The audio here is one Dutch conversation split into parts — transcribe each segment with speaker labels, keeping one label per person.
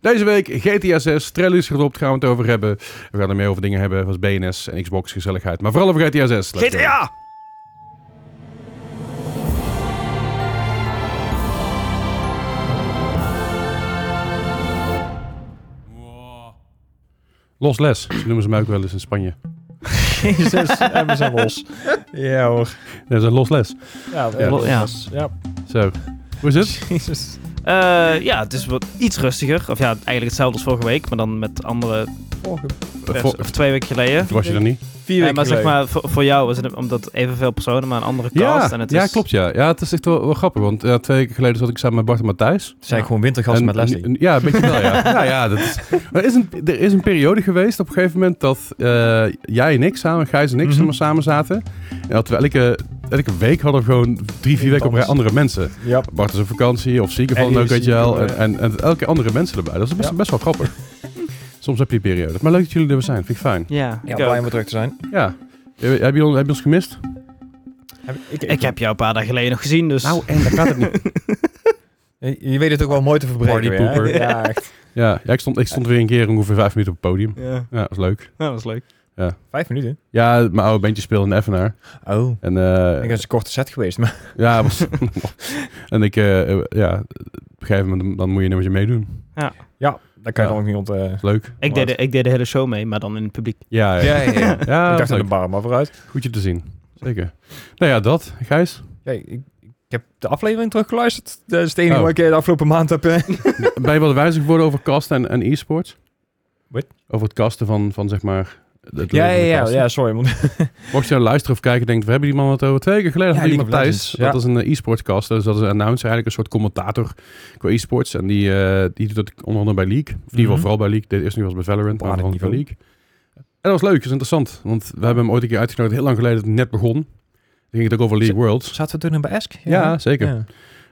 Speaker 1: Deze week GTA 6, trailer is gedropt, gaan we het over hebben. We gaan er meer over dingen hebben, zoals BNS en Xbox, gezelligheid. Maar vooral over GTA 6. Let's go.
Speaker 2: GTA!
Speaker 1: Los Les, ze noemen ze mij ook wel eens in Spanje.
Speaker 3: Jezus, en we zijn los. Ja hoor.
Speaker 1: Dat is een Los Les.
Speaker 3: Ja,
Speaker 1: Ja.
Speaker 3: los.
Speaker 4: Ja.
Speaker 3: ja.
Speaker 1: Zo, hoe is het?
Speaker 3: Jezus.
Speaker 4: Eh, ja, het is wat iets rustiger. Of ja, eigenlijk hetzelfde als vorige week, maar dan met andere...
Speaker 3: Vorige
Speaker 1: Eh,
Speaker 4: Of
Speaker 1: voor-
Speaker 4: twee weken geleden.
Speaker 1: was je er niet?
Speaker 3: vier
Speaker 4: Eh,
Speaker 3: weken
Speaker 4: maar zeg
Speaker 3: geleden.
Speaker 4: maar, voor, voor jou is het omdat evenveel personen, maar een andere cast. en
Speaker 1: Ja,
Speaker 4: het
Speaker 1: ja,
Speaker 4: is,
Speaker 1: klopt ja. Ja, het is echt wel, wel grappig, want ja, twee weken geleden zat ik samen met Bart en Matthijs.
Speaker 3: Het zijn gewoon wintergasten
Speaker 1: En-
Speaker 3: met Leslie.
Speaker 1: en- Ja, een beetje wel, ja. ja, ja dat is, er, is een, er is een periode geweest op een gegeven moment dat eh, jij en ik samen, Gijs en ik,
Speaker 3: Mhm.
Speaker 1: zeg maar, samen zaten. En dat we elke, elke week hadden we gewoon drie, vier weken op rij andere mensen.
Speaker 3: Ja.
Speaker 1: Bart is op vakantie, of ziek of
Speaker 3: En
Speaker 1: wat dan ook,
Speaker 3: die
Speaker 1: weet
Speaker 3: is
Speaker 1: je wel.
Speaker 3: ziek,
Speaker 1: En, en, en elke andere mensen erbij. Dat is best,
Speaker 3: Ja.
Speaker 1: best wel grappig. Soms heb je die periode. Maar leuk dat jullie er weer zijn. Vind ik fijn.
Speaker 4: Ja,
Speaker 3: Ja,
Speaker 4: ik, ook.
Speaker 3: blij om weer terug te zijn.
Speaker 1: Ja. Heb je, heb je ons, heb je ons gemist?
Speaker 4: ik heb jou een paar dagen geleden nog gezien, dus...
Speaker 1: Nou, en daar gaat het niet.
Speaker 3: Je, je weet het ook wel mooi te verbreken weer, hè?
Speaker 1: Partypooper.
Speaker 3: Ja, echt.
Speaker 1: Ja, ja ik, stond, ik stond weer een keer ongeveer vijf minuten op het podium.
Speaker 4: ja.
Speaker 1: Ja, dat was leuk.
Speaker 4: Ja, dat is leuk.
Speaker 3: Vijf minuten.
Speaker 1: Ja, mijn oude bandje speelde in Evenaar.
Speaker 3: Oh. Ik
Speaker 1: En,
Speaker 3: denk
Speaker 1: eh
Speaker 3: dat is een korte set geweest, maar...
Speaker 1: Ja, was, en ik, eh, eh, ja, op een gegeven moment dan moet je een nummertje meedoen.
Speaker 3: Ja, daar kan je
Speaker 1: Ja.
Speaker 3: dan ook niet ont... eh,
Speaker 1: Dat is leuk.
Speaker 4: Ik deed, de, ik deed de hele show mee, maar dan in het publiek.
Speaker 1: Ja, ja.
Speaker 3: ja, ja.
Speaker 1: ja. Ah, was
Speaker 3: ik dacht aan de
Speaker 1: leuk.
Speaker 3: bar, maar vooruit.
Speaker 1: Goed je te zien. Zeker. Nou ja, dat. Gijs,
Speaker 3: Ja, ik, ik heb de aflevering teruggeluisterd. Dat is het enige
Speaker 1: Oh.
Speaker 3: wat ik eh, de afgelopen maand heb... eh,
Speaker 1: ben je wat wijzer geworden over casten en, en e-sports?
Speaker 3: Wat?
Speaker 1: Over het casten van, van zeg maar... het
Speaker 3: Ja,
Speaker 1: leven van de
Speaker 3: ja, ja,
Speaker 1: casten.
Speaker 3: ja, sorry. want-
Speaker 1: Mocht je nou luisteren of kijken en denken, we hebben die man het over twee weken geleden.
Speaker 3: Ja,
Speaker 1: had die
Speaker 3: League of
Speaker 1: Matthijs,
Speaker 3: Legends,
Speaker 1: dat
Speaker 3: ja.
Speaker 1: is een eh, e-sport cast. Dus dat is een announcer, eigenlijk een soort commentator qua e-sports. En die, eh, die doet dat onder andere bij League. Of in ieder geval
Speaker 3: Mhm.
Speaker 1: vooral bij League. Dit is nu wel eens bij Valorant, maar
Speaker 3: Op aardig
Speaker 1: vooral bij
Speaker 3: niveau.
Speaker 1: League. En dat was leuk, dat is interessant. Want we hebben hem ooit een keer uitgenodigd, heel lang geleden, dat het net begon. Toen ging het ook over League Worlds.
Speaker 3: Zaten we toen bij Esk?
Speaker 1: Ja, zeker.
Speaker 3: Ja.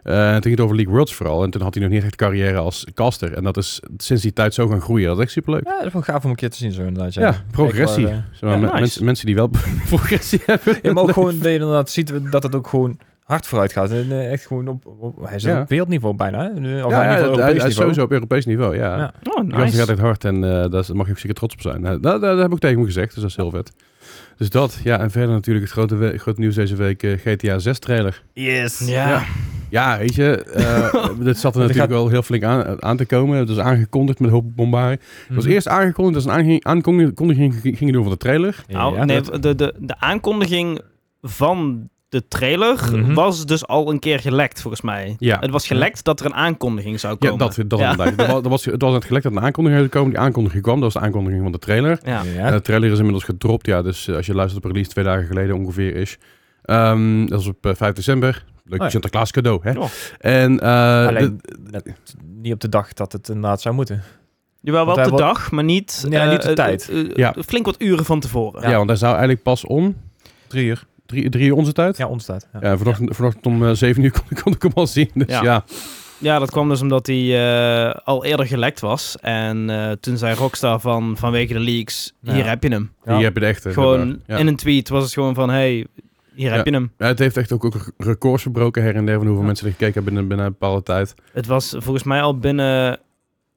Speaker 1: Eh, toen ging het over League Worlds vooral. En toen had hij nog niet echt carrière als caster. En dat is sinds die tijd zo gaan groeien. Dat is echt superleuk.
Speaker 3: Ja, dat is wel gaaf om een keer te zien zo inderdaad. Ja,
Speaker 1: Ja, progressie.
Speaker 3: Ik, eh,
Speaker 1: Zeg maar,
Speaker 4: Ja,
Speaker 1: me-
Speaker 4: nice.
Speaker 1: mensen, mensen die wel progressie hebben.
Speaker 3: Ja, maar ook gewoon dat je inderdaad ziet dat het ook gewoon hard vooruit gaat. En eh, echt gewoon op, op- hij zit
Speaker 1: Ja.
Speaker 3: op wereldniveau bijna. hè? Of in ieder
Speaker 1: Ja,
Speaker 3: geval
Speaker 1: ja, dat- hij-
Speaker 3: Europees
Speaker 1: hij is
Speaker 3: niveau.
Speaker 1: sowieso op Europees niveau, ja.
Speaker 3: Ja.
Speaker 4: Oh,
Speaker 1: Die gast die gaat
Speaker 4: nice.
Speaker 1: echt hard en eh, daar mag je zeker trots op zijn. Nou, daar, daar heb ik tegen hem gezegd, dus dat is heel vet. Dus dat, ja. En verder natuurlijk het grote, we- grote nieuws deze week, eh, GTA 6 trailer.
Speaker 2: Yes.
Speaker 4: Ja.
Speaker 1: Ja. Ja, weet je, eh dit zat er
Speaker 3: Die
Speaker 1: natuurlijk
Speaker 3: gaat-
Speaker 1: wel heel flink aan, aan te komen. Het was aangekondigd met een hoop bombaren. Het
Speaker 3: Mhm.
Speaker 1: was eerst aangekondigd, dat ze een aange- aankondiging gingen doen van de trailer.
Speaker 4: Nou,
Speaker 3: Ja,
Speaker 4: nee,
Speaker 3: dat-
Speaker 4: de, de, de aankondiging van de trailer
Speaker 3: Mhm.
Speaker 4: was dus al een keer gelekt, volgens mij.
Speaker 1: Ja.
Speaker 4: Het was gelekt dat er een aankondiging zou
Speaker 1: Ja,
Speaker 4: komen.
Speaker 1: dat, dat
Speaker 4: Ja.
Speaker 1: inderdaad. Er was, er was, het was net gelekt dat een aankondiging zou komen. Die aankondiging kwam, dat was de aankondiging van de trailer.
Speaker 4: Ja.
Speaker 3: Ja.
Speaker 1: En de trailer is inmiddels gedropt, ja. Dus eh, als je luistert op release twee dagen geleden ongeveer is. Ehm, dat is op eh, 5 december. Leuk
Speaker 3: Oh ja.
Speaker 1: Sinterklaas cadeau, hè?
Speaker 4: Oh.
Speaker 1: En eh,
Speaker 3: Alleen
Speaker 1: de-
Speaker 3: net niet op de dag dat het inderdaad zou moeten.
Speaker 4: Jawel, wel
Speaker 3: Want
Speaker 4: op de
Speaker 3: hij
Speaker 4: dag, maar niet...
Speaker 3: Ja,
Speaker 4: eh,
Speaker 3: niet op
Speaker 4: eh,
Speaker 3: tijd.
Speaker 4: eh, eh,
Speaker 1: Ja.
Speaker 4: Flink wat uren van tevoren.
Speaker 1: ja. want hij zou eigenlijk pas om
Speaker 3: Drie uur.
Speaker 1: drie, drie uur onze tijd. Ja.
Speaker 3: Ja, ons staat. Ja.
Speaker 1: vanochtend, vanochtend om eh, 7 uur kon, kon ik hem al zien. Dus ja,
Speaker 4: Ja. Ja, dat kwam dus omdat hij eh, al eerder gelekt was. En eh, toen zei Rockstar van, vanwege de leaks,
Speaker 3: Ja.
Speaker 4: hier heb je hem.
Speaker 3: Ja.
Speaker 1: hier heb je de echte.
Speaker 4: Gewoon
Speaker 1: inderdaad. Ja.
Speaker 4: in een tweet was het gewoon van, hey, hier heb je hem.
Speaker 1: Ja, het heeft echt ook, ook records verbroken her en der van hoeveel
Speaker 4: Ja.
Speaker 1: mensen er gekeken hebben binnen, binnen een bepaalde tijd.
Speaker 4: Het was volgens mij al binnen,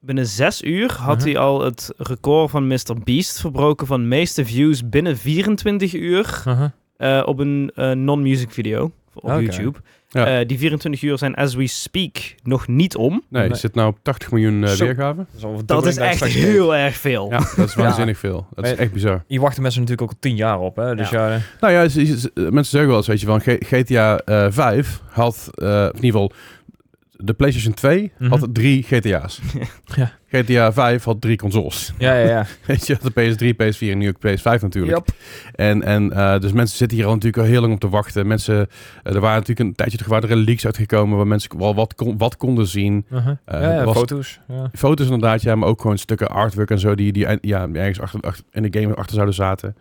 Speaker 4: binnen zes uur had
Speaker 3: Mhm.
Speaker 4: hij al het record van Mr. Beast verbroken van meeste views binnen 24 uur
Speaker 3: Uh-huh.
Speaker 4: eh, op een eh, non-music video op
Speaker 3: Oké.
Speaker 4: YouTube.
Speaker 1: Ja.
Speaker 4: Eh, die 24 uur zijn, as we speak, nog niet om.
Speaker 1: Nee,
Speaker 3: Nee.
Speaker 1: het zit nou op 80 miljoen eh,
Speaker 3: Zo.
Speaker 1: weergaven.
Speaker 3: Dat is, al een
Speaker 4: Dat
Speaker 3: dubbeling
Speaker 4: is
Speaker 3: dat ik
Speaker 4: echt
Speaker 3: straks
Speaker 4: heel erg veel.
Speaker 1: Ja, dat is
Speaker 3: Ja.
Speaker 1: waanzinnig veel. Dat is
Speaker 3: Maar-
Speaker 1: echt bizar.
Speaker 3: deed. Hier wachten mensen natuurlijk ook al tien jaar op. Hè? Dus ja. eh,
Speaker 1: Nou ja, ze- ze- ze- mensen zeggen wel eens, weet je wel, G- GTA eh 5 had, eh, of in ieder geval, de PlayStation 2
Speaker 3: Mhm.
Speaker 1: had drie GTA's.
Speaker 3: Ja.
Speaker 1: GTA 5 had drie consoles.
Speaker 3: ja, ja, ja.
Speaker 1: Weet je, de PS3, PS4 en nu ook PS5 natuurlijk. En, en eh, dus mensen zitten hier al natuurlijk al heel lang op te wachten. Mensen, eh, er waren natuurlijk een tijdje terug waren er leaks uitgekomen waar mensen wel wat, kon- wat konden zien.
Speaker 3: Uh-huh.
Speaker 1: Eh,
Speaker 3: ja, ja,
Speaker 1: was-
Speaker 3: foto's. Ja.
Speaker 1: Foto's inderdaad, ja, maar ook gewoon stukken artwork en zo die, die ja, ergens achter, achter- in de game achter zouden zaten.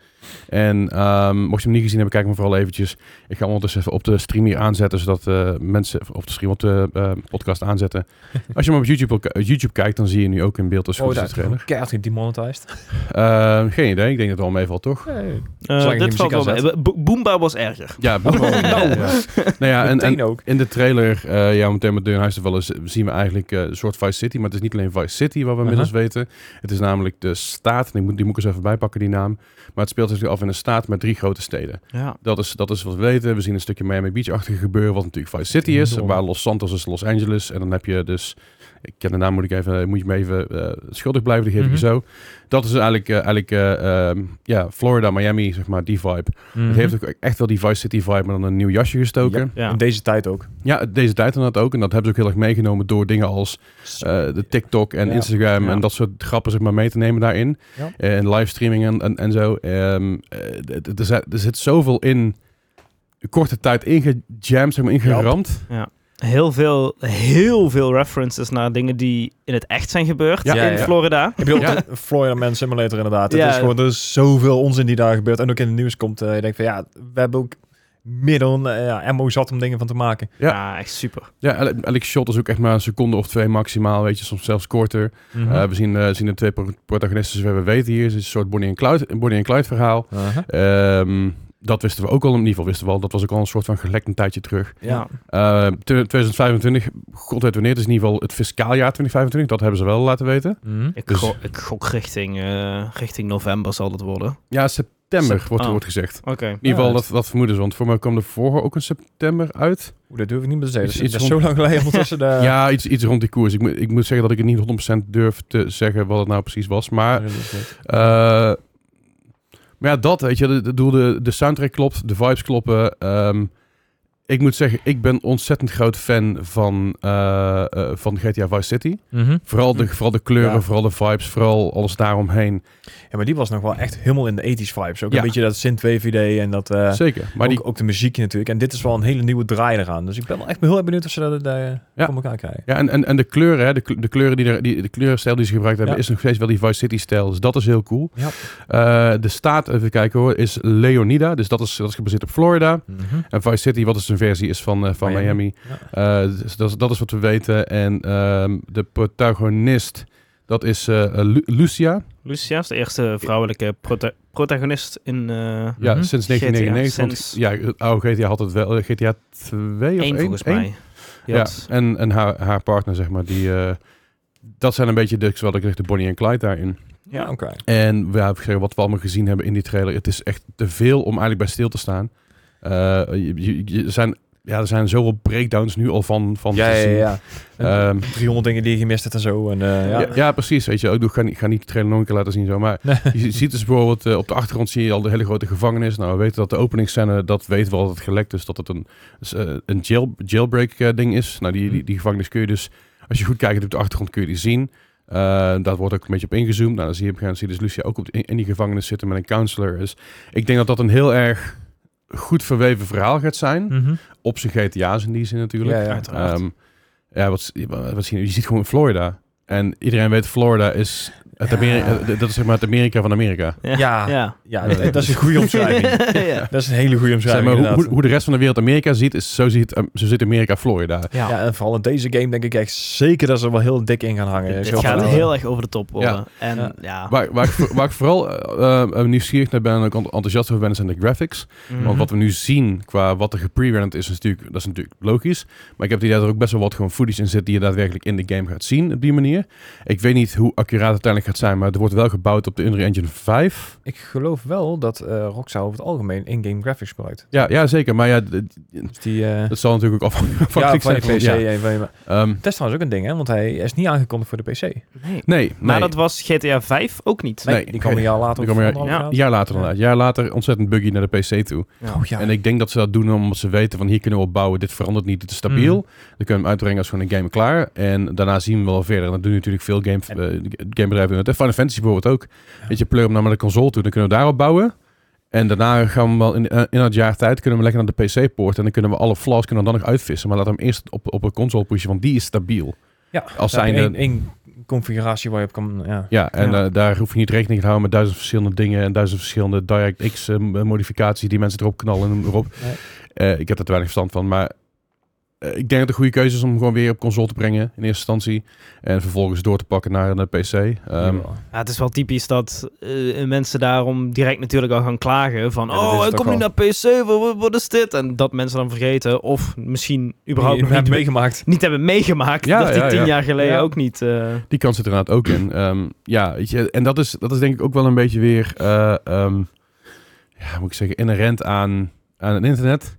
Speaker 1: En ehm, mocht je hem niet gezien hebben, kijk hem vooral eventjes. Ik ga hem ondertussen even op de stream hier aanzetten, zodat eh, mensen, of op de stream op de eh, podcast aanzetten. Als je hem op YouTube, wil ki- YouTube kijkt, dan zie je nu nu ook in beeld als goed
Speaker 3: Oh,
Speaker 1: is, de
Speaker 3: daar
Speaker 1: trailer.
Speaker 3: keihard gedemonetized.
Speaker 1: Eh, geen idee, ik denk dat het wel meevalt, toch?
Speaker 3: Hey.
Speaker 4: Eh,
Speaker 3: Zolang je
Speaker 4: dit
Speaker 3: geen
Speaker 4: valt wel
Speaker 3: muziek
Speaker 4: mee. Bo- Boomba was erger.
Speaker 1: Oh, Ja, Bob wel.
Speaker 3: nou.
Speaker 1: Ja. Nou ja, en, en
Speaker 3: Meteen ook.
Speaker 1: in de trailer, eh ja, meteen met deur in huis te vallen, z- zien we eigenlijk eh, een soort Vice City. Maar het is niet alleen Vice City, wat we inmiddels weten. Het is namelijk de staat, en ik moet, die moet ik eens even bijpakken, die naam. Maar het speelt zich af in een staat met drie grote steden.
Speaker 4: Ja.
Speaker 1: Dat is, dat is wat we weten. We zien een stukje Miami Beach-achtige gebeuren, wat natuurlijk Vice City is.
Speaker 3: Enorm.
Speaker 1: Waar Los Santos is Los Angeles. En dan heb je dus... Ik ken de naam, moet, ik even, moet je me even eh, schuldig blijven, die geef ik je
Speaker 3: Mhm.
Speaker 1: zo. Dat is eigenlijk, eh, eigenlijk eh, ehm, ja, Florida, Miami, zeg maar, die vibe.
Speaker 3: Mhm.
Speaker 1: Het heeft ook echt wel die Vice City vibe, maar dan een nieuw jasje gestoken.
Speaker 4: Ja.
Speaker 3: In deze tijd ook.
Speaker 1: Ja, deze tijd inderdaad ook. En dat hebben ze ook heel erg meegenomen door dingen als eh, de TikTok en
Speaker 3: Ja.
Speaker 1: Instagram
Speaker 4: Ja.
Speaker 1: en dat soort grappen zeg maar mee te nemen daarin. Eh,
Speaker 3: Ja.
Speaker 1: En livestreaming en, en, en zo. Ehm, eh, d- d- er, zit- er zit zoveel in korte tijd ingejamd, zeg maar ingeramd.
Speaker 4: Heel veel, heel veel references naar dingen die in het echt zijn gebeurd
Speaker 3: Ja,
Speaker 4: in
Speaker 3: ja, ja.
Speaker 4: Florida.
Speaker 3: Ik bedoel,
Speaker 1: Ja.
Speaker 3: de Florida Man Simulator inderdaad.
Speaker 4: Ja.
Speaker 3: Het is gewoon, er is zoveel onzin die daar gebeurt. En ook in het nieuws komt, eh je denkt van ja, we hebben ook middelen, eh, ja, MO zat om dingen van te maken.
Speaker 1: Ja.
Speaker 4: Ja, echt super.
Speaker 1: Ja, elk elk shot is ook echt maar een seconde of twee maximaal, weet je, soms zelfs korter.
Speaker 3: Mhm.
Speaker 1: Eh, we zien, eh, zien de twee pro- protagonisten zover we weten hier. Het is een soort Bonnie en Clyde, Bonnie en Clyde verhaal.
Speaker 3: Aha.
Speaker 1: Ehm, dat wisten we ook al, in ieder geval wisten we al. Dat was ook al een soort van gelekt een tijdje terug.
Speaker 3: Ja.
Speaker 1: Eh, tw- 2025, god weet wanneer, het is in ieder geval het fiscaaljaar 2025. Dat hebben ze wel laten weten.
Speaker 3: Mhm.
Speaker 4: Ik,
Speaker 1: Dus-
Speaker 4: go- ik gok richting, eh, richting november zal dat worden. Oké.
Speaker 1: Ja, september
Speaker 4: Sep-
Speaker 1: wordt,
Speaker 4: oh.
Speaker 1: wordt gezegd. In ieder geval,
Speaker 3: Ja,
Speaker 1: dat, dat vermoeden ze. Want voor mij kwam er vorige ook een september uit.
Speaker 3: Oeh, dat durf ik niet meer te zeggen.
Speaker 1: Iets-
Speaker 3: Dat is-
Speaker 1: iets
Speaker 3: dat is zo lang geleden ondertussen. De...
Speaker 1: ja, iets, iets rond die koers. Ik, moet- ik moet zeggen dat ik het niet 100% durf te zeggen wat het nou precies was. Maar, eh, maar ja, dat, weet je. De, de, bedoel, de, de soundtrack klopt, de vibes kloppen. Ehm, ik moet zeggen, ik ben ontzettend groot fan van, eh, eh, van GTA Vice City.
Speaker 3: Mhm.
Speaker 1: Vooral de, vooral de kleuren,
Speaker 3: Ja.
Speaker 1: vooral de vibes, vooral alles daaromheen.
Speaker 3: Ja, maar die was nog wel echt helemaal in de 80s vibes. Ook
Speaker 1: Ja.
Speaker 3: een beetje dat synthwave idee en dat... eh,
Speaker 1: Zeker. Maar die,
Speaker 3: ook, ook de muziek natuurlijk. En dit is wel een hele nieuwe draai eraan. Dus ik ben wel echt heel erg benieuwd of ze dat eh,
Speaker 1: Ja.
Speaker 3: voor elkaar krijgen.
Speaker 1: ja, en, en, en de kleuren, hè, de, kle- de kleuren die, er, die de kleurenstijl die ze gebruikt hebben,
Speaker 3: Ja.
Speaker 1: is nog steeds wel die Vice City stijl. Dus dat is heel cool.
Speaker 3: Ja.
Speaker 1: Eh, de staat, even kijken hoor, is Leonida. Dus dat is, dat is gebaseerd op Florida. En Vice City, wat is een versie, is van, eh, van Miami.
Speaker 3: Miami.
Speaker 1: Eh, dus dat, is- dat is wat we weten. En ehm, de protagonist, dat is eh, Lu- Lucia.
Speaker 4: Lucia is de eerste vrouwelijke prota- protagonist in eh
Speaker 1: Ja,
Speaker 3: Mhm.
Speaker 1: sinds
Speaker 4: GTA,
Speaker 1: 1999.
Speaker 4: sinds-
Speaker 1: Want, ja, het oude GTA had het wel. eh, GTA 2 of 1?
Speaker 4: één volgens mij.
Speaker 1: Ja, en, en haar, haar partner, zeg maar, die... eh, dat zijn een beetje de, wat ik zeg, de Bonnie en Clyde daarin.
Speaker 4: Ja.
Speaker 3: Ja, oké.
Speaker 1: En we hebben gezegd, wat we allemaal gezien hebben in die trailer, het is echt te veel om eigenlijk bij stil te staan. Eh, je, je- je- er zijn, ja, er zijn zoveel breakdowns nu al van, van
Speaker 3: Ja,
Speaker 1: te
Speaker 3: ja,
Speaker 1: zien.
Speaker 3: ja. En
Speaker 1: Ehm,
Speaker 3: 300 dingen die je gemist hebt en zo. En, eh,
Speaker 1: ja.
Speaker 3: ja.
Speaker 1: Ja, precies. Weet je, Oh, ik doe- ga, niet- ga niet de trailer nog een keer laten zien. Zo, maar je ziet dus bijvoorbeeld eh, op de achtergrond zie je al de hele grote gevangenis. Nou, we weten dat de openingsscène, dat weten we al dat het gelekt is. Dat het een, is, eh, een jail, jailbreak eh, ding is. Nou, die, die, die gevangenis kun je dus, als je goed kijkt op de achtergrond, kun je die zien. Eh daar wordt ook een beetje op ingezoomd. Nou, dan zie je op een gegeven moment zie je dus Lucia ook op de- in, in die gevangenis zitten met een counselor. Dus ik denk dat dat een heel erg goed verweven verhaal gaat zijn.
Speaker 3: Mhm.
Speaker 1: Op zijn GTA's in die zin natuurlijk.
Speaker 3: Ja, ja.
Speaker 4: Uiteraard.
Speaker 1: Ehm, ja, wat, wat zie je? Je ziet gewoon Florida. En iedereen weet, Florida is het
Speaker 3: Ja.
Speaker 1: Amerika, dat is zeg maar het Amerika van Amerika.
Speaker 3: Ja.
Speaker 4: ja.
Speaker 3: Ja, dat, dat is een goede omschrijving.
Speaker 4: ja.
Speaker 3: Dat is een hele goede
Speaker 1: Zeg
Speaker 3: omschrijving.
Speaker 1: maar, hoe,
Speaker 3: inderdaad.
Speaker 1: hoe, hoe de rest van de wereld Amerika ziet, is zo ziet, eh, zo ziet Amerika Florida.
Speaker 4: Ja.
Speaker 3: Ja, en vooral in deze game denk ik echt zeker dat ze er wel heel dik in gaan hangen.
Speaker 4: Dit
Speaker 3: Zo van,
Speaker 4: gaat
Speaker 3: eh,
Speaker 4: heel erg over de top worden.
Speaker 1: Ja.
Speaker 4: En
Speaker 3: Ja.
Speaker 4: ja.
Speaker 1: Waar, waar, ik, voor- waar ik vooral eh, eh, nieuwsgierig naar ben en ook ent- enthousiast over ben, zijn de graphics.
Speaker 4: Mhm.
Speaker 1: Want wat we nu zien qua wat er geprewrenderd is, is natuurlijk, dat is natuurlijk logisch. Maar ik heb het idee dat er ook best wel wat gewoon footage in zit die je daadwerkelijk in de game gaat zien op die manier. Ik weet niet hoe accuraat het uiteindelijk gaat zijn, maar er wordt wel gebouwd op de Unreal Engine 5.
Speaker 3: Ik geloof wel dat eh Rockstar over het algemeen in-game graphics gebruikt.
Speaker 1: Ja, ja zeker. Maar ja, d- d-
Speaker 3: Dus die... eh,
Speaker 1: dat zal natuurlijk ook afhankelijk
Speaker 3: ja, van
Speaker 1: zijn
Speaker 3: je
Speaker 1: van-
Speaker 3: PC.
Speaker 1: ja.
Speaker 3: en van je-
Speaker 1: Ehm,
Speaker 3: Dat is trouwens ook een ding, hè? Want hij is niet aangekondigd voor de PC. Nee,
Speaker 4: Nee.
Speaker 1: nee,
Speaker 4: Maar
Speaker 1: nee.
Speaker 4: dat was GTA 5 ook niet.
Speaker 1: Nee,
Speaker 3: die kwam een jaar later.
Speaker 1: die kwam
Speaker 3: of
Speaker 1: een
Speaker 3: anderhalf
Speaker 1: Een jaar later dan
Speaker 3: Ja.
Speaker 1: Een jaar later ontzettend buggy naar de PC toe.
Speaker 4: Ja.
Speaker 3: Oh ja.
Speaker 1: En ik denk dat ze dat doen omdat ze weten van hier kunnen we op bouwen. Dit verandert niet, dit is stabiel.
Speaker 3: Mhm.
Speaker 1: Dan kunnen we hem uitbrengen als gewoon een game klaar. En daarna zien we wel verder. En dat doen natuurlijk veel game, eh, gamebedrijven. Doen het. En Final Fantasy bijvoorbeeld ook. Weet je, pleur hem dan naar de console toe. Dan kunnen we daarop bouwen. En daarna gaan we hem wel in, eh, in het jaar tijd kunnen we lekker naar de PC poort. En dan kunnen we alle flaws kunnen we dan nog uitvissen. Maar laat hem eerst op, op een console pushen, want die is stabiel.
Speaker 3: Ja,
Speaker 1: als
Speaker 3: daar heb je
Speaker 1: zijnde-
Speaker 3: één- één configuratie waar je op kan... Ja.
Speaker 1: Ja, en
Speaker 4: Ja.
Speaker 1: eh, daar hoef je niet rekening te houden met duizend verschillende dingen en duizend verschillende eh, DirectX eh, m- modificaties die mensen erop knallen en noem maar op.
Speaker 3: Nee.
Speaker 1: Eh, ik heb er te weinig verstand van, maar eh, ik denk dat het een goede keuze is om hem gewoon weer op console te brengen in eerste instantie. En vervolgens door te pakken naar een PC. Ehm,
Speaker 3: Jawel.
Speaker 4: Ja, het is wel typisch dat eh, mensen daarom direct natuurlijk al gaan klagen van...
Speaker 1: Ja, dat is
Speaker 4: oh,
Speaker 1: het
Speaker 4: hij
Speaker 1: ook
Speaker 4: komt nu
Speaker 1: al.
Speaker 4: naar PC, wa- wa- wat is dit? En dat mensen dan vergeten of misschien überhaupt
Speaker 3: Die
Speaker 4: nog
Speaker 3: hebben
Speaker 4: niet,
Speaker 3: meegemaakt.
Speaker 4: niet hebben meegemaakt...
Speaker 1: Ja,
Speaker 4: dat die
Speaker 1: ja,
Speaker 4: tien
Speaker 1: ja.
Speaker 4: jaar geleden
Speaker 3: Ja.
Speaker 4: ook niet... eh,
Speaker 1: Die kans zit er inderdaad ook in. Ehm, ja, weet je, en dat is, dat is denk ik ook wel een beetje weer, eh, ehm, ja, moet ik zeggen, inherent aan, aan het internet.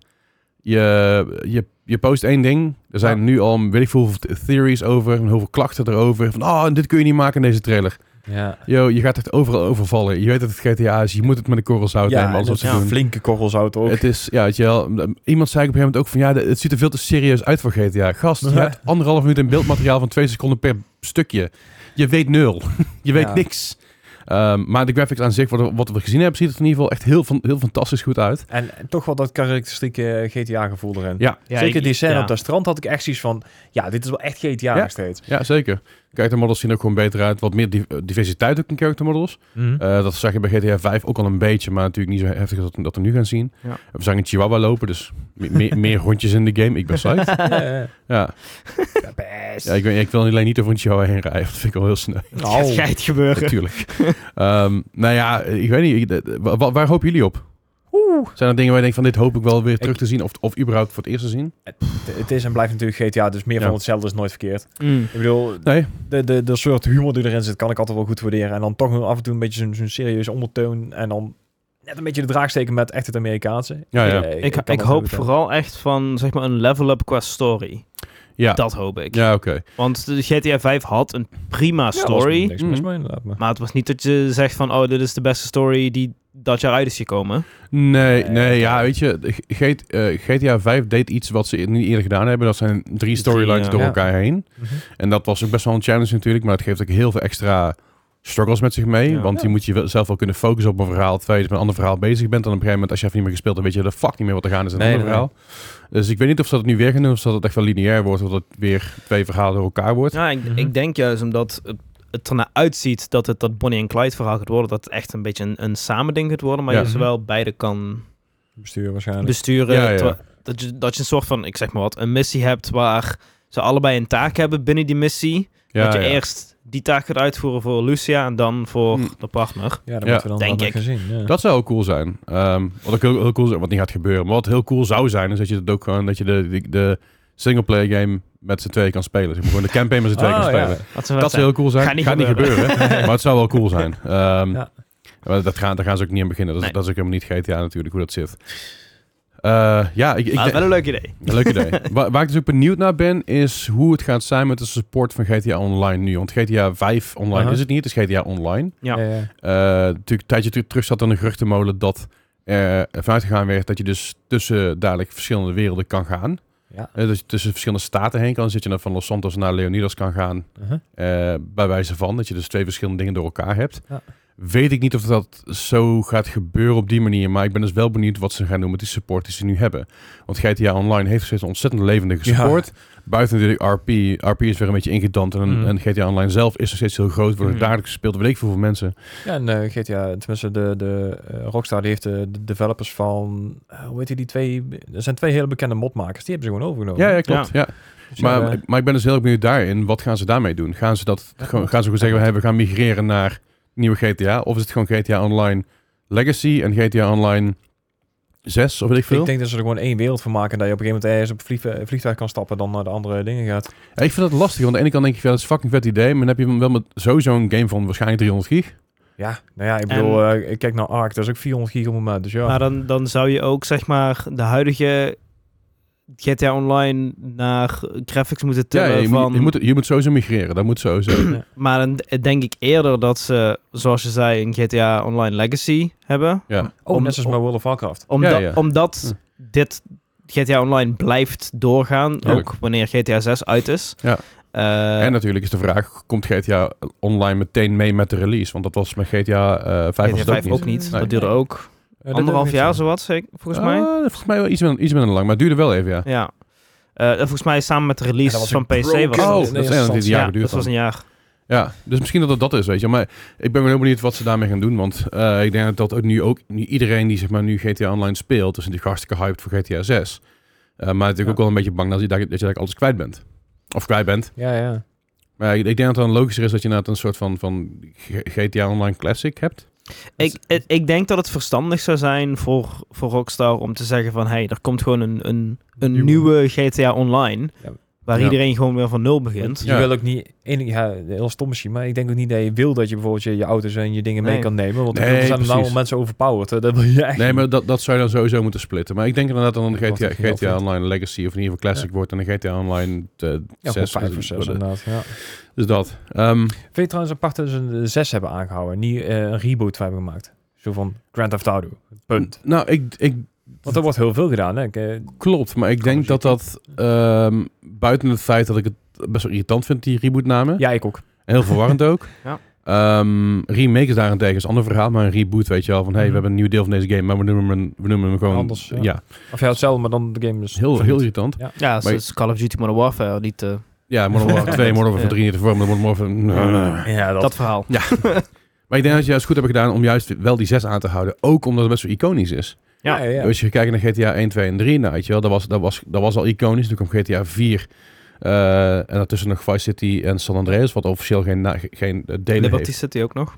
Speaker 1: Je, je, je post één ding. Er zijn
Speaker 3: Ja.
Speaker 1: nu al, weet ik veel, hoeveel theories over en hoeveel klachten erover. Van, oh, dit kun je niet maken in deze trailer.
Speaker 3: Ja.
Speaker 1: Yo, je gaat echt overal overvallen. Je weet dat het GTA is. Je moet het met een korrel zout nemen. Alles wat ze
Speaker 4: ja,
Speaker 1: doen.
Speaker 3: flinke korrels houdt ook.
Speaker 1: Het is, ja, weet je wel, iemand zei op een gegeven moment ook van ja, de- het ziet er veel te serieus uit voor GTA. Gast, je
Speaker 3: Ja.
Speaker 1: hebt anderhalf minuut in beeldmateriaal van twee seconden per stukje. Je weet nul. Je weet
Speaker 3: Ja.
Speaker 1: niks. Ehm, maar de graphics aan zich, wat, wat we gezien hebben, ziet het in ieder geval echt heel, van, heel fantastisch goed uit.
Speaker 3: En toch wel dat karakteristieke GTA-gevoel erin.
Speaker 1: Ja,
Speaker 4: ja,
Speaker 3: Zeker
Speaker 4: ik-
Speaker 3: die scène
Speaker 4: ja.
Speaker 3: op dat strand had ik echt zoiets van... Ja, dit is wel echt
Speaker 1: Ja.
Speaker 3: GTA nog steeds.
Speaker 1: ja zeker. Character models zien er ook gewoon beter uit. Wat meer di- eh, diversiteit ook in character models.
Speaker 4: Mhm.
Speaker 3: Hm.
Speaker 1: Eh, dat zag je bij GTA 5 ook al een beetje, maar natuurlijk niet zo heftig als dat, dat we nu gaan zien.
Speaker 4: Ja.
Speaker 1: We zagen een chihuahua lopen, dus me- me- meer rondjes in de game. Ik ben psyched.
Speaker 3: Ja, ja.
Speaker 1: Ja,
Speaker 3: Eh, Ja, best.
Speaker 1: ja ik, ben- ik wil alleen niet over een chihuahua heen rijden. Dat vind ik wel heel snel.
Speaker 3: Nou.
Speaker 4: Het gaat gebeuren.
Speaker 1: Natuurlijk. Ehm, nou ja, ik weet niet. ik- eh, wa- wa- waar hopen jullie op? Zijn er dingen waar je denkt van dit hoop ik wel weer terug te zien? Of, of überhaupt voor het eerst te zien?
Speaker 3: Het- Het is en blijft natuurlijk GTA, dus meer
Speaker 1: Ja.
Speaker 3: van hetzelfde is nooit verkeerd.
Speaker 4: Mm.
Speaker 3: Ik bedoel,
Speaker 1: Nee.
Speaker 3: de, de, de soort humor die erin zit, kan ik altijd wel goed waarderen. En dan toch nog af en toe een beetje zo'n zo'n serieuze ondertoon. En dan net een beetje de draag steken met echt het Amerikaanse.
Speaker 1: Ja, ja.
Speaker 3: Eh,
Speaker 4: Ik,
Speaker 3: kan
Speaker 4: ik
Speaker 3: dat
Speaker 4: hoop
Speaker 3: goed, hè.
Speaker 4: vooral echt van zeg maar, een level-up qua story.
Speaker 1: Ja,
Speaker 4: Dat hoop ik.
Speaker 1: ja oké.
Speaker 4: Want de GTA 5 had een prima
Speaker 3: Ja, was
Speaker 4: story.
Speaker 3: niks mis
Speaker 1: Mm.
Speaker 3: mee, inderdaad. Maar.
Speaker 4: maar het was niet dat je zegt van... oh, dit is de beste story die dat jaar uit is gekomen.
Speaker 1: Nee,
Speaker 3: Eh,
Speaker 1: nee, ja, weet je. de G- G- eh, GTA 5 deed iets wat ze niet eerder gedaan hebben. Dat zijn drie storylines
Speaker 4: ja.
Speaker 1: door
Speaker 3: Ja.
Speaker 1: elkaar heen.
Speaker 4: Mhm.
Speaker 1: En dat was ook best wel een challenge natuurlijk. Maar dat geeft ook heel veel extra struggles met zich mee.
Speaker 4: Ja.
Speaker 1: Want die moet je wel- zelf wel kunnen focussen op een verhaal. Terwijl je met een ander verhaal bezig bent. En op een gegeven moment, als je even niet meer gespeeld hebt, weet je de fuck niet meer wat er gaan is in een
Speaker 3: Nee,
Speaker 1: ander
Speaker 3: nee, nee.
Speaker 1: verhaal. Dus ik weet niet of ze dat nu weer gaan doen. Of dat het echt wel lineair wordt. Of dat het weer twee verhalen door elkaar wordt.
Speaker 4: Ja, ik,
Speaker 3: Mhm.
Speaker 4: ik denk juist omdat het, het ernaar uitziet dat het dat Bonnie en Clyde verhaal gaat worden, dat het echt een beetje een, een samending gaat worden, maar
Speaker 1: Ja.
Speaker 4: je
Speaker 3: Mhm.
Speaker 4: zowel beide kan
Speaker 3: Bestuur waarschijnlijk.
Speaker 4: besturen.
Speaker 1: Ja, ja.
Speaker 4: terwijl- Dat, je, dat je een soort van, ik zeg maar wat, een missie hebt waar ze allebei een taak hebben binnen die missie.
Speaker 1: Ja,
Speaker 4: dat je
Speaker 1: ja.
Speaker 4: eerst die taak gaat uitvoeren voor Lucia en dan voor
Speaker 1: Hm.
Speaker 4: de partner.
Speaker 3: ja, dat
Speaker 1: Ja.
Speaker 3: moeten we dan
Speaker 4: Denk
Speaker 3: wel
Speaker 4: ik.
Speaker 3: gezien. Ja.
Speaker 1: Dat zou heel cool zijn. Ehm, wat ook heel, heel cool zou- wat niet gaat gebeuren. Maar wat heel cool zou zijn, is dat je dat ook gewoon dat je de, de, de singleplayer game met z'n tweeën kan spelen. Dus je moet gewoon de campaign met z'n tweeën
Speaker 3: Oh,
Speaker 1: kan
Speaker 3: ja.
Speaker 1: spelen.
Speaker 4: Dat zou
Speaker 1: Dat zou heel cool zijn.
Speaker 4: Gaat niet
Speaker 1: Gaat niet gebeuren.
Speaker 4: gebeuren.
Speaker 1: maar het zou wel cool zijn. Ehm,
Speaker 3: Ja.
Speaker 1: maar dat gaan, daar gaan ze ook niet aan beginnen. Dat is,
Speaker 4: Nee.
Speaker 1: dat is ook helemaal niet GTA natuurlijk, hoe dat zit. Eh, ja, ik, ik
Speaker 4: maar
Speaker 1: denk-
Speaker 4: wel een leuk idee.
Speaker 1: een leuk idee. waar, waar ik dus ook benieuwd naar ben, is hoe het gaat zijn met de support van GTA Online nu. Want GTA 5 online
Speaker 3: Aha.
Speaker 1: is het niet, het is GTA Online.
Speaker 4: Ja.
Speaker 3: Ja, ja.
Speaker 1: Eh, natuurlijk een tijdje ter- terug zat aan de geruchtenmolen dat er vanuit gegaan werd dat je dus tussen dadelijk verschillende werelden kan gaan.
Speaker 3: Ja.
Speaker 1: Eh, dat je tussen verschillende staten heen kan. Dan zit je dan van Los Santos naar Leonidas kan gaan.
Speaker 3: Uh-huh.
Speaker 1: Eh, bij wijze van dat je dus twee verschillende dingen door elkaar hebt.
Speaker 3: Ja.
Speaker 1: Weet ik niet of dat zo gaat gebeuren op die manier, maar ik ben dus wel benieuwd wat ze gaan doen met die support die ze nu hebben. Want GTA Online heeft steeds een ontzettend levendige
Speaker 3: Ja.
Speaker 1: support. Buiten natuurlijk RP. RP is weer een beetje ingedampt en,
Speaker 3: Mm. Mm-hmm.
Speaker 1: en GTA Online zelf is nog steeds heel groot. Wordt er
Speaker 4: Mm.
Speaker 1: dagelijks gespeeld, weet ik veel hoeveel mensen.
Speaker 3: Ja, en eh, GTA, tenminste de, de eh, Rockstar, die heeft de, de developers van, eh, hoe heet die, die twee, er zijn twee hele bekende modmakers, die hebben ze gewoon overgenomen.
Speaker 1: Ja, ja klopt. Ja.
Speaker 3: Dus ja,
Speaker 1: Maar,
Speaker 3: eh,
Speaker 1: maar ik ben dus heel erg benieuwd daarin. Wat gaan ze daarmee doen? Gaan ze dat
Speaker 3: Ja,
Speaker 1: gewoon,
Speaker 3: klopt.
Speaker 1: gaan ze gewoon zeggen, hey, we gaan migreren naar nieuwe GTA? Of is het gewoon GTA Online Legacy en GTA Online 6 of weet ik veel?
Speaker 3: ik denk dat ze er gewoon één wereld van maken, dat je op een gegeven moment eerst op vlieg- vliegtuig kan stappen, dan naar de andere dingen gaat.
Speaker 1: Ja, ik vind dat lastig. Want aan de ene kant denk je, wel dat is een fucking vet idee. Maar dan heb je hem wel met sowieso een game van waarschijnlijk 300 gig.
Speaker 3: Ja, nou ja, ik bedoel, eh, ik kijk naar Ark, dat is ook 400 gig op het moment, dus ja.
Speaker 4: Maar eh, dan, dan zou je ook zeg maar de huidige GTA Online naar graphics moeten
Speaker 1: Ja,
Speaker 4: tillen
Speaker 1: je,
Speaker 4: van...
Speaker 1: moet, je, moet, je moet sowieso migreren. Dat moet sowieso.
Speaker 4: Maar dan d- denk ik eerder dat ze, zoals je zei, een GTA Online Legacy hebben.
Speaker 1: Ja.
Speaker 3: oh,
Speaker 4: om-
Speaker 3: net zoals bij World of Warcraft.
Speaker 4: Omdat,
Speaker 1: Ja, ja.
Speaker 4: omdat dit GTA Online blijft doorgaan,
Speaker 1: Tuurlijk.
Speaker 4: ook wanneer GTA 6 uit is.
Speaker 1: Ja.
Speaker 4: Eh,
Speaker 1: en natuurlijk is de vraag, komt GTA Online meteen mee met de release? Want dat was met GTA eh 5
Speaker 4: GTA
Speaker 1: was het ook
Speaker 4: 5
Speaker 1: niet.
Speaker 4: ook niet.
Speaker 1: Nee.
Speaker 4: Dat duurde ook
Speaker 3: Eh, dat
Speaker 4: anderhalf
Speaker 3: heb ik
Speaker 4: jaar,
Speaker 3: niet zo.
Speaker 4: zowat, zeker, volgens mij.
Speaker 1: Ah, volgens mij wel iets minder, iets minder lang. Maar het duurde wel even, ja.
Speaker 4: Ja. Eh, volgens mij samen met de
Speaker 3: Ja,
Speaker 4: release
Speaker 3: dat was
Speaker 4: van
Speaker 3: een
Speaker 4: PC was
Speaker 3: broken-
Speaker 1: Oh,
Speaker 4: dat.
Speaker 3: in
Speaker 1: dat is
Speaker 3: eerste
Speaker 1: een
Speaker 3: instantie.
Speaker 1: jaar
Speaker 4: ja,
Speaker 1: geduurd
Speaker 4: dat was
Speaker 1: dan.
Speaker 4: een jaar.
Speaker 1: Ja, dus misschien dat het dat is, weet je. Maar ik ben wel heel benieuwd wat ze daarmee gaan doen. Want eh, ik denk dat dat ook nu ook nu iedereen die zeg maar, nu GTA Online speelt, dus natuurlijk hartstikke hyped voor GTA 6. Eh, maar natuurlijk
Speaker 3: Ja.
Speaker 1: ook wel een beetje bang dat je, daar- dat je eigenlijk alles kwijt bent. Of kwijt bent.
Speaker 3: Ja, ja.
Speaker 1: Maar ik, ik denk dat het dan logischer is dat je inderdaad een soort van, van G- GTA Online Classic hebt.
Speaker 4: Ik, ik, ik denk dat het verstandig zou zijn voor, voor Rockstar om te zeggen van... hey, er komt gewoon een, een, een
Speaker 3: Nieuwe.
Speaker 4: nieuwe. GTA Online...
Speaker 3: Ja.
Speaker 4: waar
Speaker 1: Ja.
Speaker 4: iedereen gewoon weer van nul begint.
Speaker 3: Je
Speaker 1: Ja.
Speaker 3: wil ook niet, en- ja, heel stom misschien, maar ik denk ook niet dat je wil dat je bijvoorbeeld je, je auto's en je dingen mee
Speaker 4: Nee.
Speaker 3: kan nemen. Want
Speaker 1: Nee,
Speaker 3: er zijn
Speaker 1: precies.
Speaker 3: nou mensen overpowered. hè. Dat wil je echt
Speaker 1: Nee, maar dat, dat zou je dan sowieso moeten splitten. Maar ik denk inderdaad dat een
Speaker 3: Ik wacht
Speaker 1: GTA,
Speaker 3: even af,
Speaker 1: GTA
Speaker 3: want-
Speaker 1: Online Legacy of in ieder geval Classic wordt en een GTA Online eh,
Speaker 3: ja,
Speaker 1: 6.
Speaker 3: gewoon vijf of zes inderdaad. Ja.
Speaker 1: Dus dat. Ehm,
Speaker 3: Vind je trouwens apart dat ze een 6 hebben aangehouden, niet eh, een reboot van hebben gemaakt? Zo van Grand Theft Auto. Punt.
Speaker 1: Nou, ik, ik
Speaker 3: Want er wordt heel veel gedaan, hè? Ik, eh,
Speaker 1: klopt. Maar ik
Speaker 3: Kan
Speaker 1: denk dat
Speaker 3: misschien.
Speaker 1: dat ehm, buiten het feit dat ik het best wel irritant vind, die rebootnamen.
Speaker 3: ja, ik ook.
Speaker 1: En heel verwarrend ook.
Speaker 4: Ja.
Speaker 1: Ehm, remakes daarentegen is een ander verhaal, maar een reboot weet je wel. Van hey, we
Speaker 3: Mhm.
Speaker 1: hebben een nieuw deel van deze game, maar we noemen hem, we noemen hem gewoon...
Speaker 3: Anders, ja.
Speaker 1: Ja,
Speaker 3: Of ja, hetzelfde, maar dan de game is...
Speaker 1: heel, heel irritant.
Speaker 4: Ja,
Speaker 1: Maar-
Speaker 4: zoals Call of Duty Modern Warfare, niet eh,
Speaker 1: Ja, Modern Warfare 2, Modern Warfare 3 niet te vormen. Modern Warfare...
Speaker 3: Ja, dat...
Speaker 4: dat verhaal.
Speaker 1: Maar ik denk dat je juist goed hebt gedaan om juist wel die 6 aan te houden. Ook omdat het best wel iconisch is.
Speaker 4: Ja.
Speaker 3: ja.
Speaker 1: Als je kijkt naar GTA 1, 2 en 3, nou, weet je wel, dat was, dat was, dat was al iconisch. Toen kwam GTA 4 eh, en daartussen nog Vice City en San Andreas, wat officieel geen, na- geen eh, delen
Speaker 4: Liberty
Speaker 1: heeft.
Speaker 4: City ook nog.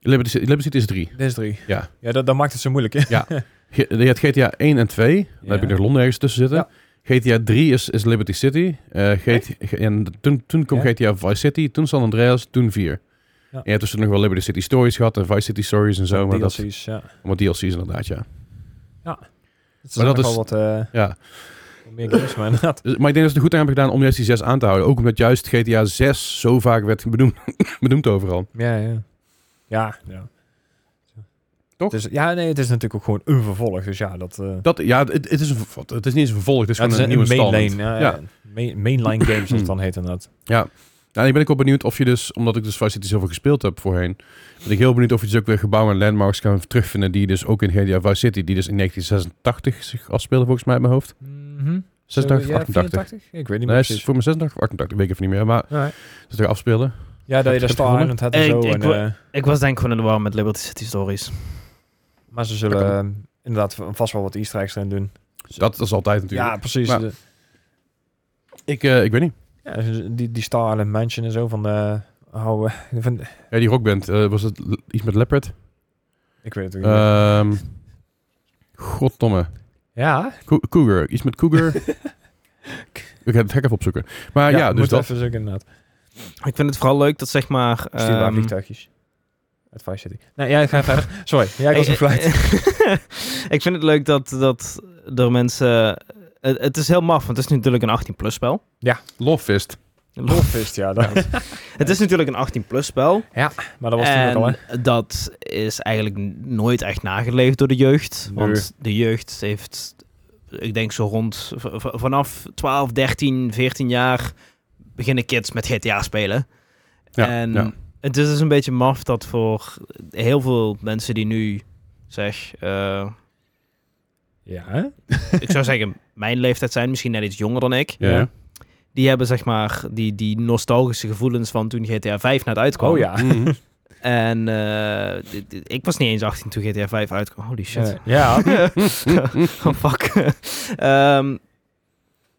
Speaker 1: Liberty, City- Liberty City is 3.
Speaker 3: Dit is drie.
Speaker 1: Ja.
Speaker 3: Ja, dat, dat maakt het zo moeilijk, hè?
Speaker 1: Ge- Je had GTA 1 en 2, daar heb ik
Speaker 3: Ja.
Speaker 1: nog Londen ergens tussen zitten.
Speaker 3: Ja.
Speaker 1: GTA 3 is, is Liberty City. Eh, GT en toen, toen kwam
Speaker 3: Ja.
Speaker 1: GTA Vice City, toen San Andreas, toen 4. En
Speaker 3: Ja.
Speaker 1: je hebt tussen nog wel Liberty City Stories gehad en Vice City Stories en zo. Maar dat,
Speaker 3: DLC's, ja.
Speaker 1: allemaal DLC's inderdaad, ja.
Speaker 3: Het zijn
Speaker 1: dat
Speaker 3: nog
Speaker 1: is-
Speaker 3: wel wat, eh,
Speaker 1: ja.
Speaker 3: wat meer games, maar inderdaad.
Speaker 1: Dus- maar ik denk dat ze er goed aan hebben gedaan om juist die 6 aan te houden. Ook omdat juist GTA 6 zo vaak werd benoemd, benoemd overal.
Speaker 3: Ja, ja. Ja, ja.
Speaker 1: Toch?
Speaker 3: Het is- ja, nee, het is natuurlijk ook gewoon een vervolg. Dus ja, dat... eh,
Speaker 1: Dat, ja, het, het, is een, ver- het is niet eens een vervolg, het is
Speaker 3: ja, het
Speaker 1: gewoon
Speaker 3: is
Speaker 1: een, nieuwe
Speaker 3: mainline,
Speaker 1: installment.
Speaker 3: ja,
Speaker 1: Ja.
Speaker 3: ja. Main- mainline games, zoals het dan heet inderdaad.
Speaker 1: Nou, ik ben ik wel benieuwd of je dus, omdat ik dus Vice City zoveel gespeeld heb voorheen, ben ik heel benieuwd of je dus ook weer gebouwen en landmarks kan terugvinden die dus ook in GTA Vice City, die dus in 1986 zich afspeelde volgens mij in mijn hoofd. 86
Speaker 3: Mhm. Zo,
Speaker 1: of
Speaker 3: ja,
Speaker 1: 88?
Speaker 3: 84? Ik weet niet meer
Speaker 1: Nee, het is
Speaker 3: precies.
Speaker 1: voor mijn 86 of 88, weet ik even niet meer, maar
Speaker 3: Nee.
Speaker 1: dat zich afspeelde.
Speaker 3: Ja, dat je daar
Speaker 1: Heb je
Speaker 3: Star
Speaker 1: gevonden?
Speaker 3: Island had en
Speaker 4: Ik-
Speaker 3: zo.
Speaker 4: ik
Speaker 3: en,
Speaker 4: wil-
Speaker 3: eh,
Speaker 4: Ik was denk ik gewoon in de war met Liberty City Stories.
Speaker 3: maar ze
Speaker 1: Dat
Speaker 3: zullen eh, inderdaad v- vast wel wat easter eggs erin doen.
Speaker 1: Dat, dat is altijd natuurlijk.
Speaker 3: Ja, precies.
Speaker 1: Maar-
Speaker 3: De-
Speaker 1: Ik, eh, ik weet niet.
Speaker 3: ja, die, die Star Island Mansion en zo van... eh hou, eh, van
Speaker 1: Ja, die rockband, eh, was het l- iets met Leopard?
Speaker 3: ik weet het ook niet. meer.
Speaker 1: Ehm goddomme.
Speaker 3: ja,
Speaker 1: Co- Cougar, iets met Cougar. ik ga het gek even opzoeken. Maar ja, dus
Speaker 3: moet
Speaker 1: dat.
Speaker 3: even zoeken inderdaad.
Speaker 4: Ik vind het vooral leuk dat zeg maar...
Speaker 3: Stuurbaar
Speaker 4: ehm,
Speaker 3: vliegtuigjes. Uit Vice City. Nee, ja, ik ga verder. Sorry, jij was
Speaker 4: Ik-
Speaker 3: een flight.
Speaker 4: ik vind het leuk dat, dat er mensen... Het, het is heel maf, want het is natuurlijk een 18-plus spel.
Speaker 1: Love Fist.
Speaker 3: Lofist, ja. Dat,
Speaker 4: Het is natuurlijk een 18-plus spel.
Speaker 3: maar dat was toen ook al, hè?
Speaker 4: En dat is eigenlijk n- nooit echt nageleefd door de jeugd.
Speaker 3: Nee.
Speaker 4: Want de jeugd heeft, ik denk zo rond, v- v- vanaf 12, 13, 14 jaar beginnen kids met GTA spelen.
Speaker 1: Ja,
Speaker 4: en
Speaker 1: ja.
Speaker 4: het is dus een beetje maf dat voor heel veel mensen die nu, zeg, eh,
Speaker 3: Ja, hè?
Speaker 4: ik zou zeggen mijn leeftijd zijn, misschien net iets jonger dan ik.
Speaker 1: Ja.
Speaker 4: Die hebben zeg maar die, die nostalgische gevoelens van toen GTA 5 net uitkwam.
Speaker 3: Oh ja.
Speaker 1: Mhm.
Speaker 4: En eh, dit- dit- ik was niet eens 18 toen GTA 5 uitkwam. Holy shit.
Speaker 3: Eh, Ja.
Speaker 4: oh, fuck. Ehm,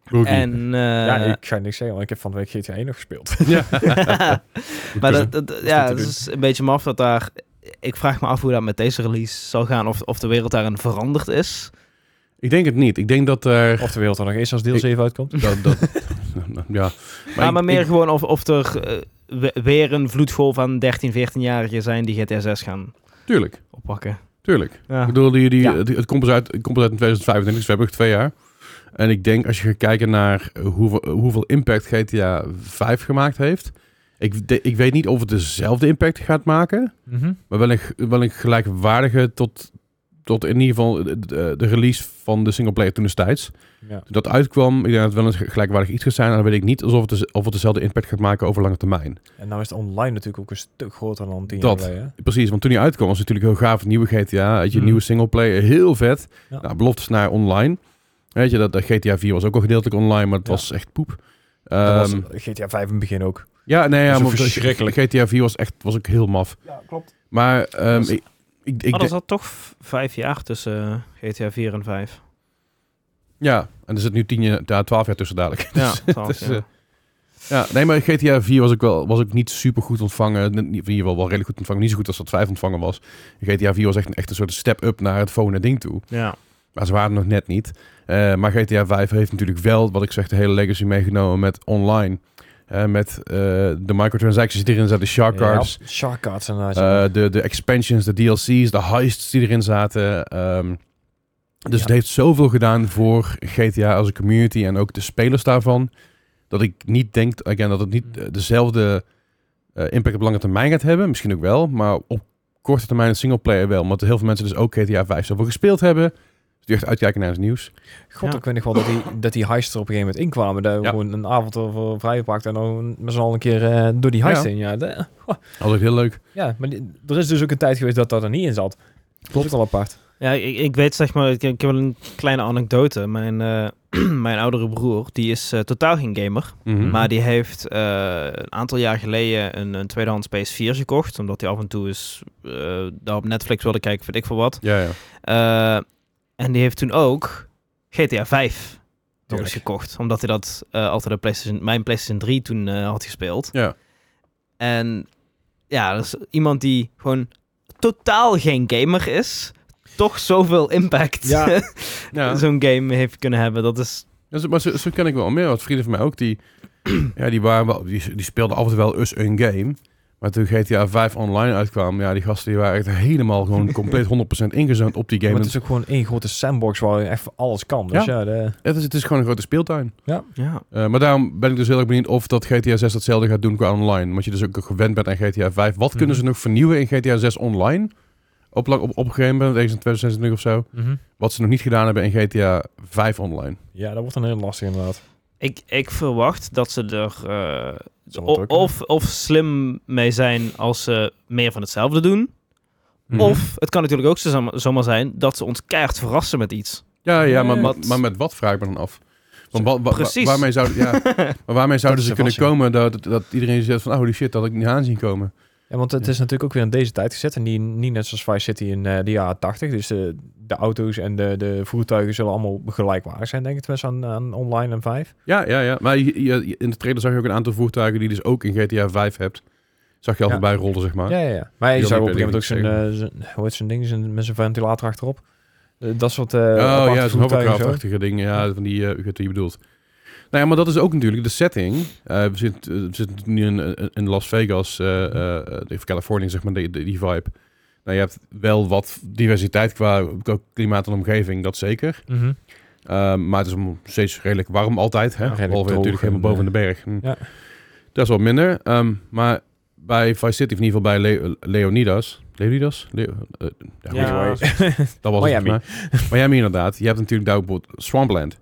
Speaker 1: Boogie.
Speaker 4: en, eh,
Speaker 3: ja, ik ga niks zeggen, want ik heb van de week GTA 1 nog gespeeld.
Speaker 1: Ja.
Speaker 4: maar dat, dat- ja,
Speaker 3: te
Speaker 4: het is een beetje maf dat daar... Ik vraag me af hoe dat met deze release zal gaan. Of, of de wereld daarin veranderd is.
Speaker 1: Ik denk het niet. Ik denk dat er...
Speaker 3: Of de wereld er nog eens als deel 7 uitkomt.
Speaker 1: dat, dat, nou, ja. Maar,
Speaker 4: Maar,
Speaker 1: ik-
Speaker 4: maar meer
Speaker 1: ik-
Speaker 4: gewoon of, of er eh, we- weer een vloedgolf aan 13, 14-jarigen zijn die GTA 6 gaan
Speaker 1: tuurlijk,
Speaker 4: oppakken.
Speaker 1: tuurlijk.
Speaker 4: Ah. Ja.
Speaker 1: Ik bedoel, die, die,
Speaker 3: Ja.
Speaker 1: het, het komt pas uit, het komt pas uit in 2025, dus we hebben nog twee jaar. En ik denk, als je gaat kijken naar hoeveel, hoeveel impact GTA 5 gemaakt heeft... Ik, de- ik weet niet of het dezelfde impact gaat maken...
Speaker 3: Mhm.
Speaker 1: maar wel een, g- wel een gelijkwaardige tot, tot in ieder geval de, de- de release van de singleplayer toen destijds.
Speaker 3: Ja.
Speaker 1: Toen dat uitkwam, ik denk dat het wel een gelijkwaardig iets gaat zijn. En dan weet ik niet alsof het, dus- of het dezelfde impact gaat maken over lange termijn.
Speaker 3: En nou is het online natuurlijk ook een stuk groter dan 10
Speaker 1: Dat.
Speaker 3: jaar geleden.
Speaker 1: Precies, want toen die uitkwam was het natuurlijk heel gaaf. Nieuwe GTA, weet je,
Speaker 3: Mm.
Speaker 1: nieuwe singleplayer, heel vet.
Speaker 3: Ja.
Speaker 1: Nou, beloftes naar online. Weet je, dat, dat GTA 4 was ook al gedeeltelijk online, maar het
Speaker 3: Ja.
Speaker 1: was echt poep.
Speaker 3: Dat was
Speaker 1: Ehm,
Speaker 3: GTA 5 in het begin ook.
Speaker 1: ja, nee,
Speaker 3: dat
Speaker 1: ja,
Speaker 3: is
Speaker 1: maar
Speaker 3: verschrikkelijk.
Speaker 1: GTA 4 was echt was ook heel maf.
Speaker 3: Ja, klopt.
Speaker 1: Maar ehm,
Speaker 3: Dat is-
Speaker 1: ik, ik, ik
Speaker 4: Maar
Speaker 1: denk-
Speaker 4: er zat toch v- vijf jaar tussen eh, GTA 4 en 5.
Speaker 1: Ja, en er zit nu 10 jaar, ja, 12 jaar tussen dadelijk.
Speaker 4: Ja, twaalf,
Speaker 1: Dus,
Speaker 4: ja.
Speaker 1: eh, ja, nee, maar GTA 4 was ook, wel, was ook niet super goed ontvangen. In ieder geval wel redelijk goed ontvangen. Niet zo goed als dat 5 ontvangen was. GTA 4 was echt een, echt een soort step-up naar het volgende ding toe.
Speaker 4: ja.
Speaker 1: Maar ze waren nog net niet. Eh, maar GTA 5 heeft natuurlijk wel, wat ik zeg, de hele legacy meegenomen met online. Eh, met eh, de microtransactions die erin zaten, de shark cards.
Speaker 3: Ja, shark cards inderdaad.
Speaker 1: Eh, de, de expansions, de DLC's, de heists die erin zaten. ehm, dus
Speaker 3: Ja.
Speaker 1: het heeft zoveel gedaan voor GTA als een community en ook de spelers daarvan. Dat ik niet denk, again, dat het niet eh, dezelfde eh, impact op lange termijn gaat hebben. Misschien ook wel, maar op korte termijn een singleplayer wel. Omdat heel veel mensen dus ook GTA 5 zelf wel gespeeld hebben. Dus die echt uitkijken naar het nieuws.
Speaker 3: God,
Speaker 4: Ja.
Speaker 3: ik weet nog wel dat die, dat die heists er op een gegeven moment inkwamen. Daar
Speaker 1: Ja.
Speaker 3: gewoon een avond over vrijgepakt en dan met z'n allen een keer eh, door die heist
Speaker 1: Ja.
Speaker 3: heen. Ja, de-
Speaker 1: Altijd heel leuk.
Speaker 3: ja maar die- er is dus ook een tijd geweest dat dat er niet in zat. Klopt al apart.
Speaker 4: Ja, ik, ik weet zeg maar, ik, ik heb wel een kleine anekdote. Mijn, eh, mijn oudere broer, die is eh, totaal geen gamer.
Speaker 1: Mhm.
Speaker 4: Maar die heeft eh, een aantal jaar geleden een, een tweedehands PS4 gekocht. Omdat hij af en toe eens eh, daar op Netflix wilde kijken, weet ik veel wat.
Speaker 1: Ja, ja.
Speaker 4: Eh, en die heeft toen ook GTA 5 nog eens
Speaker 3: Tuurlijk.
Speaker 4: gekocht. Omdat hij dat eh, altijd op PlayStation, mijn PlayStation 3 toen eh, had gespeeld.
Speaker 1: Ja.
Speaker 4: En ja, dat is iemand die gewoon totaal geen gamer is. Toch zoveel impact
Speaker 3: Ja.
Speaker 1: ja.
Speaker 4: zo'n game heeft kunnen hebben. Dat is...
Speaker 1: Ja, zo- maar zo, zo ken ik wel meer. Wat vrienden van mij ook, die, ja, die, waren wel, die, die speelden altijd wel eens een game. Maar toen GTA 5 online uitkwam, ja, die gasten die waren echt helemaal gewoon compleet 100% ingezoomd op die game.
Speaker 3: Maar
Speaker 1: En
Speaker 3: het is ook gewoon één grote sandbox waar je echt van alles kan. Dus ja, de,
Speaker 1: Het is, het is gewoon een grote speeltuin.
Speaker 4: Ja.
Speaker 1: Eh, maar daarom ben ik dus heel erg benieuwd of dat GTA 6 datzelfde gaat doen qua online. Want je dus ook gewend bent aan GTA 5. Wat
Speaker 3: Mhm.
Speaker 1: kunnen ze nog vernieuwen in GTA 6 online? Op, lang- op, op een gegeven moment, ergens in 2026 of zo. Wat ze nog niet gedaan hebben in GTA 5 online.
Speaker 3: ja, dat wordt een heel lastig inderdaad.
Speaker 4: Ik, ik verwacht dat ze er eh,
Speaker 3: Zal het
Speaker 4: O-
Speaker 3: ook kunnen.
Speaker 4: of, of slim mee zijn als ze meer van hetzelfde doen.
Speaker 1: Mhm.
Speaker 3: Mhm.
Speaker 4: Of het kan natuurlijk ook zo- zomaar zijn dat ze ons keihard verrassen met iets.
Speaker 1: Ja, ja maar,
Speaker 4: Nee.
Speaker 1: maar, maar met wat vraag ik me dan af? Want wa- wa- wa-
Speaker 4: Precies.
Speaker 1: waarmee, zouden ja, maar waarmee zouden
Speaker 3: Dat
Speaker 1: ze
Speaker 3: is
Speaker 1: kunnen
Speaker 3: de
Speaker 1: komen
Speaker 3: verrassing.
Speaker 1: dat, dat iedereen zegt van... Oh, holy shit, dat had ik niet aanzien komen.
Speaker 3: Ja, want het
Speaker 1: Ja.
Speaker 3: is natuurlijk ook weer in deze tijd gezet. En die, niet net zoals Vice City in eh, de jaren 80. Dus de, de auto's en de, de voertuigen zullen allemaal gelijkwaardig zijn, denk ik. Tenminste aan, aan online en 5.
Speaker 1: Ja, ja, ja. Maar je- je- in de trailer zag je ook een aantal voertuigen die je dus ook in GTA 5 hebt. Zag je al
Speaker 3: Ja.
Speaker 1: voorbij rollen, zeg maar.
Speaker 3: Ja, ja, ja. Maar je
Speaker 1: Die
Speaker 3: zou op
Speaker 1: had
Speaker 3: een
Speaker 1: ik
Speaker 3: gegeven moment ook
Speaker 1: weet ik
Speaker 3: zijn, eh, zijn- hoe heet zo'n ding, zijn, met zijn ventilator achterop. Eh, dat soort eh
Speaker 1: oh ja, zo'n
Speaker 3: aparte voertuigen zo.
Speaker 1: hovercraft-achtige ding. Ja, van die, eh, ik weet wat je bedoelt. Nou ja, maar dat is ook natuurlijk de setting. Eh, we, zitten, eh, we zitten nu in, eh, in Las Vegas, eh eh, eh, of Californië, zeg maar, die, die, die vibe. Nou, je hebt wel wat diversiteit qua, qua klimaat en omgeving, dat zeker.
Speaker 3: Mhm.
Speaker 1: Ehm, maar het is nog steeds redelijk warm altijd. Hè?
Speaker 3: Ja, redelijk
Speaker 1: Behalve
Speaker 3: droog
Speaker 1: natuurlijk helemaal
Speaker 3: en, eh,
Speaker 1: boven de berg. Hm.
Speaker 3: ja.
Speaker 1: Dat is wat minder. Ehm, maar bij Vice City, of in ieder geval bij Le- Leonidas... Leonidas? Leo- eh, ja,
Speaker 4: Ja.
Speaker 1: goed, Dat was
Speaker 3: Miami.
Speaker 1: Het, volgens mij. Miami inderdaad. Je hebt natuurlijk daar ook bijvoorbeeld Swampland.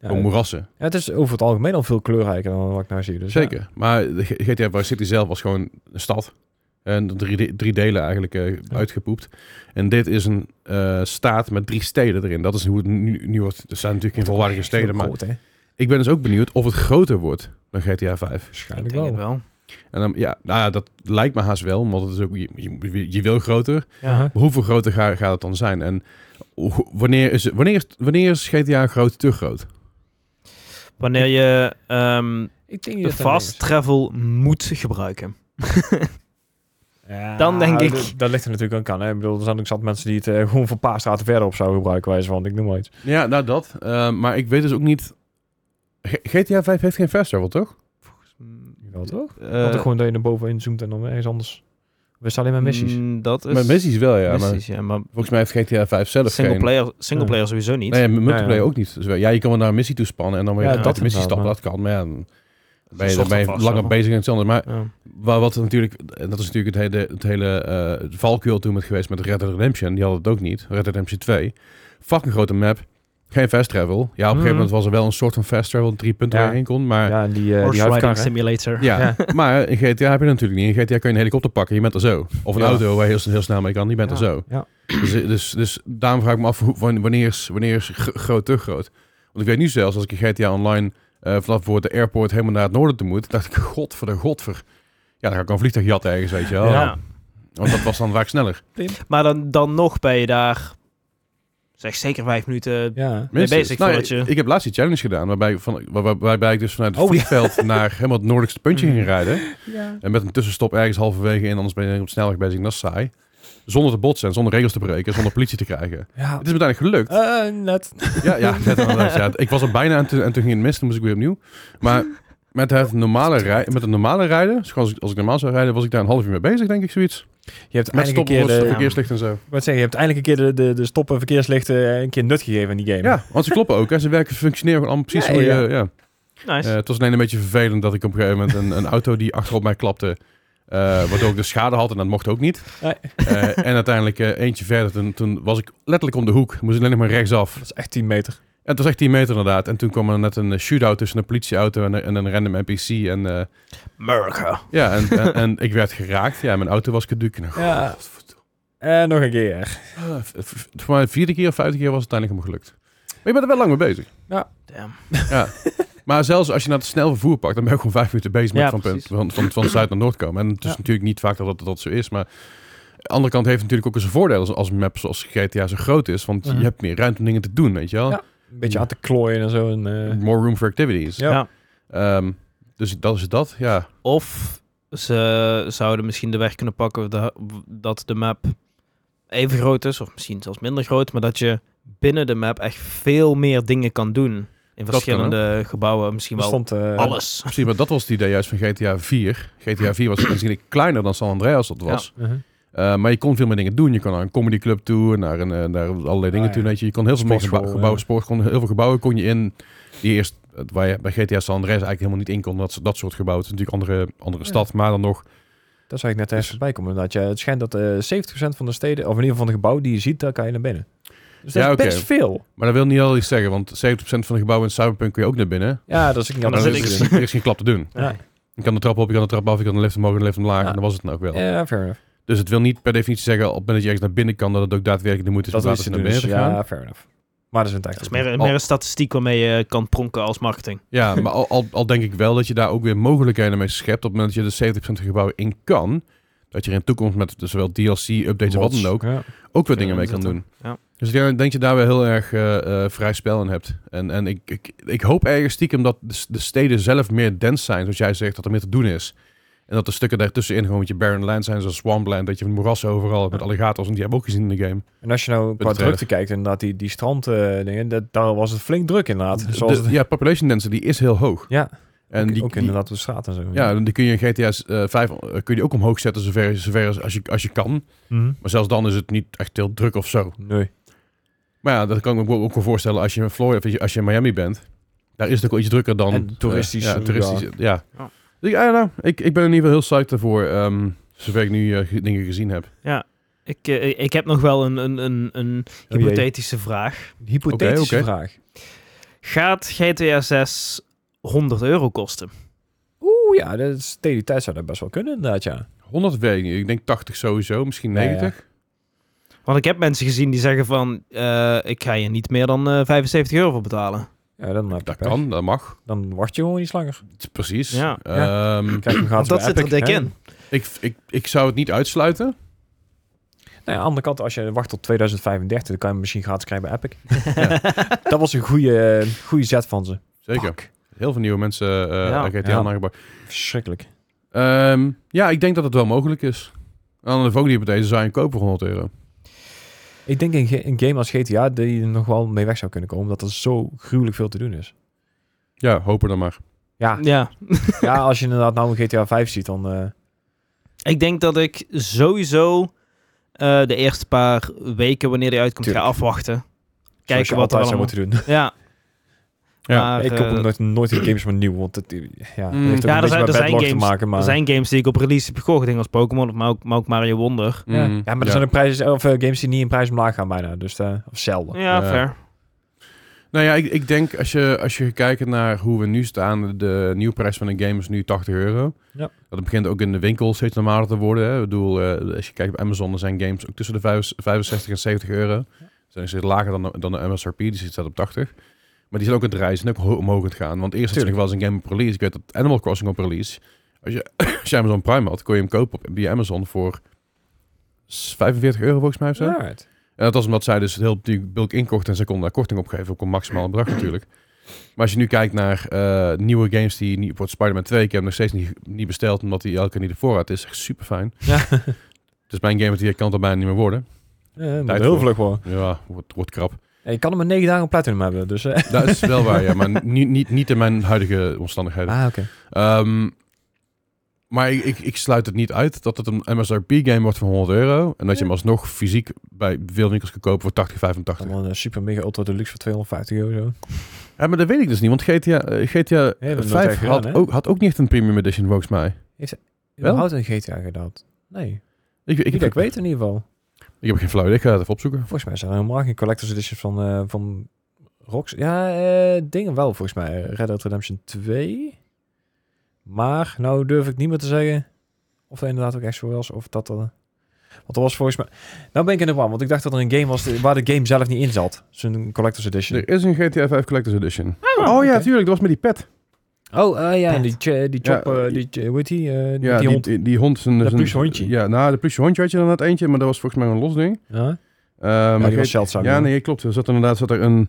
Speaker 3: Ja,
Speaker 1: ook moerassen.
Speaker 3: ja, het is over het algemeen al veel kleurrijker dan wat ik nou zie. Dus ja.
Speaker 1: Zeker. Maar de G- GTA Vice City zelf was gewoon een stad. En drie, de- drie delen eigenlijk eh, uitgepoept. En dit is een eh, staat met drie steden erin. Dat is hoe het nu, nu wordt. Er zijn natuurlijk geen volwaardige
Speaker 3: Echt heel
Speaker 1: steden, maar
Speaker 3: groot, hè?
Speaker 1: ik ben dus ook benieuwd of het groter wordt dan GTA 5.
Speaker 3: Waarschijnlijk
Speaker 4: denk het
Speaker 3: wel.
Speaker 4: wel.
Speaker 1: En dan, ja, nou ja, dat lijkt me haast wel, want het is ook, je, je, je wil groter.
Speaker 3: Ja.
Speaker 1: Maar hoeveel groter ga- gaat het dan zijn? En ho- wanneer is, wanneer is, wanneer is GTA groot te groot?
Speaker 4: Wanneer je ehm,
Speaker 3: Ik denk
Speaker 4: de
Speaker 3: dat dat
Speaker 4: fast travel moet gebruiken.
Speaker 3: is. Ja,
Speaker 4: Dan denk ik-
Speaker 3: Ah, d- Dat ligt er natuurlijk ook aan. Hè? Ik bedoel, er zijn ook zat mensen die het eh, gewoon voor een paar straten verder op zouden gebruiken. Wijze van, ik noem maar iets.
Speaker 1: Ja, nou dat. eh, maar ik weet dus ook niet... G- GTA 5 heeft geen fast travel, toch?
Speaker 3: Wel toch?
Speaker 4: Eh,
Speaker 3: Want ook gewoon dat je naar boven inzoomt en dan ergens anders. We staan alleen maar missies.
Speaker 4: mm, dat is
Speaker 1: Met Dus missies wel, ja. Maar
Speaker 4: missies, ja, maar
Speaker 1: volgens mij heeft GTA 5 zelf
Speaker 4: single
Speaker 1: geen...
Speaker 4: player, single player sowieso niet.
Speaker 1: Nee, eh, multiplayer
Speaker 3: Ja, ja.
Speaker 1: ook niet. Dus wel- ja, je kan wel naar een missie toespannen en dan weer
Speaker 3: Ja,
Speaker 1: uit
Speaker 3: dat
Speaker 1: de missie stappen.
Speaker 3: inderdaad,
Speaker 1: Dat kan, maar ja, dan ben je,
Speaker 4: Zocht
Speaker 1: dan ben je
Speaker 4: alvast,
Speaker 1: langer
Speaker 4: hoor.
Speaker 1: bezig en iets anders. Maar
Speaker 4: Ja.
Speaker 1: Waar wat er natuurlijk, en dat is natuurlijk het hele, het hele eh, valkuil toen met geweest met Red Dead Redemption. Die had het ook niet. Red Dead Redemption 2. Fucking grote map. Geen fast travel. Ja, op een
Speaker 4: Mhm.
Speaker 1: gegeven moment was er wel een soort van fast travel, drie punten
Speaker 3: Mm. Ja.
Speaker 1: waar je heen kon. Maar ja,
Speaker 3: Ja, en die, eh die
Speaker 4: Horse
Speaker 3: huifkar,
Speaker 4: riding
Speaker 3: hè?
Speaker 4: simulator.
Speaker 3: Ja.
Speaker 1: maar in GTA heb je dat natuurlijk niet. In GTA kun je een helikopter pakken, je bent er zo. Of een
Speaker 3: Ja.
Speaker 1: auto waar je heel, heel snel mee kan, je bent er
Speaker 3: Ja,
Speaker 1: zo.
Speaker 3: ja.
Speaker 1: Dus, dus, dus daarom vraag ik me af, hoe- wanneer is, wanneer is gro- groot te groot? Want ik weet nu zelfs, als ik in GTA Online eh, vanaf voor de airport helemaal naar het noorden toe moet, dacht ik, god voor de godver. Ja, dan ga ik een vliegtuig jatten ergens, weet je wel.
Speaker 4: Ja.
Speaker 1: Want dat was dan vaak sneller.
Speaker 4: Maar dan, dan nog ben je daar Zeg zeker vijf minuten
Speaker 3: Ja.
Speaker 4: mee
Speaker 1: Minstens.
Speaker 4: bezig
Speaker 1: Nou,
Speaker 4: voordat je...
Speaker 1: ik, ik heb laatst die challenge gedaan, waarbij, ik van, waar- waar- waarbij ik dus vanuit het
Speaker 3: Oh, ja.
Speaker 1: vliegveld naar helemaal het noordelijkste puntje
Speaker 4: Mm.
Speaker 1: ging rijden.
Speaker 3: ja.
Speaker 1: En met een tussenstop ergens halverwege en anders ben je op de snelweg bezig. En dat is saai. Zonder te botsen, en zonder regels te breken, en zonder politie te
Speaker 4: Oh.
Speaker 1: krijgen.
Speaker 3: ja.
Speaker 1: Het is me uiteindelijk gelukt.
Speaker 3: Eh, net.
Speaker 1: Ja, ja, net anders, ja. Ik was er bijna en toen, en toen ging het mis, toen moest ik weer opnieuw. Maar met het normale, rij, met het normale rijden, dus gewoon als, ik, als ik normaal zou rijden, was ik daar een half uur mee bezig, denk ik, zoiets.
Speaker 3: Je hebt
Speaker 1: Met
Speaker 3: eindelijk
Speaker 1: stoppen
Speaker 3: een keer eh,
Speaker 1: voor het
Speaker 3: de,
Speaker 1: verkeerslicht en zo.
Speaker 3: ik wou zeggen, je hebt eindelijk een keer de, de, de stoppen verkeerslichten eh, een keer nut gegeven in die game.
Speaker 1: Ja, want ze kloppen ook. Hè. Ze werken, functioneren gewoon allemaal precies
Speaker 3: Ja,
Speaker 1: hoe
Speaker 3: ja,
Speaker 1: je... Ja.
Speaker 4: Nice.
Speaker 1: Eh, het was alleen een beetje vervelend dat ik op een gegeven moment een, een auto die achter op mij klapte... eh, waardoor ik de schade had en dat mocht ook niet.
Speaker 3: Nee.
Speaker 1: Eh, en uiteindelijk eh, eentje verder, toen, toen was ik letterlijk om de hoek. Moest ik alleen nog maar rechtsaf.
Speaker 3: Dat is echt 10 meter.
Speaker 1: En het was echt 10 meter inderdaad. En toen kwam er net een eh, shootout tussen een politieauto en, een- en een random NPC. En eh,
Speaker 4: America.
Speaker 1: ja, en, en, en ik werd geraakt. Ja, mijn auto was caduc. En,
Speaker 3: Ja. En nog een keer.
Speaker 1: eh, v- v- voor mij de vierde keer of vijfde keer was het uiteindelijk hem gelukt. Maar je bent er wel lang mee bezig.
Speaker 4: Damn.
Speaker 1: Maar zelfs als je naar het snel vervoer pakt, dan ben je gewoon vijf minuten bezig met
Speaker 4: Ja,
Speaker 1: van, punt,
Speaker 4: precies.
Speaker 1: van, van, van zuid naar noord komen. En het is
Speaker 3: Ja.
Speaker 1: natuurlijk niet vaak dat dat, dat zo is. Maar aan de andere kant heeft het natuurlijk ook eens een voordeel als, als een map zoals GTA zo groot is. Want
Speaker 3: Mhm.
Speaker 1: je hebt meer ruimte om dingen te doen, weet je wel.
Speaker 3: Ja. Een beetje aan te klooien en zo. En, eh,
Speaker 1: More room for activities.
Speaker 3: Ja.
Speaker 4: Ja.
Speaker 1: Ehm, dus dat is dat, ja.
Speaker 4: Of ze zouden misschien de weg kunnen pakken da- dat de map even groot is, of misschien zelfs minder groot, maar dat je binnen de map echt veel meer dingen kan doen. In
Speaker 1: kan
Speaker 4: verschillende gebouwen, misschien
Speaker 3: er
Speaker 4: wel
Speaker 3: stond, eh,
Speaker 4: alles.
Speaker 1: Precies, maar dat was het idee juist van GTA 4. GTA 4 was aanzienlijk kleiner dan San Andreas dat was.
Speaker 3: Mhm.
Speaker 1: Eh, maar je kon veel meer dingen doen. Je kon naar een comedyclub toe, naar, een, eh, naar allerlei dingen
Speaker 3: Ah, ja.
Speaker 1: toe. Weet je. je kon heel veel meer
Speaker 3: Sportschool,
Speaker 1: gebou- gebouwen,
Speaker 3: ja.
Speaker 1: sport, kon, heel veel gebouwen kon je in. Die eerst, eh, waar je bij GTA San Andreas eigenlijk helemaal niet in kon, dat, dat soort gebouwen. Het is natuurlijk andere, andere
Speaker 3: Ja.
Speaker 1: stad, maar dan nog.
Speaker 3: Dat zou ik net
Speaker 1: Dus-
Speaker 3: even voorbij komen. Dat je, het schijnt dat eh 70% van de steden, of in ieder geval van de gebouwen die je ziet, daar kan je naar binnen. Dus dat
Speaker 1: Ja,
Speaker 3: is
Speaker 1: oké.
Speaker 3: best veel.
Speaker 1: Maar dat wil niet al iets zeggen, want 70% van de gebouwen in Cyberpunk kun je ook naar binnen.
Speaker 3: Ja, dat is ik
Speaker 1: Maar
Speaker 3: niet
Speaker 1: dan
Speaker 4: zit
Speaker 1: is,
Speaker 4: ik-
Speaker 1: er- er is geen klap te doen.
Speaker 3: Ja,
Speaker 1: Je kan de trap op, je kan de trap af, je kan de lift omhoog en de lift omlaag.
Speaker 3: Ja.
Speaker 1: En dan was het dan ook wel.
Speaker 3: ja fair enough.
Speaker 1: Dus het wil niet per definitie zeggen, op het moment dat je ergens naar binnen kan, dat het ook daadwerkelijk de moeite is
Speaker 3: Dat
Speaker 1: om
Speaker 3: is
Speaker 1: later
Speaker 3: te
Speaker 1: naar
Speaker 3: doen.
Speaker 1: binnen
Speaker 3: Dus,
Speaker 1: te gaan.
Speaker 3: ja, fair enough. Maar dat is een tijd.
Speaker 4: Dat is meer, meer een statistiek waarmee je kan pronken als marketing.
Speaker 1: Ja, maar al, al, al denk ik wel dat je daar ook weer mogelijkheden mee schept. Op het moment dat je de 70% van de gebouwen in kan. Dat je er in toekomst met dus zowel DLC, updates en wat dan ook.
Speaker 3: Ja.
Speaker 1: Ook weer
Speaker 4: Ja,
Speaker 1: dingen mee
Speaker 4: dat
Speaker 1: kan
Speaker 4: is
Speaker 1: doen.
Speaker 4: dan, ja.
Speaker 1: Dus ik denk dat je daar weer heel erg eh, eh, vrij spel in hebt. En, en ik, ik, ik hoop ergens stiekem dat de, s- de steden zelf meer dens zijn. Zoals jij zegt, dat er meer te doen is. En dat de stukken daartussenin gewoon met je barren land zijn. Zoals swampland, dat je van moerassen overal hebt met alligators. En die hebben we ook gezien in de game.
Speaker 3: En als je nou qua
Speaker 1: trailer.
Speaker 3: drukte kijkt, inderdaad, die, die stranddingen, dingen dat, daar was het flink druk inderdaad. Zoals
Speaker 1: De-
Speaker 3: het-
Speaker 1: ja, population density is heel hoog.
Speaker 3: ja,
Speaker 1: En
Speaker 3: ook,
Speaker 1: die,
Speaker 3: ook
Speaker 1: die-
Speaker 3: inderdaad op de straat en zo.
Speaker 1: Ja, dan die kun je in GTA eh, 5 eh, kun je die ook omhoog zetten zover, zover als, als, je, als je kan.
Speaker 3: Mhm.
Speaker 1: Maar zelfs dan is het niet echt heel druk of zo.
Speaker 3: Nee.
Speaker 1: Maar ja, dat kan ik me ook wel voorstellen als je in Florida, of als je- als je in Miami bent. Daar is het ook wel iets drukker dan...
Speaker 3: En toeristisch,
Speaker 1: eh, ja,
Speaker 3: ja.
Speaker 1: toeristisch, ja.
Speaker 4: Ja.
Speaker 1: Dus ik, I don't know. ik, ik ben in ieder geval heel psyched ervoor, ehm, zover ik nu eh, ge- dingen gezien heb.
Speaker 4: Ik, eh, ik heb nog wel een, een, een, een
Speaker 3: Oh jee.
Speaker 4: hypothetische vraag.
Speaker 3: Een hypothetische
Speaker 1: Oké, oké.
Speaker 3: vraag.
Speaker 4: Gaat GTA 6 100 euro kosten?
Speaker 3: Oeh Oh ja, dat is, tegen die tijd zou dat best wel kunnen inderdaad, ja.
Speaker 1: 100 weet ik niet. Ik denk 80 sowieso, misschien
Speaker 3: Ja, ja.
Speaker 1: 90.
Speaker 4: Want ik heb mensen gezien die zeggen van... eh, ik ga hier niet meer dan eh, 75 euro voor betalen.
Speaker 3: Ja, dan, heb je
Speaker 1: Dat
Speaker 3: pech.
Speaker 1: kan, dat mag.
Speaker 3: dan wacht je gewoon iets langer.
Speaker 1: Precies.
Speaker 4: Ja.
Speaker 1: Ehm,
Speaker 3: Kijk, we gaan
Speaker 4: Want dat zit er dik in.
Speaker 1: ik, ik, ik zou het niet uitsluiten.
Speaker 3: Nou ja, aan de andere kant, als je wacht tot 2035, dan kan je hem misschien gratis krijgen bij Epic. Dat was een goede, goede zet van ze.
Speaker 1: Zeker.
Speaker 3: Fuck.
Speaker 1: Heel veel nieuwe mensen eh
Speaker 4: Ja.
Speaker 1: GTA
Speaker 3: Ja.
Speaker 1: aangepakt.
Speaker 3: Verschrikkelijk.
Speaker 1: Ehm, ja, ik denk dat het wel mogelijk is. Aan de volgende hypothese zou je hem kopen voor 100 euro.
Speaker 3: Ik denk een, ge- een game als GTA die er nog wel mee weg zou kunnen komen, omdat er zo gruwelijk veel te doen is.
Speaker 1: Ja, hopen dan maar.
Speaker 3: Ja,
Speaker 4: Ja.
Speaker 3: ja als je inderdaad nou een GTA 5 ziet, dan... eh,
Speaker 4: Ik denk dat ik sowieso eh, de eerste paar weken, wanneer die uitkomt,
Speaker 3: Tuurlijk.
Speaker 4: ga afwachten.
Speaker 3: zoals je
Speaker 4: Kijken wat er
Speaker 3: altijd zou
Speaker 4: allemaal...
Speaker 3: moeten doen.
Speaker 4: Ja.
Speaker 1: Ja,
Speaker 4: Maar,
Speaker 3: ik
Speaker 4: eh,
Speaker 3: koop ook nooit, nooit in games maar nieuw, want het, ja, dat heeft ook
Speaker 1: Mm.
Speaker 3: een
Speaker 1: Ja,
Speaker 3: beetje
Speaker 4: er
Speaker 3: met
Speaker 4: zijn- er zijn
Speaker 3: backlog
Speaker 4: games-
Speaker 3: te maken, maar...
Speaker 4: Er zijn games die ik op release heb gekocht. Dingen als Pokémon, maar ook, maar ook Mario Wonder.
Speaker 3: Ja.
Speaker 1: Mm,
Speaker 3: ja, maar er zijn ook prijzen, of, eh, games die niet in prijs omlaag gaan bijna, dus eh, of zelden.
Speaker 1: Ja.
Speaker 4: Ja, fair.
Speaker 1: Nou ja, ik, ik denk als je, als je kijkt naar hoe we nu staan, de nieuwprijs van een game is nu 80 euro.
Speaker 3: Ja.
Speaker 1: Dat begint ook in de winkels steeds normaler te worden. Hè. Ik bedoel, eh, als je kijkt op Amazon, dan zijn games ook tussen de vijf- 65 en 70 euro. Dus dan is het lager dan, de- dan de MSRP, dus die zit staat op 80. Maar die zijn ook aan het reizen en ook ho- omhoog aan het gaan. Want eerst had je nog
Speaker 3: Tuurlijk.
Speaker 1: wel eens een game op release. Ik weet dat Animal Crossing op release. Als je, als je Amazon Prime had, kon je hem kopen op, via Amazon voor 45 euro volgens mij of zo.
Speaker 3: Alright.
Speaker 1: En dat was omdat zij dus het heel die bulk inkocht en ze konden daar korting op geven. Ook een maximaal bedrag natuurlijk. Maar als je nu kijkt naar eh, nieuwe games die niet wordt Spider-Man 2, ik heb hem nog steeds niet, niet besteld omdat hij elke keer niet de voorraad is. Echt super fijn.
Speaker 3: Ja.
Speaker 1: Dus mijn game of the Year kan er bijna niet meer worden.
Speaker 3: Ja, Eh, moet
Speaker 1: Tijd
Speaker 3: heel
Speaker 1: voor.
Speaker 3: vlug worden.
Speaker 1: Ja, wordt, wordt krap.
Speaker 3: Ja, je kan hem maar negen dagen op platinum hebben. Dus, eh.
Speaker 1: Dat is wel waar, ja. Maar niet, niet, niet in mijn huidige omstandigheden.
Speaker 3: Ah, oké.
Speaker 1: Ehm, maar ik, ik, ik sluit het niet uit dat het een MSRP-game wordt van 100 euro. En dat je hem alsnog fysiek bij veel winkels kan kopen voor 80, 85.
Speaker 3: Dan een eh, super mega ultra deluxe voor 250 euro.
Speaker 1: Ja, maar dat weet ik dus niet. Want GTA, eh, GTA
Speaker 3: hebben het nooit
Speaker 1: 5
Speaker 3: echt
Speaker 1: had,
Speaker 3: gedaan, hè?
Speaker 1: ook, had ook niet een premium edition, volgens mij. Wel?
Speaker 3: Wel? Houdt een GTA gedaan? Nee.
Speaker 1: Ik,
Speaker 3: Ik,
Speaker 1: ik,
Speaker 3: ik weet in ieder geval.
Speaker 1: ik heb geen flauw idee. Ik ga het even opzoeken.
Speaker 3: Volgens mij zijn er helemaal geen collector's editions van, eh van Rox. Ja, eh, dingen wel volgens mij. Red Dead Redemption 2. Maar nou durf ik niet meer te zeggen of dat inderdaad ook echt zo was of dat dan... Want er was volgens mij... Nou ben ik in de war, want ik dacht dat er een game was die- waar de game zelf niet in zat. Zo'n collector's edition.
Speaker 1: Er is een GTA 5 Collector's Edition. Oh, ja,
Speaker 3: oké.
Speaker 1: tuurlijk. Dat was met die pet.
Speaker 3: Oh, eh, ja. En die, ch- die
Speaker 1: Ja,
Speaker 3: chop... eh,
Speaker 1: eh,
Speaker 3: die, ch- hoe heet die? eh, met
Speaker 1: Ja,
Speaker 3: die hond.
Speaker 1: Die, die hond. Zijn,
Speaker 3: Dat
Speaker 1: zijn-
Speaker 3: pluche hondje.
Speaker 1: Ja, nou, de pluche hondje had je dan het eentje. Maar dat was volgens mij een los ding.
Speaker 3: Ja?
Speaker 1: Ehm,
Speaker 3: Ja,
Speaker 1: maar
Speaker 3: die was
Speaker 1: GTA
Speaker 3: zeldzaam.
Speaker 1: Ja,
Speaker 3: hoor.
Speaker 1: nee, klopt. Er zat inderdaad zat er een...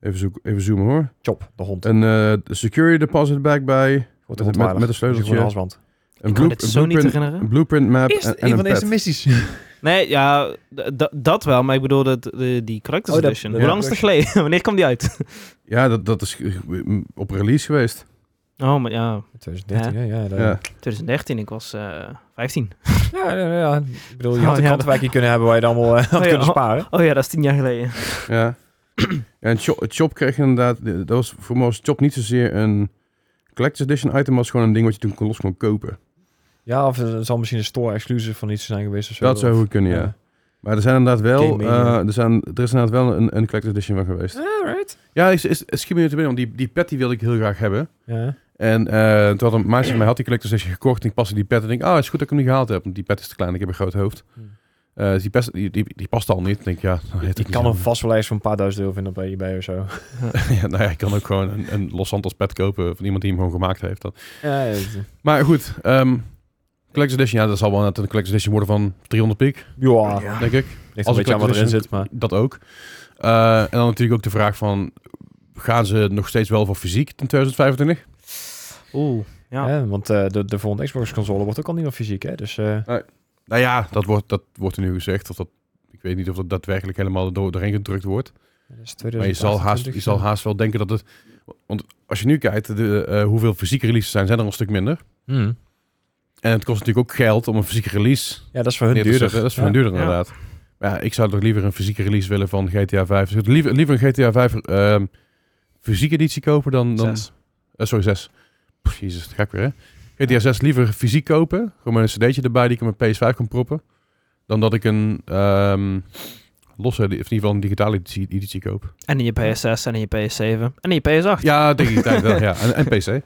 Speaker 1: Even, zoek, even zoomen hoor.
Speaker 3: Chop, de hond.
Speaker 1: Een eh, security deposit bag bij.
Speaker 3: Wordt
Speaker 1: met-
Speaker 3: ontwaardigd.
Speaker 1: met een sleuteltje.
Speaker 3: Dus gewoon halsband.
Speaker 1: Een,
Speaker 4: kan
Speaker 1: blue-
Speaker 4: me dit
Speaker 1: een
Speaker 4: zo niet
Speaker 1: blueprint,
Speaker 4: herinneren.
Speaker 1: een blueprint map
Speaker 3: Eerst
Speaker 1: en, en een pet.
Speaker 3: missies.
Speaker 4: Nee, ja, d- d- dat wel. Maar ik bedoel dat, de, die Collector's
Speaker 3: Oh, dat-
Speaker 4: Edition.
Speaker 3: dat-
Speaker 4: Hoe
Speaker 1: ja.
Speaker 4: lang is het geleden? Wanneer kwam die uit?
Speaker 1: Ja, dat, dat is eh, op release geweest.
Speaker 4: Oh, maar ja,
Speaker 3: 2013, ja. Ja, dat-
Speaker 1: Ja.
Speaker 4: 2013. Ik was eh 15.
Speaker 3: Ja, ja, ja. Ik bedoel, je
Speaker 4: Oh,
Speaker 3: had een
Speaker 4: ja,
Speaker 3: kantwijk hier kunnen hebben waar je dan allemaal eh, had
Speaker 4: Oh, ja.
Speaker 3: kunnen sparen.
Speaker 4: Oh ja, dat is tien jaar geleden.
Speaker 1: Ja. Ja, en Chop, Chop kreeg inderdaad, dat was voor mij was Chop niet zozeer een collector's edition item, maar was gewoon een ding wat je toen kon- los kon kopen.
Speaker 3: Ja, of het zal misschien een store-exclusive van iets zijn geweest of zo.
Speaker 1: dat zou
Speaker 3: Of-
Speaker 1: goed kunnen, ja.
Speaker 3: ja.
Speaker 1: Maar er zijn inderdaad wel,
Speaker 3: Game Mania.
Speaker 1: eh, er, zijn, er is inderdaad wel een, een collector's edition van geweest.
Speaker 3: Alright.
Speaker 1: Ja, is, is, is schiet me nu te binnen, want die, die pet die wilde ik heel graag hebben.
Speaker 3: Ja.
Speaker 1: En eh, toen had een meisje van mij had die collector's edition gekocht en ik paste die pet en denk, ah, is goed dat ik hem niet gehaald heb, want die pet is te klein, ik heb een groot hoofd.
Speaker 3: Hmm.
Speaker 1: Eh, dus die, pest, die, die, die past al niet. Ik denk, ja, dan heeft het
Speaker 3: Ik
Speaker 1: niet
Speaker 3: kan
Speaker 1: zo.
Speaker 3: een vast wel eens voor een paar duizend euro vinden op eBay of zo.
Speaker 1: ja, nou ja, ik kan ook gewoon een, een Los Santos pet kopen van iemand die hem gewoon gemaakt heeft. Dan.
Speaker 3: Ja, het-
Speaker 1: Maar goed, ehm Collector's Edition, ja, dat zal wel net een Collector's Edition worden van 300 piek,
Speaker 3: ja.
Speaker 4: Ja.
Speaker 1: denk ik.
Speaker 3: Ligt een
Speaker 1: Als
Speaker 3: beetje aan wat
Speaker 1: collector's
Speaker 3: erin
Speaker 1: edition-
Speaker 3: zit, maar...
Speaker 1: Dat ook. Eh, en dan natuurlijk ook de vraag van, gaan ze nog steeds wel voor fysiek in 2025?
Speaker 4: Oeh, ja.
Speaker 3: Ja, want eh, de, de volgende Xbox-console wordt ook al niet meer fysiek, hè. Dus eh,
Speaker 1: Nou ja, dat wordt, dat wordt er nu gezegd. Of dat, ik weet niet of dat daadwerkelijk helemaal door, doorheen gedrukt wordt.
Speaker 3: dat is
Speaker 1: Maar je zal, haast,
Speaker 3: 2028.
Speaker 1: je zal haast wel denken dat het... Want als je nu kijkt, de, eh, hoeveel fysieke releases zijn, zijn er een stuk minder.
Speaker 3: Hmm.
Speaker 1: En het kost natuurlijk ook geld om een fysieke release
Speaker 3: Ja, dat is voor hun
Speaker 1: Nee, dat is-
Speaker 3: duurder.
Speaker 1: Dat is voor
Speaker 3: Ja.
Speaker 1: hun duurder
Speaker 4: Ja.
Speaker 1: inderdaad. Maar ja, ik zou toch liever een fysieke release willen van GTA 5. Dus liever, liever een GTA 5 ehm fysieke editie kopen dan... dan
Speaker 4: Zes.
Speaker 1: eh, sorry, 6. Pff, Jezus, dat ga ik weer, hè? GTA 6 liever fysiek kopen. Gewoon met een cd'tje erbij die ik op mijn PS5 kan proppen. Dan dat ik een ehm, losse, of in ieder geval een digitale editie, editie koop.
Speaker 4: En in je PS6 en in je PS7 en in je PS8.
Speaker 1: Ja, tegen die tijd wel, ja. En, en PC.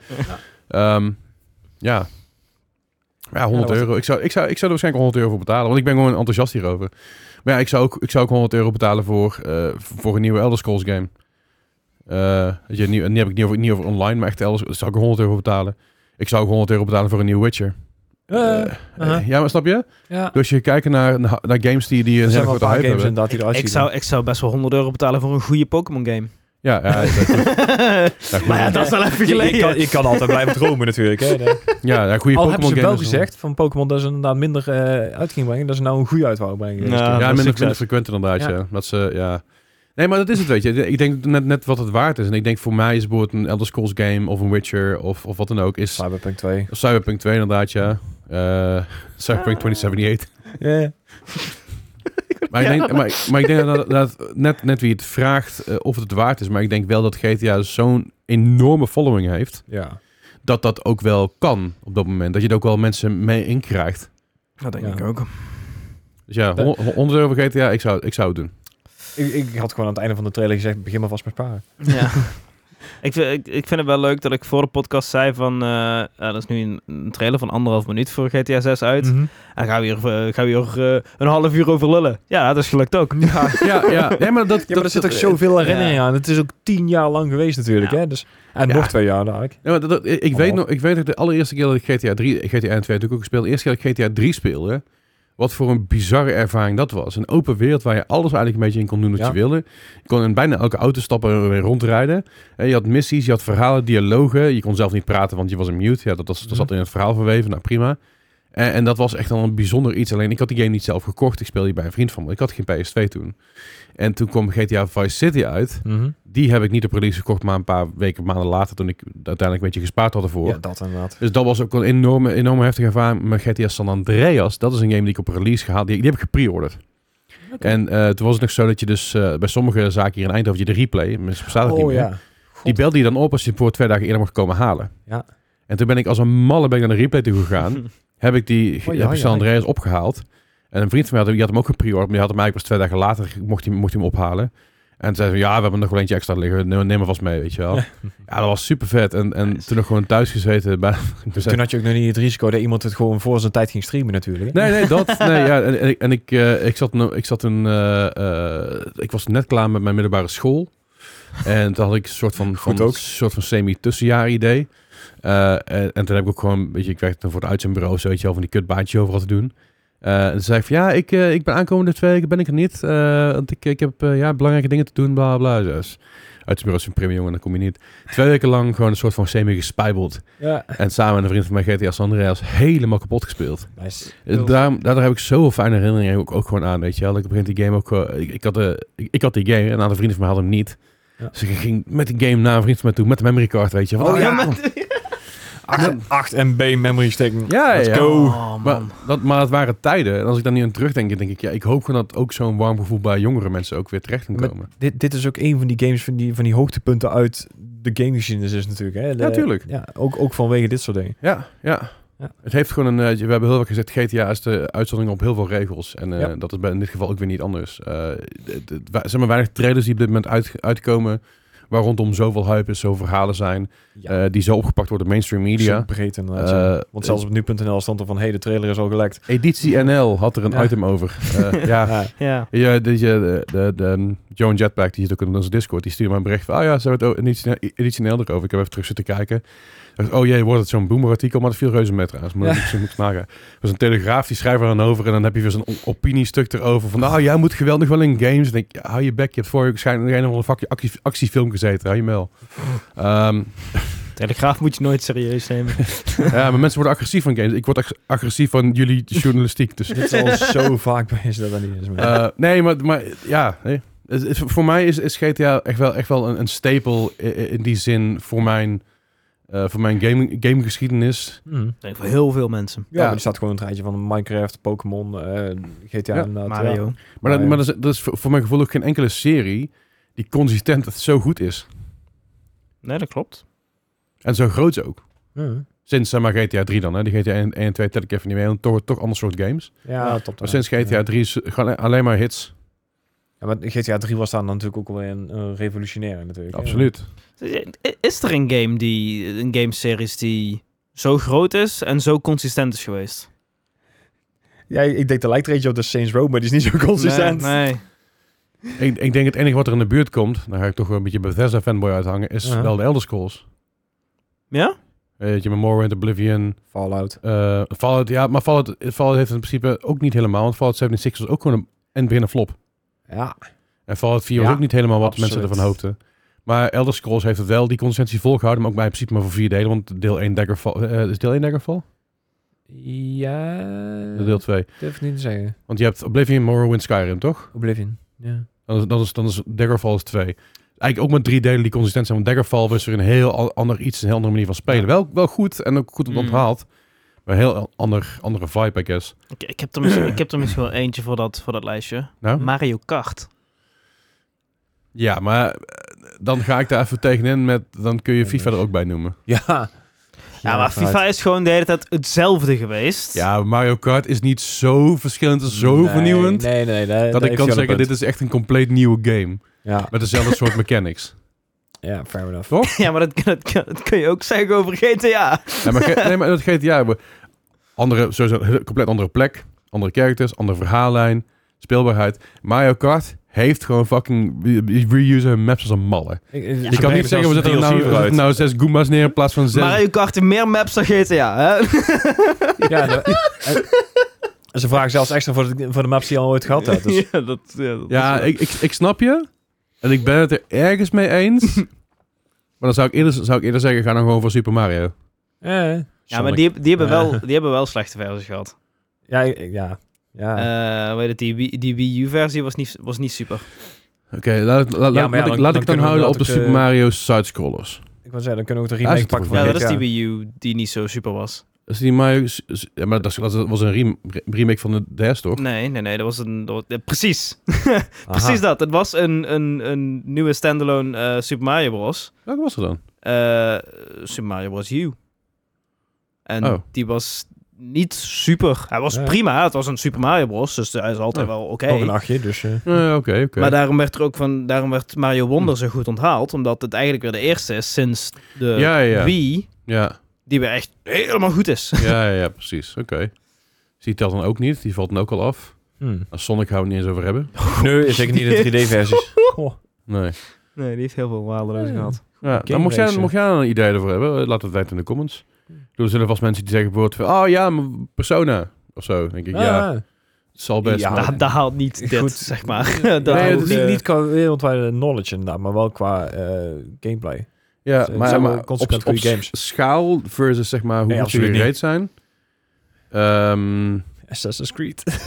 Speaker 1: Ehm, ja. Ja, 100
Speaker 3: was-
Speaker 1: euro. Ik zou, ik, zou, ik zou er waarschijnlijk 100 euro voor betalen, want ik ben gewoon enthousiast hierover. Maar ja, ik zou ook, ik zou ook 100 euro betalen voor, eh, voor een nieuwe Elder Scrolls game. Eh, weet je, nieuw, en die heb ik niet over, niet over online, maar echt Elder Scrolls zou ik er 100 euro voor betalen. Ik zou ook 100 euro betalen voor een nieuwe Witcher.
Speaker 3: Eh,
Speaker 1: Eh,
Speaker 3: aha.
Speaker 1: Ja, maar snap je?
Speaker 3: Ja.
Speaker 1: Dus je kijkt naar, naar, naar games die, die
Speaker 3: Er
Speaker 1: een hele
Speaker 3: zijn wel een
Speaker 1: grote
Speaker 3: paar
Speaker 1: hype
Speaker 3: games
Speaker 1: hebben.
Speaker 3: inderdaad die eruit
Speaker 4: Ik
Speaker 3: zien.
Speaker 4: zou, ik zou best wel 100 euro betalen voor een goede Pokémon game.
Speaker 1: Ja, ja, dat- ja,
Speaker 4: maar ja,
Speaker 1: goeie-
Speaker 4: dat is wel even
Speaker 3: Je-
Speaker 4: geleden.
Speaker 3: je, kan, je kan altijd blijven dromen natuurlijk, hè.
Speaker 1: ja, ja, goede
Speaker 3: Al hebben
Speaker 1: Pokémon
Speaker 3: ze wel
Speaker 1: games.
Speaker 3: gezegd van Pokémon dat ze inderdaad minder eh uit ging brengen, dat ze nou een goede uit wouden brengen.
Speaker 1: Ja,
Speaker 4: Ja. dat
Speaker 1: minder,
Speaker 4: is succes.
Speaker 1: minder frequent inderdaad, ja.
Speaker 3: Ja.
Speaker 1: Dat ze, ja. Nee, maar dat is het, weet je. Ik denk net, net wat het waard is. En ik denk voor mij is bijvoorbeeld een Elder Scrolls game of een Witcher of, of wat dan ook. Is,
Speaker 3: Cyberpunk 2.
Speaker 1: of Cyberpunk 2 inderdaad, ja. Eh, Cyberpunk
Speaker 3: Ah.
Speaker 1: 2078.
Speaker 3: Ja.
Speaker 1: Maar ik denk, maar, maar ik denk dat, dat net, net wie het vraagt eh, of het het waard is. Maar ik denk wel dat GTA zo'n enorme following heeft.
Speaker 3: Ja.
Speaker 1: Dat dat ook wel kan op dat moment. Dat je er ook wel mensen mee inkrijgt.
Speaker 4: Dat Nou, denk
Speaker 3: Ja.
Speaker 4: ik ook.
Speaker 1: Dus ja, hon- hon- 100 euro voor GTA, ik zou, ik zou het doen.
Speaker 3: Ik, ik had gewoon aan het einde van de trailer gezegd, begin maar vast met sparen.
Speaker 4: Ja. ik, vind, ik, ik vind het wel leuk dat ik voor de podcast zei van... eh ja, dat is nu een, een trailer van anderhalf minuut voor GTA 6 uit.
Speaker 3: Mhm.
Speaker 4: En gaan we hier, eh, gaan we hier eh, een half uur over lullen. Ja, dat is gelukt ook.
Speaker 3: Ja.
Speaker 1: Ja, ja. Nee, maar dat,
Speaker 3: Ja, maar er zit ook zoveel herinnering aan. Het is ook tien jaar lang geweest natuurlijk,
Speaker 4: Ja.
Speaker 3: hè. Dus, en
Speaker 1: Ja.
Speaker 3: nog twee jaar dadelijk.
Speaker 1: Ja, maar dat, dat- ik, ik
Speaker 3: Oh.
Speaker 1: weet nog, ik weet nog de allereerste keer dat ik GTA 3, GTA 2 natuurlijk ook gespeeld, de eerste keer dat ik GTA 3 speelde, Wat voor een bizarre ervaring dat was. Een open wereld waar je alles eigenlijk een beetje in kon doen wat
Speaker 3: Ja.
Speaker 1: je wilde. Je kon in bijna elke auto stappen en weer rondrijden. En je had missies, je had verhalen, dialogen. Je kon zelf niet praten, want je was een mute. Ja, dat, was, dat zat in het verhaal verweven. Nou, prima. En, en dat was echt wel een bijzonder iets. Alleen ik had die game niet zelf gekocht. Ik speelde bij een vriend van me. Ik had geen PS2 toen. En toen kwam GTA Vice City uit.
Speaker 3: Mhm.
Speaker 1: Die heb ik niet op release gekocht, maar een paar weken, maanden later, toen ik uiteindelijk een beetje gespaard had ervoor.
Speaker 3: Ja, dat inderdaad.
Speaker 1: Dus dat was ook een enorme, enorme heftige ervaring. Maar GTA San Andreas, dat is een game die ik op release gehaald, die, die heb ik gepreorderd. En eh, toen was het nog zo dat je dus eh, bij sommige zaken hier in Eindhoven, je de replay, mensen bestaat het niet
Speaker 3: Oh
Speaker 1: meer.
Speaker 3: ja.
Speaker 1: Die belde je dan op als je voor twee dagen eerder mocht komen halen.
Speaker 3: Ja.
Speaker 1: En toen ben ik als een malle ben ik naar de replay toe gegaan. heb ik die
Speaker 3: Oei,
Speaker 1: heb ik
Speaker 3: oei,
Speaker 1: San
Speaker 3: oei.
Speaker 1: Andreas opgehaald. En een vriend van mij had, die had hem ook gepreorderd, maar die had hem eigenlijk pas twee dagen later, mocht hij, mocht hij hem ophalen. En toen zei ze, ja, we hebben nog wel eentje extra liggen, neem, neem er vast mee, weet je wel. Ja, dat was super vet. En, en
Speaker 4: Nice.
Speaker 1: toen nog gewoon thuis gezeten. Bij, toen zei-
Speaker 3: Toen had je ook nog niet het risico dat iemand het gewoon voor zijn tijd ging streamen natuurlijk.
Speaker 1: Nee, nee, dat. Nee, ja, en, en ik- en ik, eh, ik zat, nou- ik zat een, eh, eh, ik was net klaar met mijn middelbare school. En toen had ik een soort van, van,
Speaker 3: Goed ook.
Speaker 1: soort van semi-tussenjaar idee. Eh, en, en toen heb ik ook gewoon, weet je, ik werkte dan voor het uitzendbureau, zo weet je wel, van die kutbaantjes overal te doen. Eh, en toen zei ik van, ja, ik, eh, ik ben aankomende twee weken ben ik er niet. eh, want ik, ik heb eh, ja, belangrijke dingen te doen, bla bla. bla. Dus uitzendbureau is een premium jongen, dan kom je niet. Twee weken lang gewoon een soort van semi-gespijbeld.
Speaker 3: Ja.
Speaker 1: En samen met een vriend van mij, GTA San Andreas, helemaal kapot gespeeld.
Speaker 3: Nice.
Speaker 1: Daarom- Eh, Daardoor, heb ik zoveel fijne herinneringen ook, ook gewoon aan, weet je wel. Ik begin die game ook... eh, ik, ik, had de, ik, ik had die game en een aantal vrienden van mij hadden hem niet.
Speaker 3: Ja.
Speaker 1: Dus ik ging met die game naar een vriend van mij toe, met de memory card, weet je. Van,
Speaker 3: Oh,
Speaker 1: ah,
Speaker 3: ja,
Speaker 1: kom.
Speaker 3: 8, 8 MB memory stick.
Speaker 1: Ja,
Speaker 3: Let's
Speaker 1: ja.
Speaker 3: go.
Speaker 1: Maar dat, maar dat waren tijden. En als ik daar nu aan terugdenk, dan denk ik... Ja, ik hoop gewoon dat ook zo'n warm gevoel bij jongere mensen ook weer terecht kan
Speaker 3: Met-
Speaker 1: komen.
Speaker 3: Dit, dit is ook een van die games van die, van die hoogtepunten uit de gamegeschiedenis is natuurlijk. Hè? De-
Speaker 1: Ja, tuurlijk.
Speaker 3: Ja, ook, ook vanwege dit soort dingen.
Speaker 1: Ja, ja.
Speaker 3: Ja.
Speaker 1: Het heeft gewoon een... eh, we hebben heel vaak gezegd, GTA is de uitzondering op heel veel regels. En eh,
Speaker 3: Ja.
Speaker 1: dat is bij, in dit geval ook weer niet anders. Eh, d- d- wa- er zijn maar weinig trailers die op dit moment uit, uitkomen... waar rondom zoveel hype is, zoveel verhalen zijn...
Speaker 3: Ja,
Speaker 1: eh, die zo opgepakt worden door mainstream media.
Speaker 3: zo breed inderdaad. ja.
Speaker 1: Eh,
Speaker 3: Want zelfs op nu.nl stond er van, hey, de trailer is al gelekt.
Speaker 1: Editie NL had er een
Speaker 3: Ja.
Speaker 1: item over. Eh, ja.
Speaker 3: Ja.
Speaker 4: Ja.
Speaker 1: Ja, de, de, de, de, um, Joan Jetpack, die zit ook in onze Discord, die stuurde mij een bericht van, oh ja, ze hebben het o- editie- editie NL erover. Ik heb even terug zitten kijken. Ik dacht, oh jee, wordt het zo'n boomerartikel? Maar dat viel reuze met trouwens. Maar dat moet ik- moet ik nagaan. Er was een telegraaf, die schrijft er dan over en dan heb je weer zo'n o- opiniestuk erover van, nou, jij moet geweldig wel in games. Dan denk ik, ja, hou je bek, je hebt voor je waarschijnlijk in een of andere vakje actie, actiefilm gezeten. Hou je mel. Ehm,
Speaker 4: Telegraaf moet je nooit serieus nemen.
Speaker 1: ja, maar mensen worden agressief van games. Ik word ag- agressief van jullie journalistiek. Dus,
Speaker 3: Dit is al zo vaak bij dat dat niet is. maar-
Speaker 1: eh, nee, maar, maar ja. nee. Het is- voor mij is, is GTA echt wel, echt wel een, een stapel i- i- in die zin voor mijn, eh, voor mijn game, gamegeschiedenis.
Speaker 3: Mm.
Speaker 4: Ik denk voor heel veel mensen.
Speaker 3: Ja,
Speaker 1: Ja.
Speaker 3: maar die staat gewoon een rijtje van Minecraft, Pokémon, eh, GTA
Speaker 1: Ja,
Speaker 3: inderdaad.
Speaker 4: Mario.
Speaker 3: Ah, Ja.
Speaker 1: Maar, dat,
Speaker 3: Maar-
Speaker 1: maar dat, is, dat is voor, voor mijn gevoel ook geen enkele serie die consistent zo goed is.
Speaker 4: Nee, dat klopt.
Speaker 1: En zo groot ook.
Speaker 3: Mm.
Speaker 1: Sinds zeg maar GTA 3 dan. Hè. Die GTA 1 en 2 tel ik even niet mee. Want toch, toch ander soort games.
Speaker 3: Ja, top.
Speaker 1: Maar sinds GTA 3 is gewoon alleen maar hits.
Speaker 3: Ja, maar GTA 3 was dan natuurlijk ook wel een, een revolutionaire natuurlijk. hè.
Speaker 1: Absoluut.
Speaker 4: Is er een game die, een gameseries die zo groot is en zo consistent is geweest?
Speaker 3: Ja, ik denk dat lijkt er eentje op de Saints Row, maar die is niet zo consistent.
Speaker 4: Nee, nee.
Speaker 1: Ik, ik denk het enige wat er in de buurt komt, dan ga ik toch wel een beetje Bethesda fanboy uithangen, is
Speaker 3: Ja.
Speaker 1: wel de Elder Scrolls.
Speaker 4: Ja?
Speaker 1: Weet je, met Morrowind, Oblivion,
Speaker 3: Fallout.
Speaker 1: eh, Fallout. Ja, maar Fallout, Fallout heeft het in principe ook niet helemaal, want Fallout 76 was ook gewoon een en begin een flop.
Speaker 3: Ja.
Speaker 1: En Fallout 4 was
Speaker 3: Ja,
Speaker 1: ook niet helemaal wat mensen
Speaker 3: absoluut.
Speaker 1: ervan hoopten. Maar Elder Scrolls heeft het wel die consistentie volgehouden, maar ook bij in principe maar voor vier delen, want deel 1 Daggerfall, eh, is deel 1 Daggerfall?
Speaker 3: Ja.
Speaker 1: Of Deel 2.
Speaker 3: durf ik niet te zeggen.
Speaker 1: Want je hebt Oblivion, Morrowind, Skyrim, toch?
Speaker 3: Oblivion. Ja.
Speaker 1: Dan is, dan is, dan is Daggerfall is twee. Eigenlijk ook met drie delen die consistent zijn. Want Daggerfall was weer een heel al- ander iets, een heel andere manier van spelen. Wel, wel goed en ook goed
Speaker 4: Mm.
Speaker 1: onthaald. Maar een heel al- ander, andere vibe, I guess.
Speaker 4: Ik, ik, heb er misschien, ik heb er misschien wel eentje voor dat, voor dat lijstje.
Speaker 1: Nou?
Speaker 4: Mario Kart.
Speaker 1: Ja, maar eh, dan ga ik daar even tegenin met... Dan kun je FIFA er ook bij noemen.
Speaker 3: Ja.
Speaker 4: Ja, maar FIFA is gewoon de hele tijd hetzelfde geweest.
Speaker 1: Ja, Mario Kart is niet zo verschillend en zo
Speaker 3: Nee,
Speaker 1: vernieuwend...
Speaker 3: Nee, nee, nee.
Speaker 1: dat ik kan zeggen, dit is echt een compleet nieuwe game.
Speaker 3: Ja,
Speaker 1: Met dezelfde soort mechanics.
Speaker 3: ja, fair enough.
Speaker 4: Ja, maar dat, dat, dat kun je ook zeggen over GTA.
Speaker 1: Ja, maar, ge- nee, maar dat GTA hebben andere, sowieso een compleet andere plek, andere characters, andere verhaallijn, speelbaarheid. Mario Kart heeft gewoon fucking die reusen hun maps als een malle.
Speaker 3: Ik,
Speaker 1: Je kan niet zeggen, we zetten er nou, we zetten nou zes Goombas neer in plaats van zes.
Speaker 4: Mario Kart heeft meer maps dan GTA, hè?
Speaker 3: Ja, de- en- En ze vragen zelfs extra voor de, voor de maps die je al ooit gehad hebt. Dus
Speaker 4: ja, dat, ja, dat
Speaker 1: Ja,
Speaker 4: is wel-
Speaker 1: ik, ik, ik snap je. En ik ben het er ergens mee eens. maar dan zou ik, eerder, zou ik eerder zeggen, ga dan gewoon voor Super Mario.
Speaker 3: eh,
Speaker 4: ja maar
Speaker 3: Sonic.
Speaker 4: die, die, hebben
Speaker 3: Ja.
Speaker 4: wel, die hebben wel slechte versies gehad.
Speaker 3: Ja, ik- ik- ja. ja.
Speaker 4: Eh, weet het, die, Wii- die Wii U-versie was niet, was niet super.
Speaker 1: Oké, laat, laat,
Speaker 3: maar ja,
Speaker 1: laat, ik- laat
Speaker 3: dan- dan
Speaker 1: ik dan
Speaker 3: kunnen we
Speaker 1: houden op de
Speaker 3: dat ook,
Speaker 1: Super
Speaker 3: eh,
Speaker 1: Mario side-scrollers.
Speaker 3: ik wil zeggen, dan kunnen we ook de
Speaker 1: Daar is
Speaker 3: remake
Speaker 1: het
Speaker 3: pakken
Speaker 1: goed.
Speaker 3: van
Speaker 4: Ja,
Speaker 1: Ja,
Speaker 4: dat is
Speaker 3: GTA.
Speaker 4: die Wii U die niet zo super was.
Speaker 1: Is die Mario... s- s- Ja, maar dat, is- dat was een rem- remake van de DS, toch?
Speaker 3: Mm.
Speaker 4: Nee, nee, nee, dat was een... dat was- eh, precies.
Speaker 3: Aha.
Speaker 4: Precies dat. Het was een, een, een nieuwe standalone eh, Super Mario Bros.
Speaker 1: Welke was er dan?
Speaker 4: Eh, Super Mario Bros. U. En
Speaker 1: Oh.
Speaker 4: die was niet super. Hij was
Speaker 3: Nee.
Speaker 4: prima. Het was een Super Mario Bros. Dus hij is altijd
Speaker 1: Ja.
Speaker 4: wel oké.
Speaker 3: Ook een achtje, dus... eh,
Speaker 1: Eh, Oké, oké. Hm.
Speaker 4: Maar daarom werd er ook van, daarom werd Mario Wonder zo goed onthaald, omdat het eigenlijk weer de eerste is sinds de
Speaker 1: Ja, ja, ja.
Speaker 4: Wii
Speaker 1: Ja,
Speaker 4: die weer echt helemaal goed is.
Speaker 1: ja, ja, ja, precies. Oké. Dus die telt dan ook niet. Die valt dan ook al af.
Speaker 3: hmm.
Speaker 1: Als Sonic gaan we het niet eens over hebben.
Speaker 3: Nee, zeker niet de 3D-versies. Goh.
Speaker 1: Nee.
Speaker 4: Nee, die heeft heel veel waardeloos
Speaker 3: Ja.
Speaker 4: gehad.
Speaker 1: Ja, nou, mocht, jij,
Speaker 3: racen.
Speaker 1: mocht jij een idee ervoor hebben, eh, laat het weten in de comments. Er zullen vast mensen die zeggen bijvoorbeeld van... Oh ja, maar Persona. Of zo, denk ik. Ja,
Speaker 3: Ah.
Speaker 1: het zal best.
Speaker 3: Ja,
Speaker 1: maar-
Speaker 4: dat, dat haalt niet dit,
Speaker 3: Goed.
Speaker 4: zeg maar. dat
Speaker 1: Nee,
Speaker 4: haalt,
Speaker 1: het is
Speaker 3: niet,
Speaker 4: eh,
Speaker 3: niet qua wereldwijde knowledge inderdaad, maar wel qua eh, gameplay.
Speaker 1: Ja,
Speaker 3: Ze- ze
Speaker 1: maar,
Speaker 3: hebben
Speaker 1: maar op,
Speaker 3: consequent
Speaker 1: op
Speaker 3: goede games.
Speaker 1: schaal versus zeg maar hoe
Speaker 3: Nee,
Speaker 1: goed
Speaker 3: absoluut
Speaker 1: jullie reed zijn. Ehm,
Speaker 3: Assassin's Creed.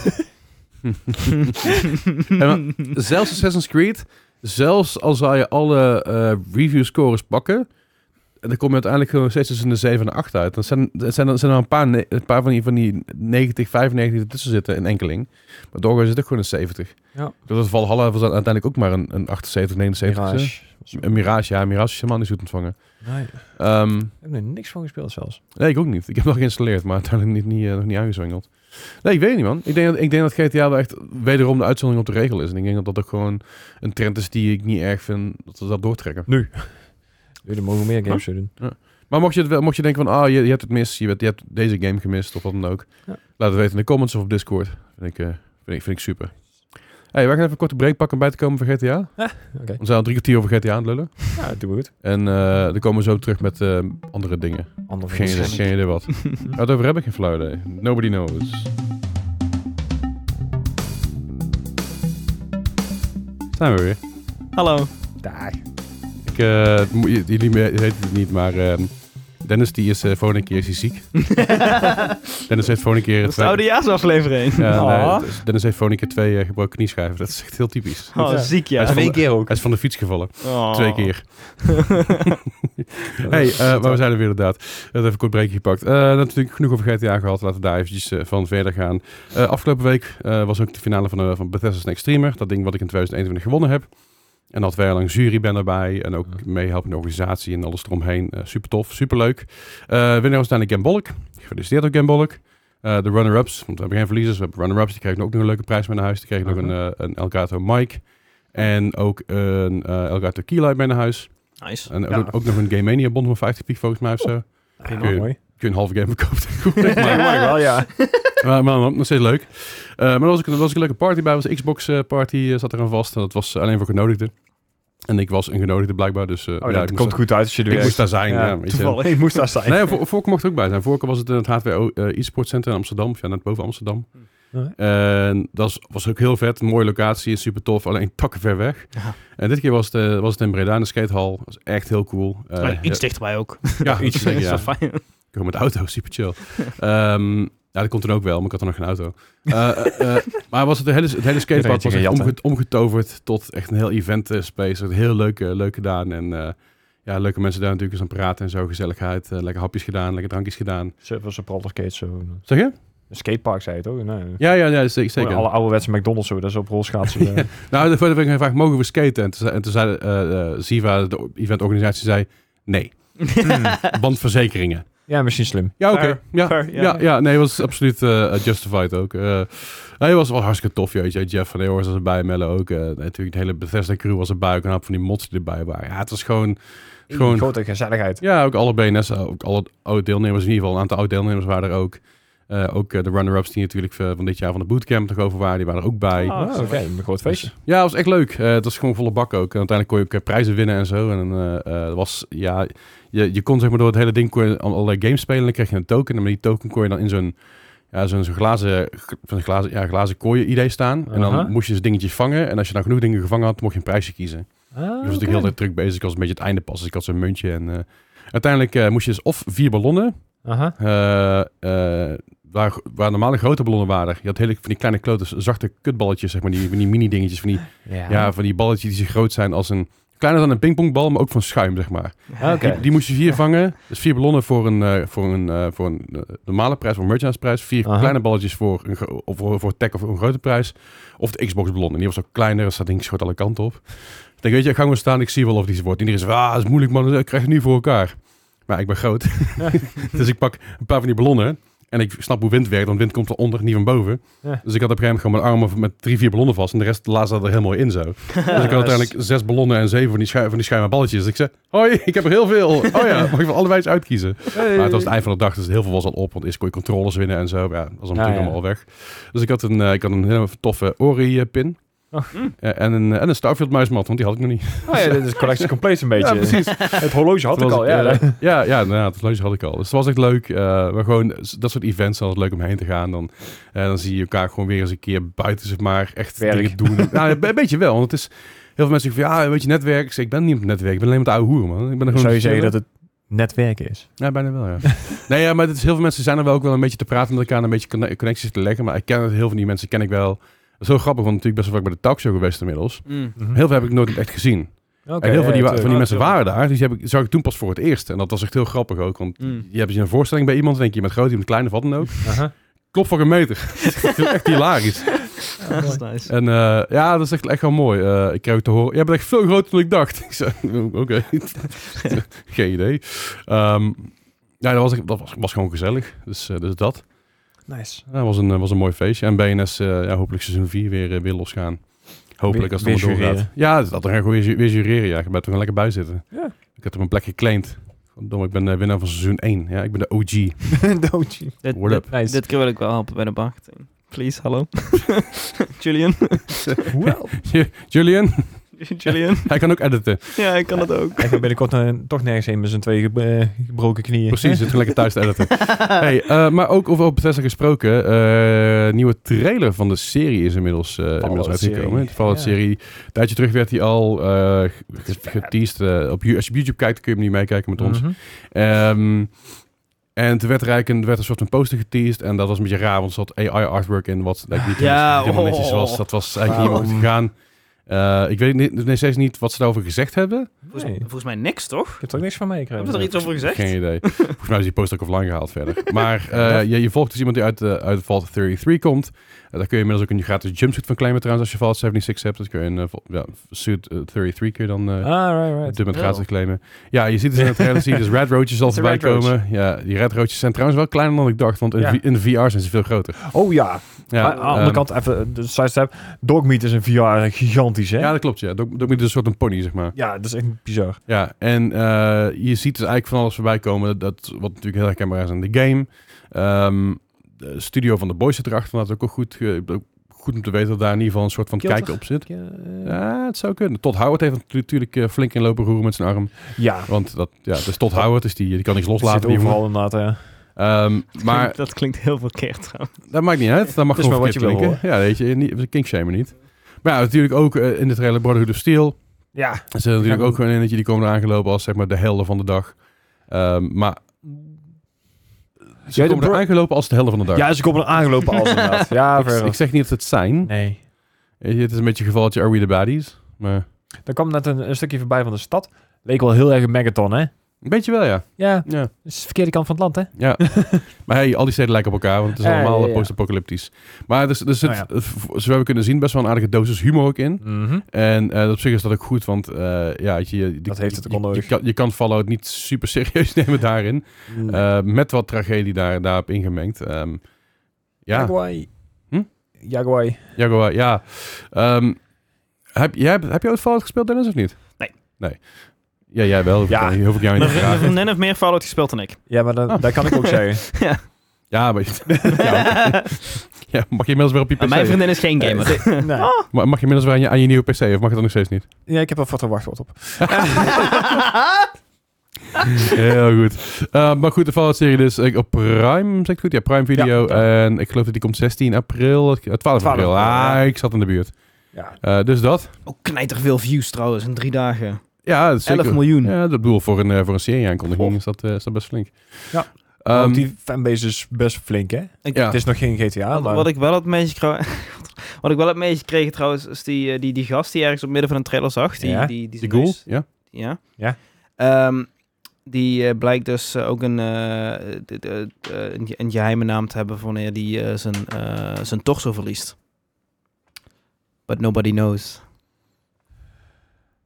Speaker 1: en dan- zelfs Assassin's Creed, zelfs al zou je alle eh review scores pakken, en dan kom je uiteindelijk gewoon nog steeds tussen de 7 en de 8 uit. Dan zijn, er zijn, er- zijn er een paar, ne- een paar van, die, van die 90, 95 die ertussen zitten in enkeling. Maar doorgaans zit ook gewoon een 70.
Speaker 3: Ja.
Speaker 1: Dat is Valhalla was uiteindelijk ook maar een, een 78, 79.
Speaker 3: Mirage.
Speaker 1: Een Mirage, ja. Mirage is helemaal niet goed ontvangen.
Speaker 3: Nee, ik
Speaker 1: Ehm
Speaker 3: heb er niks van gespeeld zelfs.
Speaker 1: Nee, ik ook niet. Ik heb nog geïnstalleerd, maar uiteindelijk niet, niet, eh, nog niet aangezwengeld. Nee, ik weet het niet, man. Ik denk, dat, ik denk dat GTA wel echt wederom de uitzondering op de regel is. En ik denk dat dat ook gewoon een trend is die ik niet erg vind, dat we dat doortrekken.
Speaker 3: Nu, er mogen meer games doen.
Speaker 1: Maar mocht je, het wel, mocht je denken van, ah, je, je hebt het mis, je, bent- je hebt deze game gemist, of wat dan ook.
Speaker 3: Ja.
Speaker 1: Laat het weten in de comments of op Discord. Vind ik, eh, vind ik, vind ik super. hey, wij gaan even een korte break pakken om bij te komen van GTA.
Speaker 3: Oké,
Speaker 1: We zijn al drie kwartier over GTA aan het lullen.
Speaker 3: ja, doe goed.
Speaker 1: En eh, dan komen we zo terug met eh, andere dingen.
Speaker 3: Ander
Speaker 1: Geen idee,
Speaker 3: verschil.
Speaker 1: geen idee wat. Waar het over heb ik geen flauw idee. Nobody knows. Zijn we weer.
Speaker 4: Hallo.
Speaker 3: Daar.
Speaker 1: Ik, eh, het moet- j- jullie me- weten het niet, maar ehm, Dennis die is eh volgende keer is hij ziek. Dennis heeft volgende keer...
Speaker 4: Dat is de
Speaker 1: twee-
Speaker 4: oudejaarsaflevering.
Speaker 1: Ja, nee,
Speaker 3: Aw.
Speaker 1: het is- Dennis heeft volgende keer twee eh, gebroken knieschijven. Dat is echt heel typisch.
Speaker 4: Oh,
Speaker 3: Ah. Ja.
Speaker 4: ziek
Speaker 1: Hij
Speaker 4: ja.
Speaker 1: is van-
Speaker 3: keer ook.
Speaker 1: Hij is van de fiets gevallen.
Speaker 4: Oh.
Speaker 1: Twee keer. Hey, eh, maar we zijn er weer inderdaad. We hebben even een kort breekje gepakt. Eh, natuurlijk genoeg over GTA gehad. Laten we daar eventjes eh, van verder gaan. Eh, afgelopen week eh, was ook de finale van, eh, van Bethesda's Next Streamer. Dat ding wat ik in 2021 gewonnen heb. En dat wij al een jury ben erbij. En ook meehelpen in de organisatie en alles eromheen. Eh, super tof, super leuk. Eh, winnaar was uiteindelijk Gambolk. Gefeliciteerd ook Gambolk. Eh, de runner-ups, want we hebben geen verliezers. We hebben runner-ups, die kregen ook nog een leuke prijs mee naar huis. Die kregen nog
Speaker 3: Aha.
Speaker 1: een, eh, een Elgato mic. En ook een eh, Elgato keylight mee naar huis.
Speaker 4: Nice.
Speaker 1: En ook-
Speaker 3: Ja.
Speaker 1: ook, nog een Game Mania bon van 50 piek volgens mij of zo.
Speaker 3: Prima, mooi.
Speaker 1: Kun je een halve game verkopen. Goed, zeg maar,
Speaker 3: Maar mooi wel, ja. Oh,
Speaker 1: maar, maar, maar nog steeds leuk. Eh, maar er was, ook, er was ook een leuke party bij. was een Xbox eh, party eh, zat eraan vast. En dat was alleen voor genodigden. En ik was een genodigde blijkbaar. Dus eh,
Speaker 3: Oh,
Speaker 1: ja,
Speaker 3: dat
Speaker 1: ik moest,
Speaker 3: komt
Speaker 1: daar-
Speaker 3: goed uit als je er
Speaker 1: ik
Speaker 3: weer...
Speaker 1: moest daar zijn. Ja, weet je.
Speaker 3: toevallig. Ik moest daar zijn.
Speaker 1: Nee, Vor- Vork mocht er ook bij zijn. Vork was het in het HWO eh e-sport center in Amsterdam. Of ja, net boven Amsterdam.
Speaker 3: Ja.
Speaker 1: En dat was, was ook heel vet. Een mooie locatie. Super tof. Alleen takken ver weg.
Speaker 4: Ja.
Speaker 1: En dit keer was het, eh, was het in Breda in de skatehal. Dat was echt heel cool. Eh,
Speaker 4: Maar iets dichterbij ook.
Speaker 1: ja, iets
Speaker 4: Dat
Speaker 1: zeker,
Speaker 4: is
Speaker 1: ja.
Speaker 4: wel fijn.
Speaker 1: Gewoon met de auto, super chill. Ehm, ja, dat komt dan ook wel, maar ik had dan nog geen auto. Eh, eh, eh, maar was het, hele, het hele skatepark was
Speaker 3: Geen
Speaker 1: echt
Speaker 3: jat, hè?
Speaker 1: omge- omgetoverd tot echt een heel event eh, space. Echt Heel leuk, eh, leuk gedaan. En eh, ja, leuke mensen daar natuurlijk eens aan praten en zo. Gezelligheid, eh, lekker hapjes gedaan, lekker drankjes gedaan.
Speaker 3: was een roller skate zo.
Speaker 1: Zeg je?
Speaker 3: Een skatepark zei het ook. Nee.
Speaker 1: Ja, ja, ja zeker.
Speaker 3: Zeker.
Speaker 1: zeker.
Speaker 3: Alle ouderwetse McDonald's zo, dat is op rolschaatsen. eh.
Speaker 1: Nou, de vorige week gevraagd, mogen we skaten? En toen, zei- en toen zei eh, eh, Siva, de eventorganisatie, zei nee. Bandverzekeringen.
Speaker 3: ja, misschien slim.
Speaker 1: Ja, oké.
Speaker 4: Fair,
Speaker 1: Ja.
Speaker 4: fair, ja.
Speaker 1: ja. Ja, nee, was absoluut eh, justified ook. Eh hij was wel hartstikke tof, jeetje. Jeff van Eeuwers was erbij, Melle ook. eh, natuurlijk, de hele Bethesda-crew was erbij. Ook een hoop van die mods die erbij waren. Ja, het was gewoon... gewoon
Speaker 3: Grote gezelligheid.
Speaker 1: ja, ook alle BNS, ook alle oud-deelnemers in ieder geval. Een aantal oud-deelnemers waren er ook. Eh, ook eh, de runner-ups die natuurlijk eh, van dit jaar van de bootcamp nog over waren, die waren er ook bij. Dus,
Speaker 4: Ah,
Speaker 3: Ah, Oké,
Speaker 4: sorry.
Speaker 3: een groot feestje.
Speaker 1: Ja, het was echt leuk. Eh, het was gewoon volle bak ook. En uiteindelijk kon je ook eh, prijzen winnen en zo. En eh eh, het was, ja, je, je kon zeg maar door het hele ding kon je al- allerlei games spelen. En dan kreeg je een token. En met die token kon je dan in zo'n ja, zo'n zo'n glazen, van glazen, ja, glazen kooien idee staan. En dan
Speaker 3: Aha.
Speaker 1: moest je dus dingetjes vangen. En als je nou genoeg dingen gevangen had, mocht je een prijsje kiezen. Ik
Speaker 3: Ah,
Speaker 1: was natuurlijk heel de
Speaker 3: oké.
Speaker 1: tijd druk bezig. Ik was een beetje het einde pas. Dus ik had zo'n muntje. En eh, uiteindelijk eh, moest je dus of vier ballonnen.
Speaker 3: Aha.
Speaker 1: eh, eh, waar, waar normale grote ballonnen waren. Je had hele van die kleine klote zachte kutballetjes, zeg maar. Die, van die mini dingetjes. Van die,
Speaker 3: Ja.
Speaker 1: ja, van die balletjes die zo groot zijn als een... Kleiner dan een pingpongbal, maar ook van schuim, zeg maar.
Speaker 3: Ah, oké.
Speaker 1: Die, die moest je vier vangen. Dus vier ballonnen voor een, eh, voor een, eh, voor een eh, normale prijs, voor een merchandise prijs. Vier
Speaker 3: Aha.
Speaker 1: kleine balletjes voor, een, gro- of voor, voor tech of een grote prijs. Of de Xbox ballon. En die was ook kleiner, dus dat ding schoot alle kanten op. Ik denk, weet je, ik ga gewoon staan, ik zie wel of die ze wordt. En iedereen is, ah, dat is moeilijk man, ik krijg het nu voor elkaar. Maar ik ben groot. dus ik pak een paar van die ballonnen. En ik snap hoe wind werkt, want wind komt van onder, niet van boven.
Speaker 3: Ja.
Speaker 1: Dus ik had op een gegeven moment gewoon mijn armen met drie, vier ballonnen vast. En de rest laatste er helemaal in zo. Dus ik had uiteindelijk zes ballonnen en zeven van die, schu- van die schuime balletjes. Dus ik zei, hoi, ik heb er heel veel. Oh ja, mag ik van allebei eens uitkiezen.
Speaker 3: Hey.
Speaker 1: Maar het was het eind van de dag, dus heel veel was al op. Want eerst kon je controllers winnen en zo. Maar Ja, dat was dan natuurlijk
Speaker 3: ja.
Speaker 1: allemaal al weg. Dus ik had een, eh, ik had een hele toffe Ori-pin. Eh,
Speaker 3: Oh.
Speaker 1: En, een, en een Starfield muismat, want die had ik nog niet.
Speaker 3: Oh ja, dit is collectie complete een beetje.
Speaker 1: Ja, precies.
Speaker 3: Het horloge had
Speaker 1: Toen
Speaker 3: ik
Speaker 1: was
Speaker 3: al,
Speaker 1: ik,
Speaker 3: ja.
Speaker 1: eh, ja, ja, inderdaad, het leuk had ik al. Dus het was echt leuk. eh, maar gewoon s- dat soort events, dan is het leuk om heen te gaan. Dan, eh, dan zie je elkaar gewoon weer eens een keer buiten, zeg maar, echt
Speaker 3: Werk.
Speaker 1: dingen doen. nou, een be- een beetje wel, want het is... Heel veel mensen zeggen van, ja, weet je, netwerk. Ik zeg, ik ben niet op het netwerk. Ik ben alleen met de oude hoer, man. Ik ben er gewoon
Speaker 3: Zou je
Speaker 1: te
Speaker 3: zeggen
Speaker 1: chillen.
Speaker 3: dat het netwerken is?
Speaker 1: Ja, bijna wel, ja. nee, ja, maar het is, heel veel mensen zijn er wel ook wel een beetje te praten met elkaar... en een beetje conne- connecties te leggen. Maar ik ken het, heel veel van die mensen ken ik wel. Dat is heel grappig, want natuurlijk best wel vaak bij de talkshow geweest inmiddels.
Speaker 4: Mm.
Speaker 3: Mhm.
Speaker 1: Heel veel heb ik nooit echt gezien.
Speaker 3: Oké,
Speaker 1: en heel veel
Speaker 3: ja,
Speaker 1: die wa-
Speaker 3: tuurlijk.
Speaker 1: van die mensen
Speaker 4: Ah,
Speaker 1: waren daar. dus Die heb ik, zag ik toen pas voor het eerst. En dat was echt heel grappig ook. Want
Speaker 4: Mm.
Speaker 1: je hebt dus een voorstelling bij iemand. Dan denk je met groot, je met klein of wat dan ook.
Speaker 3: Aha.
Speaker 1: Klopt voor een meter. ik vind het echt hilarisch.
Speaker 4: Dat is nice.
Speaker 1: En eh, ja, dat is echt, echt wel mooi. Eh, ik kreeg ook te horen. Jij bent echt veel groter dan ik dacht. Ik zei, oké. Geen idee. Ehm, ja, dat was, echt- dat was, was gewoon gezellig. Dus, eh, dus dat.
Speaker 3: Nice.
Speaker 1: Ja, was, een, eh, was een mooi feestje. En BNS, eh, ja, hopelijk seizoen 4 weer, eh, weer losgaan. Hopelijk als het
Speaker 3: Weer- weer
Speaker 1: allemaal doorgaat.
Speaker 3: jureren.
Speaker 1: Ja, dat er gewoon weer, ju- weer jureren. Ja, ik ben er gewoon lekker bij zitten.
Speaker 3: Ja.
Speaker 1: Ik heb er mijn plek geclaimd. Dom, ik ben eh, winnaar van seizoen 1. Ja, ik ben de OG.
Speaker 3: Doodje.
Speaker 4: Dit,
Speaker 1: Word up.
Speaker 4: dit-
Speaker 3: Nice.
Speaker 4: dit keer wil ik wel helpen bij de marketing. Please, hallo. Julian.
Speaker 3: Wel.
Speaker 1: Julian,
Speaker 4: Julian.
Speaker 1: hij kan ook editen.
Speaker 4: Ja, ik kan dat ook.
Speaker 3: Hij gaat binnenkort eh, toch nergens heen met zijn twee gebro- eh, gebroken knieën.
Speaker 1: Precies, zit lekker thuis te editen. Hey, eh, maar ook over op Bethesda gesproken. eh nieuwe trailer van de serie is inmiddels, eh inmiddels uitgekomen.
Speaker 3: serie,
Speaker 1: De Fallout
Speaker 3: ja.
Speaker 1: serie. Een tijdje terug werd hij al eh ge- geteased. eh, op, Yo- als je op YouTube kijkt, kun je hem niet meekijken met ons.
Speaker 3: Mhm.
Speaker 1: Ehm, en toen werd er eigenlijk een, werd een soort van poster geteased. En dat was een beetje raar, want er zat AI-artwork in. Wat like, niet
Speaker 4: Ja,
Speaker 1: helemaal netjes
Speaker 4: oh.
Speaker 1: was. Dat was eigenlijk niet
Speaker 3: Waarom?
Speaker 1: helemaal goed gegaan. Eh, ik weet niet, nog steeds niet wat ze daarover gezegd hebben.
Speaker 4: Volgens,
Speaker 3: Nee, ik
Speaker 4: volgens mij niks, toch?
Speaker 3: heb er ook niks van meegekregen.
Speaker 4: Hebben we er iets over gezegd?
Speaker 1: Geen idee. Volgens mij is die poster ook offline gehaald verder. Maar eh, je, je volgt dus iemand die uit, de uit Fallout 33 komt. Eh, daar kun je inmiddels ook een gratis jumpsuit van claimen trouwens. Als je Fallout 76 hebt, dan kun je een eh, vo- ja, suit eh, 33 kun je dan... eh,
Speaker 3: Ah, right,
Speaker 1: Op
Speaker 3: right.
Speaker 1: dit moment
Speaker 4: Oh.
Speaker 1: gratis claimen. Ja, je ziet dus in het trailer, zie je dus red roadjes al
Speaker 3: Het is een
Speaker 1: voorbij
Speaker 3: red roadje.
Speaker 1: komen. Ja, die red roadjes zijn trouwens wel kleiner dan ik dacht, want in,
Speaker 3: Ja.
Speaker 1: V- in de VR zijn ze veel groter.
Speaker 3: Oh ja.
Speaker 1: Ja,
Speaker 3: Maar aan de andere
Speaker 1: ehm,
Speaker 3: kant, even de sidestep. Dogmeat is een VR gigantisch, hè?
Speaker 1: Ja, dat klopt, ja. Dat dat moet dus een soort een pony, zeg maar.
Speaker 3: Ja, dat is echt bizar.
Speaker 1: Ja, en eh, je ziet dus eigenlijk van alles voorbij komen. Dat, wat natuurlijk heel herkenbaar is aan de game. Ehm, de studio van de boys zit erachter. Dat is ook wel goed, ge- ook goed om te weten dat daar in ieder geval een soort van
Speaker 3: Kilter?
Speaker 1: kijken op zit.
Speaker 3: Ja,
Speaker 1: Ja, het zou kunnen. Tot Howard heeft er natuurlijk eh, flink in lopen roeren met zijn arm.
Speaker 3: ja.
Speaker 1: Want dat, ja, dus Tot Howard, dus die, die kan niks
Speaker 3: Het zit
Speaker 1: loslaten. die jongen.
Speaker 3: overal inderdaad, ja.
Speaker 1: Ehm, maar
Speaker 4: Dat klinkt heel verkeerd, trouwens.
Speaker 1: Dat maakt niet uit. Dat mag
Speaker 3: Dus
Speaker 1: gewoon
Speaker 3: maar
Speaker 1: wat je
Speaker 3: wat je wil,
Speaker 1: wil. Ja, weet je, niet, we kinkshamen niet. Maar ja, natuurlijk ook eh, in de trailer Brotherhood of Steel.
Speaker 3: Ja.
Speaker 1: Er zit natuurlijk ook gewoon in dat je die komen eraan gelopen als zeg maar de helden van de dag. Ehm, maar ze
Speaker 3: de
Speaker 1: komen
Speaker 3: Bro-
Speaker 1: eraan gelopen als de helden van de dag.
Speaker 3: Ja, ze komen er aangelopen als inderdaad. Ja,
Speaker 1: ik,
Speaker 3: verder.
Speaker 1: ik zeg niet dat ze het zijn.
Speaker 3: Nee.
Speaker 1: Weet je, Het is een beetje een gevalletje Are We The Baddies? Maar
Speaker 3: Er kwam net een, een stukje voorbij van de stad. Leek wel heel erg een megaton, hè?
Speaker 1: een beetje wel, ja.
Speaker 3: Ja,
Speaker 1: Ja.
Speaker 3: dat is de verkeerde kant van het land, hè?
Speaker 1: ja. maar hey, al die steden lijken op elkaar, want het is
Speaker 3: Ja,
Speaker 1: allemaal
Speaker 3: ja, ja.
Speaker 1: post-apocalyptisch. Maar dus, dus het,
Speaker 3: Nou
Speaker 1: zoals we hebben kunnen zien, best wel een aardige dosis humor ook in. En eh, op zich is dat ook goed, want eh, ja, weet je, je-
Speaker 3: Dat heeft het ook
Speaker 1: je-
Speaker 3: wel
Speaker 1: je,
Speaker 3: nodig.
Speaker 1: kan, je kan Fallout niet super serieus nemen daarin.
Speaker 3: Mm.
Speaker 1: Eh, met wat tragedie daar, daarop ingemengd. Ehm, ja,
Speaker 3: Jaguar.
Speaker 1: Hm?
Speaker 3: Jaguar.
Speaker 1: Jaguar, ja. Ehm, heb, jij, heb jij ooit Fallout gespeeld, Dennis, of niet?
Speaker 4: Nee.
Speaker 1: Nee. Ja, jij wel.
Speaker 3: Ja.
Speaker 1: Ja. Ik, hoef ik jou niet te
Speaker 4: Mijn vri- mijn
Speaker 1: vragen.
Speaker 4: vriendin heeft meer Fallout gespeeld dan ik.
Speaker 3: Ja, maar dat,
Speaker 1: Ah.
Speaker 3: dat kan ik ook zeggen.
Speaker 1: Ja, maar... ja, oké. Ja, mag je inmiddels weer op je
Speaker 4: Maar
Speaker 1: PC?
Speaker 4: mijn vriendin is geen gamer.
Speaker 3: Nee.
Speaker 1: Ma- Mag je inmiddels weer aan je, aan je nieuwe PC, of mag het dan nog steeds niet?
Speaker 3: Ja, ik heb een foto wachtwoord op.
Speaker 1: Heel goed. Eh, maar goed, de Fallout-serie dus eh, op Prime, zeg ik goed? Ja, Prime Video. en ik geloof dat die komt 16 april, eh, 12,
Speaker 4: 12
Speaker 1: april. Ah,
Speaker 4: april, ja.
Speaker 1: ik zat in de buurt.
Speaker 3: Ja.
Speaker 1: Eh, dus dat.
Speaker 4: Ook knijter Oh, veel views trouwens, in drie dagen.
Speaker 1: Ja, dat is
Speaker 4: 11
Speaker 1: zeker.
Speaker 4: miljoen.
Speaker 1: Ja, dat bedoel voor een, eh, voor een serie-aankondiging
Speaker 4: Goh.
Speaker 1: is dat, eh, is dat best flink.
Speaker 3: Ja.
Speaker 1: Ehm,
Speaker 3: Want die fanbase is best flink, hè?
Speaker 4: Ik-
Speaker 1: ja.
Speaker 3: Het is nog geen GTA,
Speaker 4: wat,
Speaker 3: maar...
Speaker 4: wat ik wel het meisje kreeg, wat ik wel het meisje kreeg trouwens, is die, eh, die, die gast die ergens op midden van een trailer zag. Die,
Speaker 3: Ja.
Speaker 4: die, die,
Speaker 1: Die
Speaker 4: zijn
Speaker 1: ghoul,
Speaker 4: neus-
Speaker 1: ja.
Speaker 4: Ja.
Speaker 3: Ja.
Speaker 4: Ehm, die eh, blijkt dus eh, ook een, eh, de- de- eh, een, ge- een geheime naam te hebben voor wanneer die eh, zijn, eh, zijn torso verliest. But nobody knows.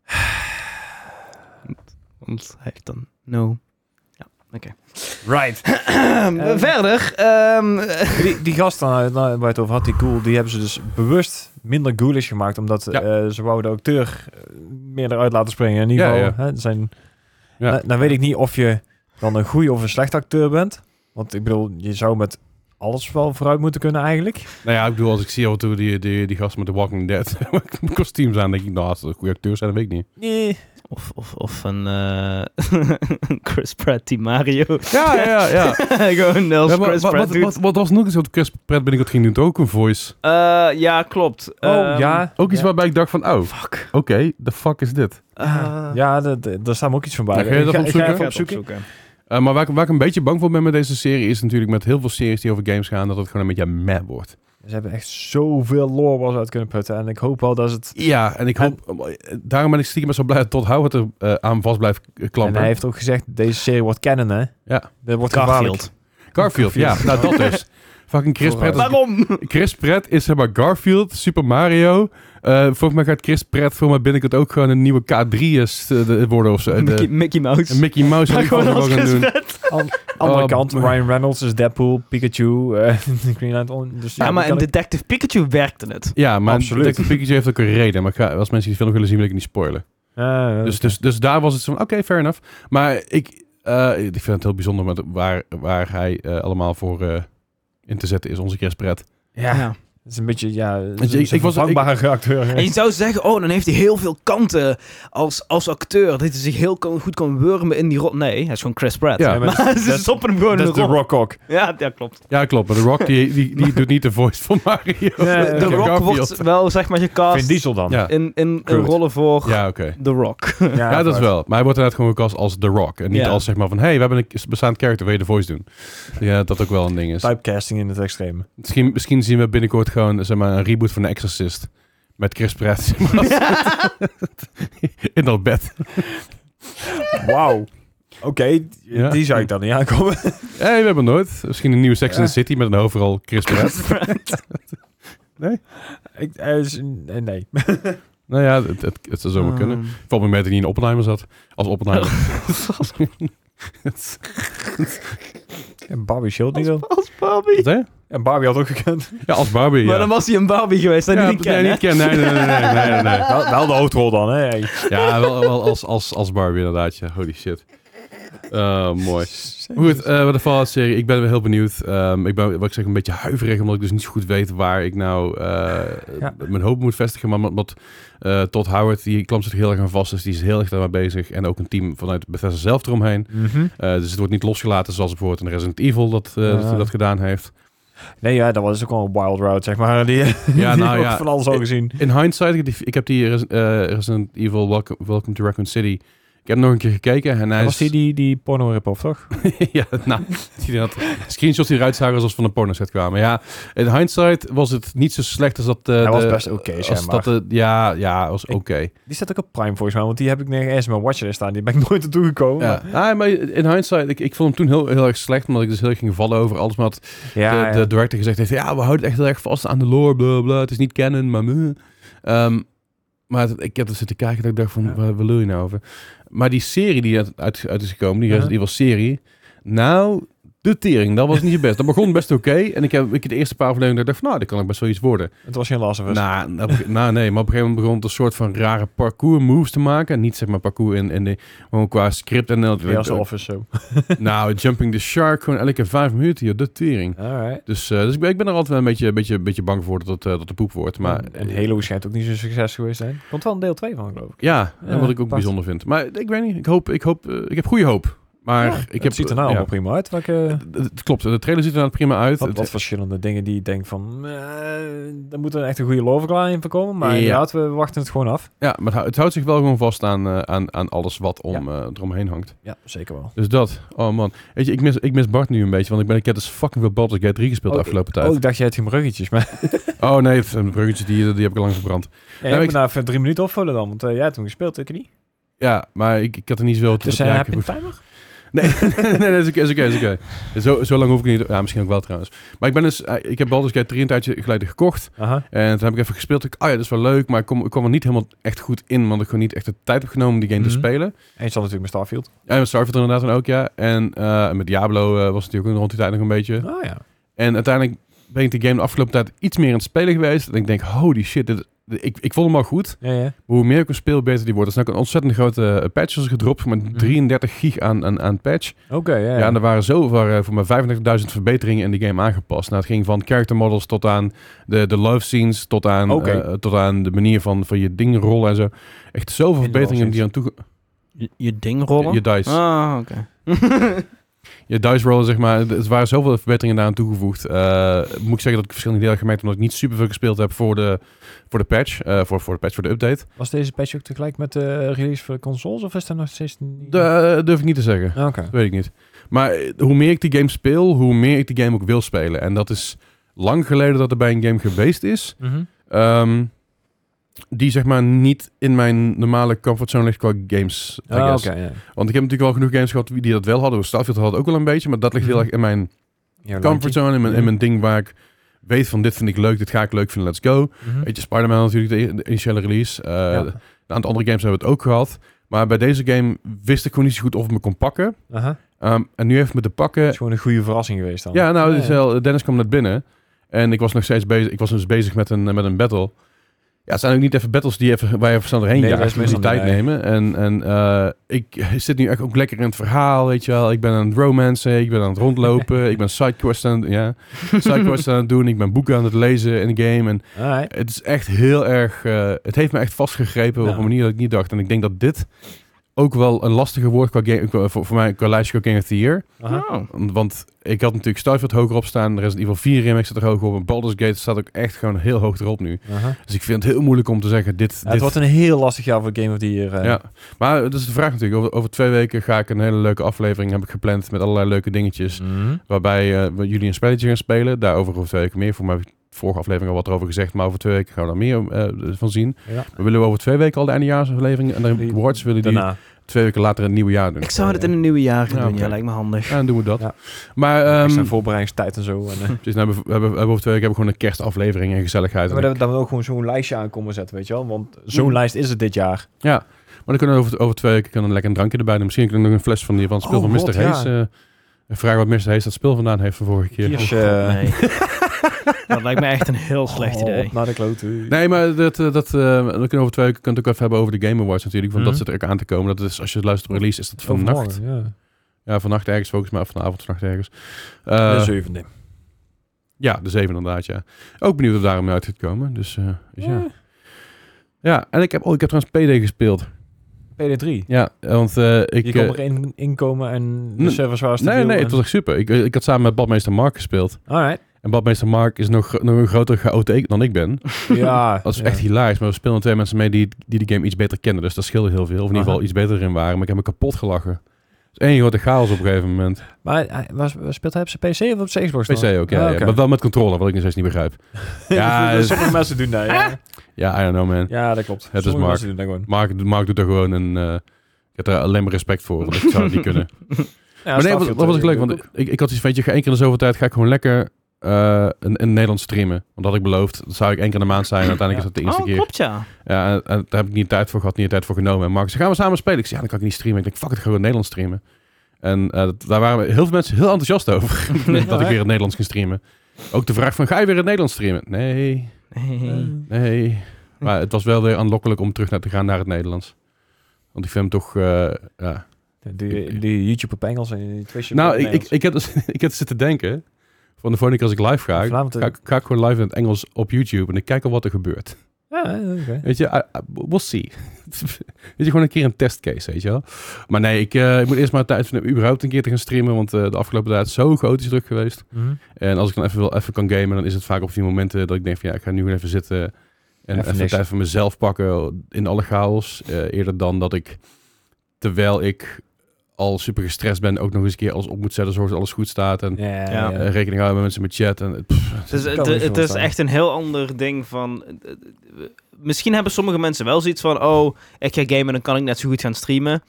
Speaker 4: Want hij heeft dan no.
Speaker 3: Right. Ehm.
Speaker 4: Verder. ehm,
Speaker 3: Die, die gast dan, eh, waar je het over had, die cool, die hebben ze dus bewust minder ghoulish gemaakt. Omdat
Speaker 1: Ja.
Speaker 3: eh, ze wouden de acteur eh, meer eruit laten springen. In ieder
Speaker 1: Ja,
Speaker 3: geval,
Speaker 1: ja.
Speaker 3: Hè, het zijn,
Speaker 1: Ja.
Speaker 3: Nou, nou weet ik niet of je dan een goede of een slechte acteur bent. Want ik bedoel, je zou met alles wel vooruit moeten kunnen eigenlijk.
Speaker 1: Nou ja, ik bedoel, als ik zie af en toe die, die, die gast met The Walking Dead kostuums aan, denk ik, nou, als het goede acteurs zijn, dat weet ik niet.
Speaker 3: Nee.
Speaker 4: of, of, of een eh, Chris Pratt die Mario.
Speaker 1: Ja, ja, ja.
Speaker 4: Gewoon Nels
Speaker 1: Ja, maar
Speaker 4: Chris
Speaker 1: wat,
Speaker 4: Pratt
Speaker 1: wat,
Speaker 4: doet.
Speaker 1: wat, wat was nog eens wat Chris Pratt binnenkort ging doen? Doet Ook een voice.
Speaker 4: Eh, ja, klopt.
Speaker 3: Oh,
Speaker 4: Ehm,
Speaker 3: ja.
Speaker 1: Ook iets
Speaker 3: ja.
Speaker 1: waarbij ik dacht van, oh,
Speaker 4: Fuck.
Speaker 1: oké, the fuck is dit?
Speaker 4: Eh,
Speaker 3: Ja, de- de- daar staat me ook iets van bij.
Speaker 1: Ja, ga je dat
Speaker 3: ik ga
Speaker 1: opzoeken?
Speaker 3: even opzoeken.
Speaker 1: Eh, maar waar, ik- waar ik een beetje bang voor ben met deze serie is natuurlijk met heel veel series die over games gaan, dat het gewoon een beetje mad wordt.
Speaker 3: Ze hebben echt zoveel lore was uit kunnen putten. En ik hoop wel dat ze het...
Speaker 1: Ja, en ik hoop, eh, daarom ben ik stiekem best wel blij dat Todd Howard er eh, aan vast blijft eh,
Speaker 3: En
Speaker 1: klampen.
Speaker 3: hij heeft ook gezegd, deze serie wordt kennen, hè?
Speaker 1: Ja.
Speaker 3: Dat wordt gevaarlijk.
Speaker 4: Garfield.
Speaker 1: Garfield, ja, nou dat dus. Fucking Chris Pratt. is-
Speaker 4: Waarom?
Speaker 1: Chris Pratt is zeg maar Garfield, Super Mario. Eh, volgens mij gaat Chris Pratt voor mij binnenkort ook gewoon een nieuwe K3 is, eh, de- worden of zo. Eh, de-
Speaker 4: Mickey, Mickey Mouse.
Speaker 1: een Mickey Mouse.
Speaker 4: Maar
Speaker 1: zou ik
Speaker 4: gewoon
Speaker 1: volgens
Speaker 4: als
Speaker 1: mij wel
Speaker 4: Chris
Speaker 1: gaan doen.
Speaker 4: Pratt.
Speaker 3: Andere
Speaker 1: Oh,
Speaker 3: kant,
Speaker 1: maar-
Speaker 3: Ryan Reynolds is Deadpool, Pikachu, eh, Green Lantern. Dus
Speaker 4: Ja,
Speaker 3: die
Speaker 4: maar
Speaker 3: kan
Speaker 4: in
Speaker 3: ik-
Speaker 4: Detective Pikachu werkte het.
Speaker 1: Ja, maar
Speaker 3: Absoluut.
Speaker 1: Detective Pikachu heeft ook een reden. Maar ik ga- als mensen die film willen zien, wil ik het niet spoilen.
Speaker 3: Ja, ja.
Speaker 1: Dus, dus, dus daar was het zo van, oké, fair enough. Maar ik, eh, ik vind het heel bijzonder met waar, waar hij eh, allemaal voor eh, in te zetten is, onze Chris Pratt.
Speaker 3: ja, het is een beetje, ja,
Speaker 1: je, ik-
Speaker 3: ik,
Speaker 1: ik was-
Speaker 3: vervangbare acteur.
Speaker 4: En je zou zeggen, oh, dan heeft hij heel veel kanten als, als acteur. Dat hij zich heel kan- goed kan wurmen in die rol. Nee, hij is gewoon Chris Pratt.
Speaker 1: Ja,
Speaker 3: Ja, maar
Speaker 4: maar ze
Speaker 3: dat-
Speaker 4: stoppen hem gewoon
Speaker 3: Dat
Speaker 4: in
Speaker 3: is de
Speaker 4: de rol.
Speaker 3: Rock Hawk.
Speaker 4: Ja, ja, klopt.
Speaker 1: Ja, klopt. Maar The Rock, die, die, die doet niet de voice van Mario.
Speaker 3: Ja, ja,
Speaker 4: De
Speaker 3: ja.
Speaker 1: Van
Speaker 4: Rock
Speaker 1: Garfield.
Speaker 4: wordt wel, zeg maar,
Speaker 3: Vin
Speaker 4: gecast
Speaker 3: Diesel dan.
Speaker 1: Ja,
Speaker 4: in, in, in
Speaker 1: Groot.
Speaker 4: rollen voor
Speaker 1: ja oké.
Speaker 4: The Rock.
Speaker 1: Ja, dat is wel. Maar hij wordt inderdaad gewoon gecast als The Rock. En niet
Speaker 4: Ja.
Speaker 1: als zeg maar van, hey, we hebben een bestaand character, wil je de voice doen? Ja, dat ook wel een ding is.
Speaker 3: Typecasting in het extreme.
Speaker 1: Misschien, misschien zien we binnenkort gewoon zeg maar, een reboot van The Exorcist. Met Chris Pratt zeg maar, als- in dat bed.
Speaker 3: Wauw. Oké,
Speaker 1: Ja.
Speaker 3: die zou ik dan niet aankomen.
Speaker 1: hey, we hebben het nooit. Misschien een nieuwe Sex in
Speaker 3: Ja.
Speaker 1: the City met een overal Chris Pratt.
Speaker 3: ik, eh, is- nee, nee.
Speaker 1: nou ja, het, het, het zou
Speaker 4: Ah.
Speaker 1: zomaar kunnen.
Speaker 4: Oh.
Speaker 1: Valt me mee dat hij niet in Oppenheimer zat. Als Oppenheimer.
Speaker 3: En Barbie Shield niet dan.
Speaker 4: Als Barbie.
Speaker 1: Wat zei je?
Speaker 3: En Barbie had ook gekend.
Speaker 1: Ja, als Barbie, ja.
Speaker 4: Maar dan was hij een Barbie geweest. Dat
Speaker 1: Ja,
Speaker 4: hij niet
Speaker 1: nee,
Speaker 4: kennen.
Speaker 1: niet kennen. Nee, nee, nee, nee, nee, nee, nee.
Speaker 3: Wel, wel de hoofdrol dan, hè. Hey.
Speaker 1: Ja, wel, wel als, als, als Barbie inderdaad. ja. Holy shit. Eh, mooi. Goed, eh wat de Fallout-serie. Ik ben wel heel benieuwd. Ehm, ik ben, wat ik zeg, een beetje huiverig, omdat ik dus niet zo goed weet waar ik nou eh,
Speaker 3: Ja.
Speaker 1: mijn hoop moet vestigen. Maar wat eh Todd Howard, die klampt zich er heel erg aan vast, dus die is heel erg daarmee bezig. En ook een team vanuit Bethesda zelf eromheen. Eh, dus het wordt niet losgelaten zoals bijvoorbeeld in Resident Evil dat, eh, dat,
Speaker 3: Ja.
Speaker 1: dat gedaan heeft.
Speaker 3: Nee, ja, dat was ook wel een wild route, zeg maar. Die,
Speaker 1: Ja,
Speaker 3: die
Speaker 1: nou
Speaker 3: wordt
Speaker 1: ja.
Speaker 3: van alles al gezien.
Speaker 1: In hindsight, ik heb die, ik heb die Res- eh, Resident Evil Welcome, Welcome to Raccoon City... Ik heb nog een keer gekeken en hij
Speaker 3: was
Speaker 1: is...
Speaker 3: die die, die porno rip-off, toch?
Speaker 1: ja, nou, die had screenshots die eruit zagen alsof ze van een pornoset kwamen. Ja, in hindsight was het niet zo slecht als dat... eh,
Speaker 3: dat was
Speaker 1: de-
Speaker 3: best oké,
Speaker 1: als
Speaker 3: zeg maar.
Speaker 1: dat de- ja, ja, was
Speaker 3: Ik-
Speaker 1: oké.
Speaker 3: Die staat ook op Prime volgens mij, want die heb ik nergens in mijn watchlist staan. Die ben ik nooit naartoe gekomen.
Speaker 1: Ja. Ah, maar in hindsight, ik, ik vond hem toen heel, heel erg slecht, omdat ik dus heel erg ging vallen over alles. Maar had de,
Speaker 3: ja,
Speaker 1: de director gezegd heeft, ja, we houden het echt heel erg vast aan de lore, bla bla. Het is niet canon, maar meh. Ehm, maar het- ik heb er zitten kijken dat ik dacht van,
Speaker 3: Ja.
Speaker 1: waar, waar lul je nou over? Maar die serie die uit, uit, uit is gekomen, die
Speaker 3: Ja.
Speaker 1: Resident Evil serie, nou, de tering, dat was niet je best. Dat begon best oké. En ik heb ik heb de eerste paar afleveringen dacht ik van, nou, dat kan ik best wel iets worden.
Speaker 3: Het was geen Last of Us.
Speaker 1: Nou, dat beg- nou, nee, maar op een gegeven moment begon het een soort van rare parcours moves te maken. Niet zeg maar parcours in, in de, gewoon qua script en dat.
Speaker 3: Weer als de Office zo.
Speaker 1: nou, Jumping the Shark, gewoon elke vijf minuten, joh, de tering.
Speaker 3: Alright.
Speaker 1: Dus, eh, dus ik, ben, ik ben er altijd wel een beetje, beetje, beetje bang voor dat het eh, dat de poep wordt. Maar,
Speaker 3: Maar en Halo schijnt ook niet zo'n succes geweest te zijn. Komt wel een deel 2 van, geloof ik.
Speaker 1: Ja, en
Speaker 3: Ja,
Speaker 1: wat ik ook
Speaker 3: past.
Speaker 1: bijzonder vind. Maar ik weet niet, ik hoop, ik hoop, eh, ik heb goede hoop. Maar
Speaker 3: Ja,
Speaker 1: ik heb...
Speaker 3: het ziet er nou
Speaker 1: ja.
Speaker 3: allemaal prima uit. Welke,
Speaker 1: Het- Het klopt, de trailer ziet er nou prima uit.
Speaker 3: wat,
Speaker 1: Het-
Speaker 3: wat verschillende dingen die ik denk van... eh daar moet er echt een goede loverklaring van komen. Maar
Speaker 1: Ja.
Speaker 3: inderdaad, we wachten het gewoon af.
Speaker 1: ja, maar het hou- het houdt zich wel gewoon vast aan, eh, aan, aan alles wat om, eh, eromheen hangt.
Speaker 3: Ja, zeker wel.
Speaker 1: Dus dat, oh man. Weet je, ik mis, ik mis Bart nu een beetje, want ik, ben, ik heb dus fucking veel Baldur's Gate 3 gespeeld de
Speaker 3: Oh,
Speaker 1: afgelopen
Speaker 3: Oh,
Speaker 1: tijd.
Speaker 3: ik dacht jij hebt geen bruggetjes. Maar
Speaker 1: Oh, nee, het, een bruggetje die, die heb ik al lang verbrand.
Speaker 3: ja,
Speaker 1: maar
Speaker 3: je
Speaker 1: ik-
Speaker 3: moet nou even drie minuten opvullen dan. Want eh, jij hebt toen gespeeld, ik niet.
Speaker 1: Ja, maar ik, ik had er niet zoveel...
Speaker 3: Dus
Speaker 1: ja,
Speaker 3: eh,
Speaker 1: ik
Speaker 3: heb je
Speaker 1: heb
Speaker 3: een
Speaker 1: ook-
Speaker 3: timer?
Speaker 1: Nee, nee, nee, dat is oké, is oké, is oké. Zo, zo lang hoef ik niet... Ja, misschien ook wel trouwens. Maar ik ben dus... eh, Ik heb Baldur's Gate 3 een tijdje geleden gekocht.
Speaker 3: Aha.
Speaker 1: En toen heb ik even gespeeld. Ik, ah ja, dat is wel leuk. Maar ik kom, ik kwam er niet helemaal echt goed in. Want ik gewoon niet echt de tijd heb genomen om die game
Speaker 3: Mhm.
Speaker 1: te spelen.
Speaker 3: Eens zal natuurlijk met Starfield.
Speaker 1: En met Starfield inderdaad dan ook, ja. En eh, met Diablo eh, was het natuurlijk ook rond die tijd nog een beetje.
Speaker 3: Oh ja.
Speaker 1: En uiteindelijk ben ik die game de afgelopen tijd iets meer aan het spelen geweest. En ik denk, holy shit, dit, dit- ik, ik vond hem al goed.
Speaker 3: Ja, ja.
Speaker 1: Maar hoe meer ik hem speel, beter die wordt. Er is nou ook een ontzettend grote eh, patch als gedropt. Met 33 gig aan, aan, aan patch.
Speaker 3: Oké, ja.
Speaker 1: Ja, en er waren zo waren voor mijn 35.000 verbeteringen in die game aangepast. Nou, het ging van character models tot aan de, de love scenes, tot aan,
Speaker 3: Oké.
Speaker 1: eh, tot aan de manier van, van je ding rollen en zo. Echt zoveel
Speaker 3: In de
Speaker 1: verbeteringen
Speaker 3: love
Speaker 1: die aan toe
Speaker 4: Je, je ding rollen?
Speaker 1: Je dice.
Speaker 4: Ah, oké.
Speaker 1: Je dice rollen, zeg maar. Er waren zoveel verbeteringen daaraan toegevoegd. Eh, moet ik zeggen dat ik verschillende delen heb gemerkt, omdat ik niet super veel gespeeld heb voor de, voor de patch. eh, voor, voor de patch, voor de update.
Speaker 3: Was deze patch ook tegelijk met de release voor de consoles? Of is dat nog steeds niet... Ah,
Speaker 1: Dat durf ik niet te zeggen.
Speaker 3: Oké.
Speaker 1: Dat weet ik niet. Maar eh, hoe meer ik die game speel, hoe meer ik die game ook wil spelen. En dat is lang geleden dat er bij een game geweest is.
Speaker 3: Mhm.
Speaker 1: Ehm, die zeg maar niet in mijn normale comfortzone ligt qua games. I
Speaker 3: Ah,
Speaker 1: guess.
Speaker 3: Oké, ja.
Speaker 1: Want ik heb natuurlijk wel genoeg games gehad die dat wel hadden. Starfield had ook wel een beetje, maar dat ligt heel
Speaker 3: Mhm.
Speaker 1: erg in mijn
Speaker 3: Jouw lijntje.
Speaker 1: comfortzone, in mijn, in mijn ding waar ik weet van dit vind ik leuk, dit ga ik leuk vinden, let's go.
Speaker 3: Mhm.
Speaker 1: Weet je, Spider-Man natuurlijk, de, de initiële release. Eh,
Speaker 3: Ja.
Speaker 1: Een aantal andere games hebben we het ook gehad. Maar bij deze game wist ik gewoon niet zo goed of het me kon pakken.
Speaker 3: Aha.
Speaker 1: Ehm, en nu heeft het me te pakken
Speaker 3: Het is gewoon een goede verrassing geweest dan.
Speaker 1: Ja, nou,
Speaker 3: Ja,
Speaker 1: het is
Speaker 3: ja.
Speaker 1: wel- Dennis kwam net binnen. En ik was nog steeds bezig. Ik was dus bezig met een, eh, met een battle. Ja, het zijn ook niet even battles die even, waar je even snel doorheen
Speaker 3: Nee,
Speaker 1: jaagt.
Speaker 3: dat is
Speaker 1: Je moet die
Speaker 3: meestal
Speaker 1: tijd
Speaker 3: niet,
Speaker 1: nemen. En, en eh, ik zit nu echt ook lekker in het verhaal, weet je wel. Ik ben aan het romancen, ik ben aan het rondlopen. ik ben sidequests aan, het- ja, sidequests aan het doen. Ik ben boeken aan het lezen in de game. En
Speaker 3: Alright.
Speaker 1: het is echt heel erg... eh, het heeft me echt vastgegrepen op
Speaker 3: Ja.
Speaker 1: een manier dat ik niet dacht. En ik denk dat dit ook wel een lastige woord qua game, qua- voor, voor mij qua lijstje qua Game of the Year.
Speaker 3: Aha.
Speaker 4: Oh.
Speaker 1: Want ik had natuurlijk Starfield hoger op staan. Resident Evil 4 remake staat er hoog op. En Baldur's Gate staat ook echt gewoon heel hoog erop nu.
Speaker 3: Aha.
Speaker 1: Dus ik vind het heel moeilijk om te zeggen dit...
Speaker 3: Ja, het
Speaker 1: dit
Speaker 3: wordt een heel lastig jaar voor Game of the Year. eh.
Speaker 1: ja. Maar dat is de vraag natuurlijk. Over, over twee weken ga ik een hele leuke aflevering heb ik gepland met allerlei leuke dingetjes.
Speaker 3: Mhm.
Speaker 1: Waarbij eh, we jullie een spelletje gaan spelen. Daarover over twee weken meer. Voor mij heb ik de vorige aflevering al wat over gezegd. Maar over twee weken gaan we daar meer eh, van zien.
Speaker 3: Ja.
Speaker 1: We willen over twee weken al de eindejaarsaflevering. En de
Speaker 3: Die-
Speaker 1: awards willen die
Speaker 3: Daarna.
Speaker 1: twee weken later in het nieuwe jaar doen.
Speaker 4: Ik zou dit in een nieuwe jaar gaan
Speaker 1: Ja,
Speaker 4: doen.
Speaker 1: oké.
Speaker 4: Ja, lijkt me handig.
Speaker 1: Ja, dan doen we dat.
Speaker 3: Ja.
Speaker 1: Maar...
Speaker 3: Extra
Speaker 1: ehm,
Speaker 3: voorbereidingstijd en zo. En, eh.
Speaker 1: Dus nou, hebben we hebben, hebben we over twee weken hebben we gewoon een kerstaflevering en gezelligheid.
Speaker 3: maar
Speaker 1: En-
Speaker 3: dat, dat we ook gewoon zo'n lijstje aankomen zetten, weet je wel. Want
Speaker 1: Mm.
Speaker 3: zo'n lijst is het dit jaar.
Speaker 1: ja, maar dan kunnen we over, over twee weken kunnen we lekker een drankje erbij doen. Misschien kunnen we nog een fles van die van het speel
Speaker 3: Oh,
Speaker 1: van
Speaker 3: God,
Speaker 1: Mr.
Speaker 3: ja.
Speaker 1: Hayes. eh, en vragen wat Mr. Hayes dat speel vandaan heeft van vorige keer.
Speaker 3: Kirsch,
Speaker 4: Oh,
Speaker 3: eh,
Speaker 4: God, nee. dat lijkt me echt een heel slecht
Speaker 3: oh,
Speaker 4: idee.
Speaker 3: op Naar de klote.
Speaker 1: Nee, maar dat, eh, dat, eh, dan kunnen we over twee weken kunnen we het ook even hebben over de Game Awards natuurlijk. Want
Speaker 3: Mhm.
Speaker 1: dat zit er ook aan te komen. Dat is, als je het luistert op release, is dat vannacht.
Speaker 3: Overmorgen, Ja.
Speaker 1: Ja, vannacht ergens volgens mij. Of vanavond, vannacht ergens. Eh,
Speaker 3: de zevende.
Speaker 1: ja, de zeven inderdaad, ja. Ook benieuwd of daarom uit gaat komen. Dus, eh, dus ja. Ja, en ik heb, oh, ik heb trouwens PD gespeeld.
Speaker 3: PD3.
Speaker 1: Ja, want eh, ik...
Speaker 3: Je kon
Speaker 1: eh,
Speaker 3: er één inkomen en de
Speaker 1: Nee,
Speaker 3: servers waren
Speaker 1: Nee,
Speaker 3: stabiel
Speaker 1: nee,
Speaker 3: en-
Speaker 1: het was echt super. Ik, ik had samen met badmeester Mark gespeeld.
Speaker 3: Alright.
Speaker 1: En badmeester Mark is nog, nog een grotere chaot dan ik ben.
Speaker 3: Ja.
Speaker 1: Dat is
Speaker 3: ja.
Speaker 1: echt hilarisch. Maar we speelden twee mensen mee die, die de game iets beter kennen. Dus dat scheelde heel veel. Of in ieder geval
Speaker 3: Aha.
Speaker 1: iets beter in waren. Maar ik heb me kapot gelachen. Het is één grote chaos op een gegeven moment.
Speaker 3: Maar hij was, speelt hij op zijn PC of op zijn Xbox?
Speaker 1: PC ook,
Speaker 3: Ah,
Speaker 1: ja, ja. Maar wel met controle, wat ik nog steeds niet begrijp. Ja,
Speaker 3: Ja,
Speaker 1: dus-
Speaker 3: sommige mensen doen dat, ja.
Speaker 1: Ja, I don't know, man.
Speaker 3: Ja, dat klopt.
Speaker 1: is
Speaker 3: Sommige
Speaker 1: Mark.
Speaker 3: mensen doen dat gewoon.
Speaker 1: Mark, Mark doet er gewoon een... eh, ik heb daar alleen maar respect voor. Want ik zou het niet kunnen.
Speaker 3: Ja,
Speaker 1: maar nee, dat was,
Speaker 3: Starfield,
Speaker 1: dat was ook
Speaker 3: eh,
Speaker 1: leuk, want
Speaker 3: doe ik
Speaker 1: ik, ik had iets van, weet je, ga één keer in de zoveel tijd ga ik gewoon lekker eh in, in Nederland streamen. Want dat had ik beloofd, dat zou ik één keer in de maand zijn. En uiteindelijk is dat de
Speaker 4: Oh,
Speaker 1: eerste keer.
Speaker 4: klopt ja.
Speaker 1: Ja, en, en daar heb ik niet de tijd voor gehad, niet de tijd voor genomen. En Mark zei, gaan we samen spelen? Ik zei, ja, dan kan ik niet streamen. Ik denk, fuck het, ga gewoon in Nederland streamen. En eh, dat- daar waren heel veel mensen heel enthousiast over. dat ik weer in het Nederlands ging streamen. Ook de vraag van, ga je weer in het Nederlands streamen? Nee,
Speaker 4: Eh.
Speaker 1: nee. Maar het was wel weer aanlokkelijk om terug naar te gaan naar het Nederlands. Want ik vind hem toch... eh, ja.
Speaker 3: Die, die YouTube op Engels en die Twitch op
Speaker 1: Nou, ik, ik,
Speaker 3: Nederlands.
Speaker 1: ik, heb dus, ik heb zitten denken... Van de volgende keer als ik live ga,
Speaker 3: Vanavond, eh,
Speaker 1: ga, ik- ga ik gewoon live in het Engels op YouTube. En ik kijk al wat er gebeurt.
Speaker 3: Ja, eh, oké.
Speaker 1: Weet je, I- I- we'll see. weet je, gewoon een keer een testcase, weet je wel. Maar nee, ik, eh, ik moet eerst maar tijd vinden om überhaupt een keer te gaan streamen. Want eh, de afgelopen tijd is zo chaotisch druk geweest.
Speaker 3: Mhm.
Speaker 1: En als ik dan even, wil, even kan gamen, dan is het vaak op die momenten dat ik denk van... Ja, ik ga nu gewoon even zitten en
Speaker 3: Even
Speaker 1: even,
Speaker 3: niks.
Speaker 1: tijd voor mezelf pakken in alle chaos. Eh, eerder dan dat ik, terwijl ik al super gestrest ben, ook nog eens een keer alles op moet zetten. Zorg dat alles goed staat en...
Speaker 3: Ja,
Speaker 4: Ja.
Speaker 3: ja.
Speaker 1: eh, rekening houden met mensen met chat. En, pff,
Speaker 4: Dus
Speaker 3: kan
Speaker 4: het,
Speaker 3: me niet
Speaker 4: het is
Speaker 3: voorstellen.
Speaker 4: echt een heel ander ding van... eh, eh, Misschien hebben sommige mensen wel zoiets van... Oh, ik ga gamen, dan kan ik net zo goed gaan streamen.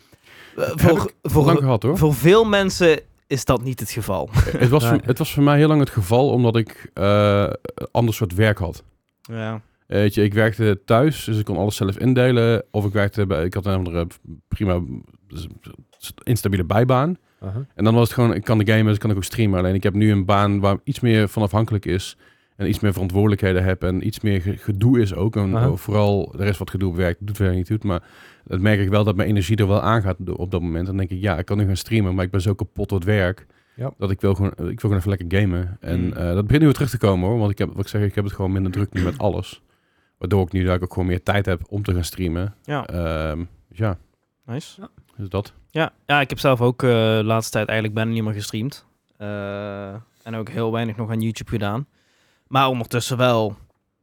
Speaker 4: Eh, voor,
Speaker 1: lang
Speaker 4: voor,
Speaker 1: gehad hoor.
Speaker 4: voor veel mensen is dat niet het geval.
Speaker 1: het, was
Speaker 3: Ja.
Speaker 1: voor, het was voor mij heel lang het geval omdat ik eh, een ander soort werk had.
Speaker 4: Ja.
Speaker 1: Eh, Weet je, ik werkte thuis, dus ik kon alles zelf indelen. Of ik werkte bij, ik had een andere prima dus, instabiele bijbaan.
Speaker 3: Aha.
Speaker 1: En dan was het gewoon, ik kan de gamen, dus kan ik ook streamen. Alleen ik heb nu een baan waar iets meer van afhankelijk is. En iets meer verantwoordelijkheden heb. En iets meer ge- gedoe is ook. En
Speaker 3: Aha.
Speaker 1: eh, vooral, er is wat gedoe op werk, doet verder niet goed. Maar dat merk ik wel dat mijn energie er wel aan gaat do- op dat moment. Dan denk ik, ja, ik kan nu gaan streamen, maar ik ben zo kapot door het werk.
Speaker 3: Ja.
Speaker 1: Dat ik wil gewoon, ik wil gewoon even lekker gamen. En
Speaker 4: Mm.
Speaker 1: eh, dat begint nu weer terug te komen hoor. Want ik heb, wat ik zeg, ik heb het gewoon minder druk nu met alles. Waardoor ik nu daar ook gewoon meer tijd heb om te gaan streamen.
Speaker 4: Ja.
Speaker 1: Ehm, dus ja,
Speaker 4: Nice.
Speaker 1: dus dat.
Speaker 4: Ja, ja ik heb zelf ook eh, de laatste tijd eigenlijk bijna niet meer gestreamd. Eh, en ook heel weinig nog aan YouTube gedaan. Maar ondertussen wel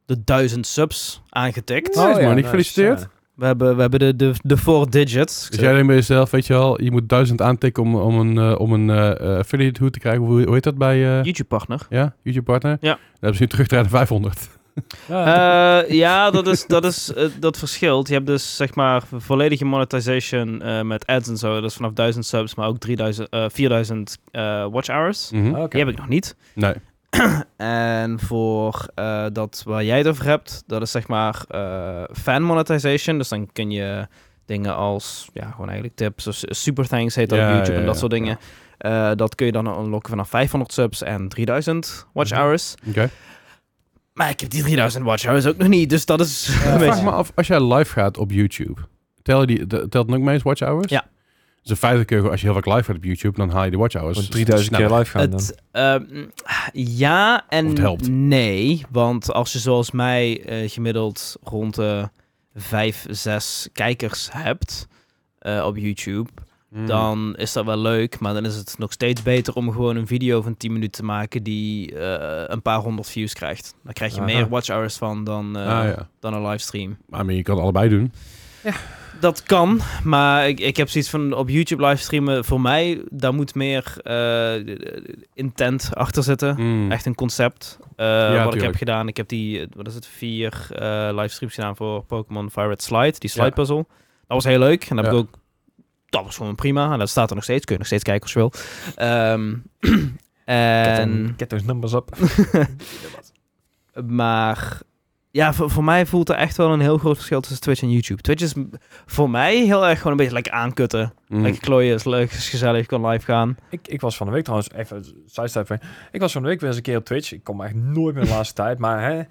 Speaker 4: de duizend subs aangetikt.
Speaker 1: Nice, man.
Speaker 3: nice,
Speaker 1: Gefeliciteerd.
Speaker 3: Oh, ja. nou,
Speaker 4: We hebben, we hebben de, de, de four digits.
Speaker 1: Dus jij denkt bij jezelf, weet je wel, je moet duizend aantikken om, om een, eh, om een eh, affiliate hoed te krijgen. Hoe, hoe heet dat bij eh,
Speaker 4: YouTube partner.
Speaker 1: ja, YouTube partner?
Speaker 4: Ja.
Speaker 1: Dan hebben ze nu teruggedraaid naar 500.
Speaker 3: Ja.
Speaker 4: Eh, ja, dat, is, dat, is, eh, dat verschilt. Je hebt dus zeg maar volledige monetization eh, met ads en zo. Dat is vanaf 1000 subs, maar ook 3000, eh, 4000 eh, watch hours.
Speaker 1: Mhm.
Speaker 3: Oké.
Speaker 4: Die heb ik nog niet.
Speaker 1: Nee.
Speaker 4: En voor eh, dat waar jij het over hebt, dat is zeg maar eh, fan monetization. Dus dan kun je dingen als, ja, gewoon eigenlijk tips, of super thanks heet dat
Speaker 1: Ja,
Speaker 4: op YouTube
Speaker 1: ja,
Speaker 4: en dat
Speaker 1: ja.
Speaker 4: soort dingen. Eh, dat kun je dan unlocken vanaf 500 subs en 3000 watch
Speaker 3: Mhm.
Speaker 4: hours.
Speaker 1: Oké.
Speaker 4: Maar ik heb die 3000 watch hours ook nog niet, dus dat is een
Speaker 1: Vraag
Speaker 4: beetje...
Speaker 1: me af, als jij live gaat op YouTube, tel je die, de- telt het ook mee als watch hours?
Speaker 4: Ja.
Speaker 1: Dus in feite kun je, als je heel vaak live gaat op YouTube, dan haal je de watch hours.
Speaker 3: Gewoon 3000 keer
Speaker 1: sneller.
Speaker 3: live gaan dan.
Speaker 4: Het, ehm, ja en
Speaker 1: Of het helpt.
Speaker 4: nee, want als je zoals mij eh, gemiddeld rond de 5, 6 kijkers hebt eh, op YouTube,
Speaker 1: Mm.
Speaker 4: dan is dat wel leuk. Maar dan is het nog steeds beter om gewoon een video van 10 minuten te maken die eh, een paar honderd views krijgt. Dan krijg je
Speaker 3: Aha.
Speaker 4: meer watch hours van dan, eh,
Speaker 1: ah, ja.
Speaker 4: dan een livestream.
Speaker 1: Maar I mean, je kan het allebei doen.
Speaker 4: Dat kan, maar ik, ik heb zoiets van op YouTube livestreamen, voor mij, daar moet meer eh, intent achter zitten.
Speaker 1: Mm.
Speaker 4: Echt een concept. eh, wat ik heb
Speaker 1: tuurlijk.
Speaker 4: gedaan. Ik heb die, eh, wat is het, vier eh livestreams gedaan voor Pokémon Fire Red Slide. Die slide puzzle. Dat was heel leuk. En dat heb
Speaker 1: Ja.
Speaker 4: ik ook... Dat was gewoon prima. En dat staat er nog steeds. Kun je nog steeds kijken als je wil. Ehm,
Speaker 3: Get
Speaker 4: en...
Speaker 3: them- Get those numbers up.
Speaker 4: Maar ja, voor, voor mij voelt er echt wel een heel groot verschil tussen Twitch en YouTube. Twitch is m- voor mij heel erg gewoon een beetje lekker aankutten.
Speaker 1: Mm.
Speaker 4: Lekker klooien, is leuk, is gezellig, je kan live gaan.
Speaker 3: Ik, ik was van de week trouwens, even sidesteppen. Ik was van de week weer eens een keer op Twitch. Ik kom echt nooit meer de laatste tijd. Maar hè,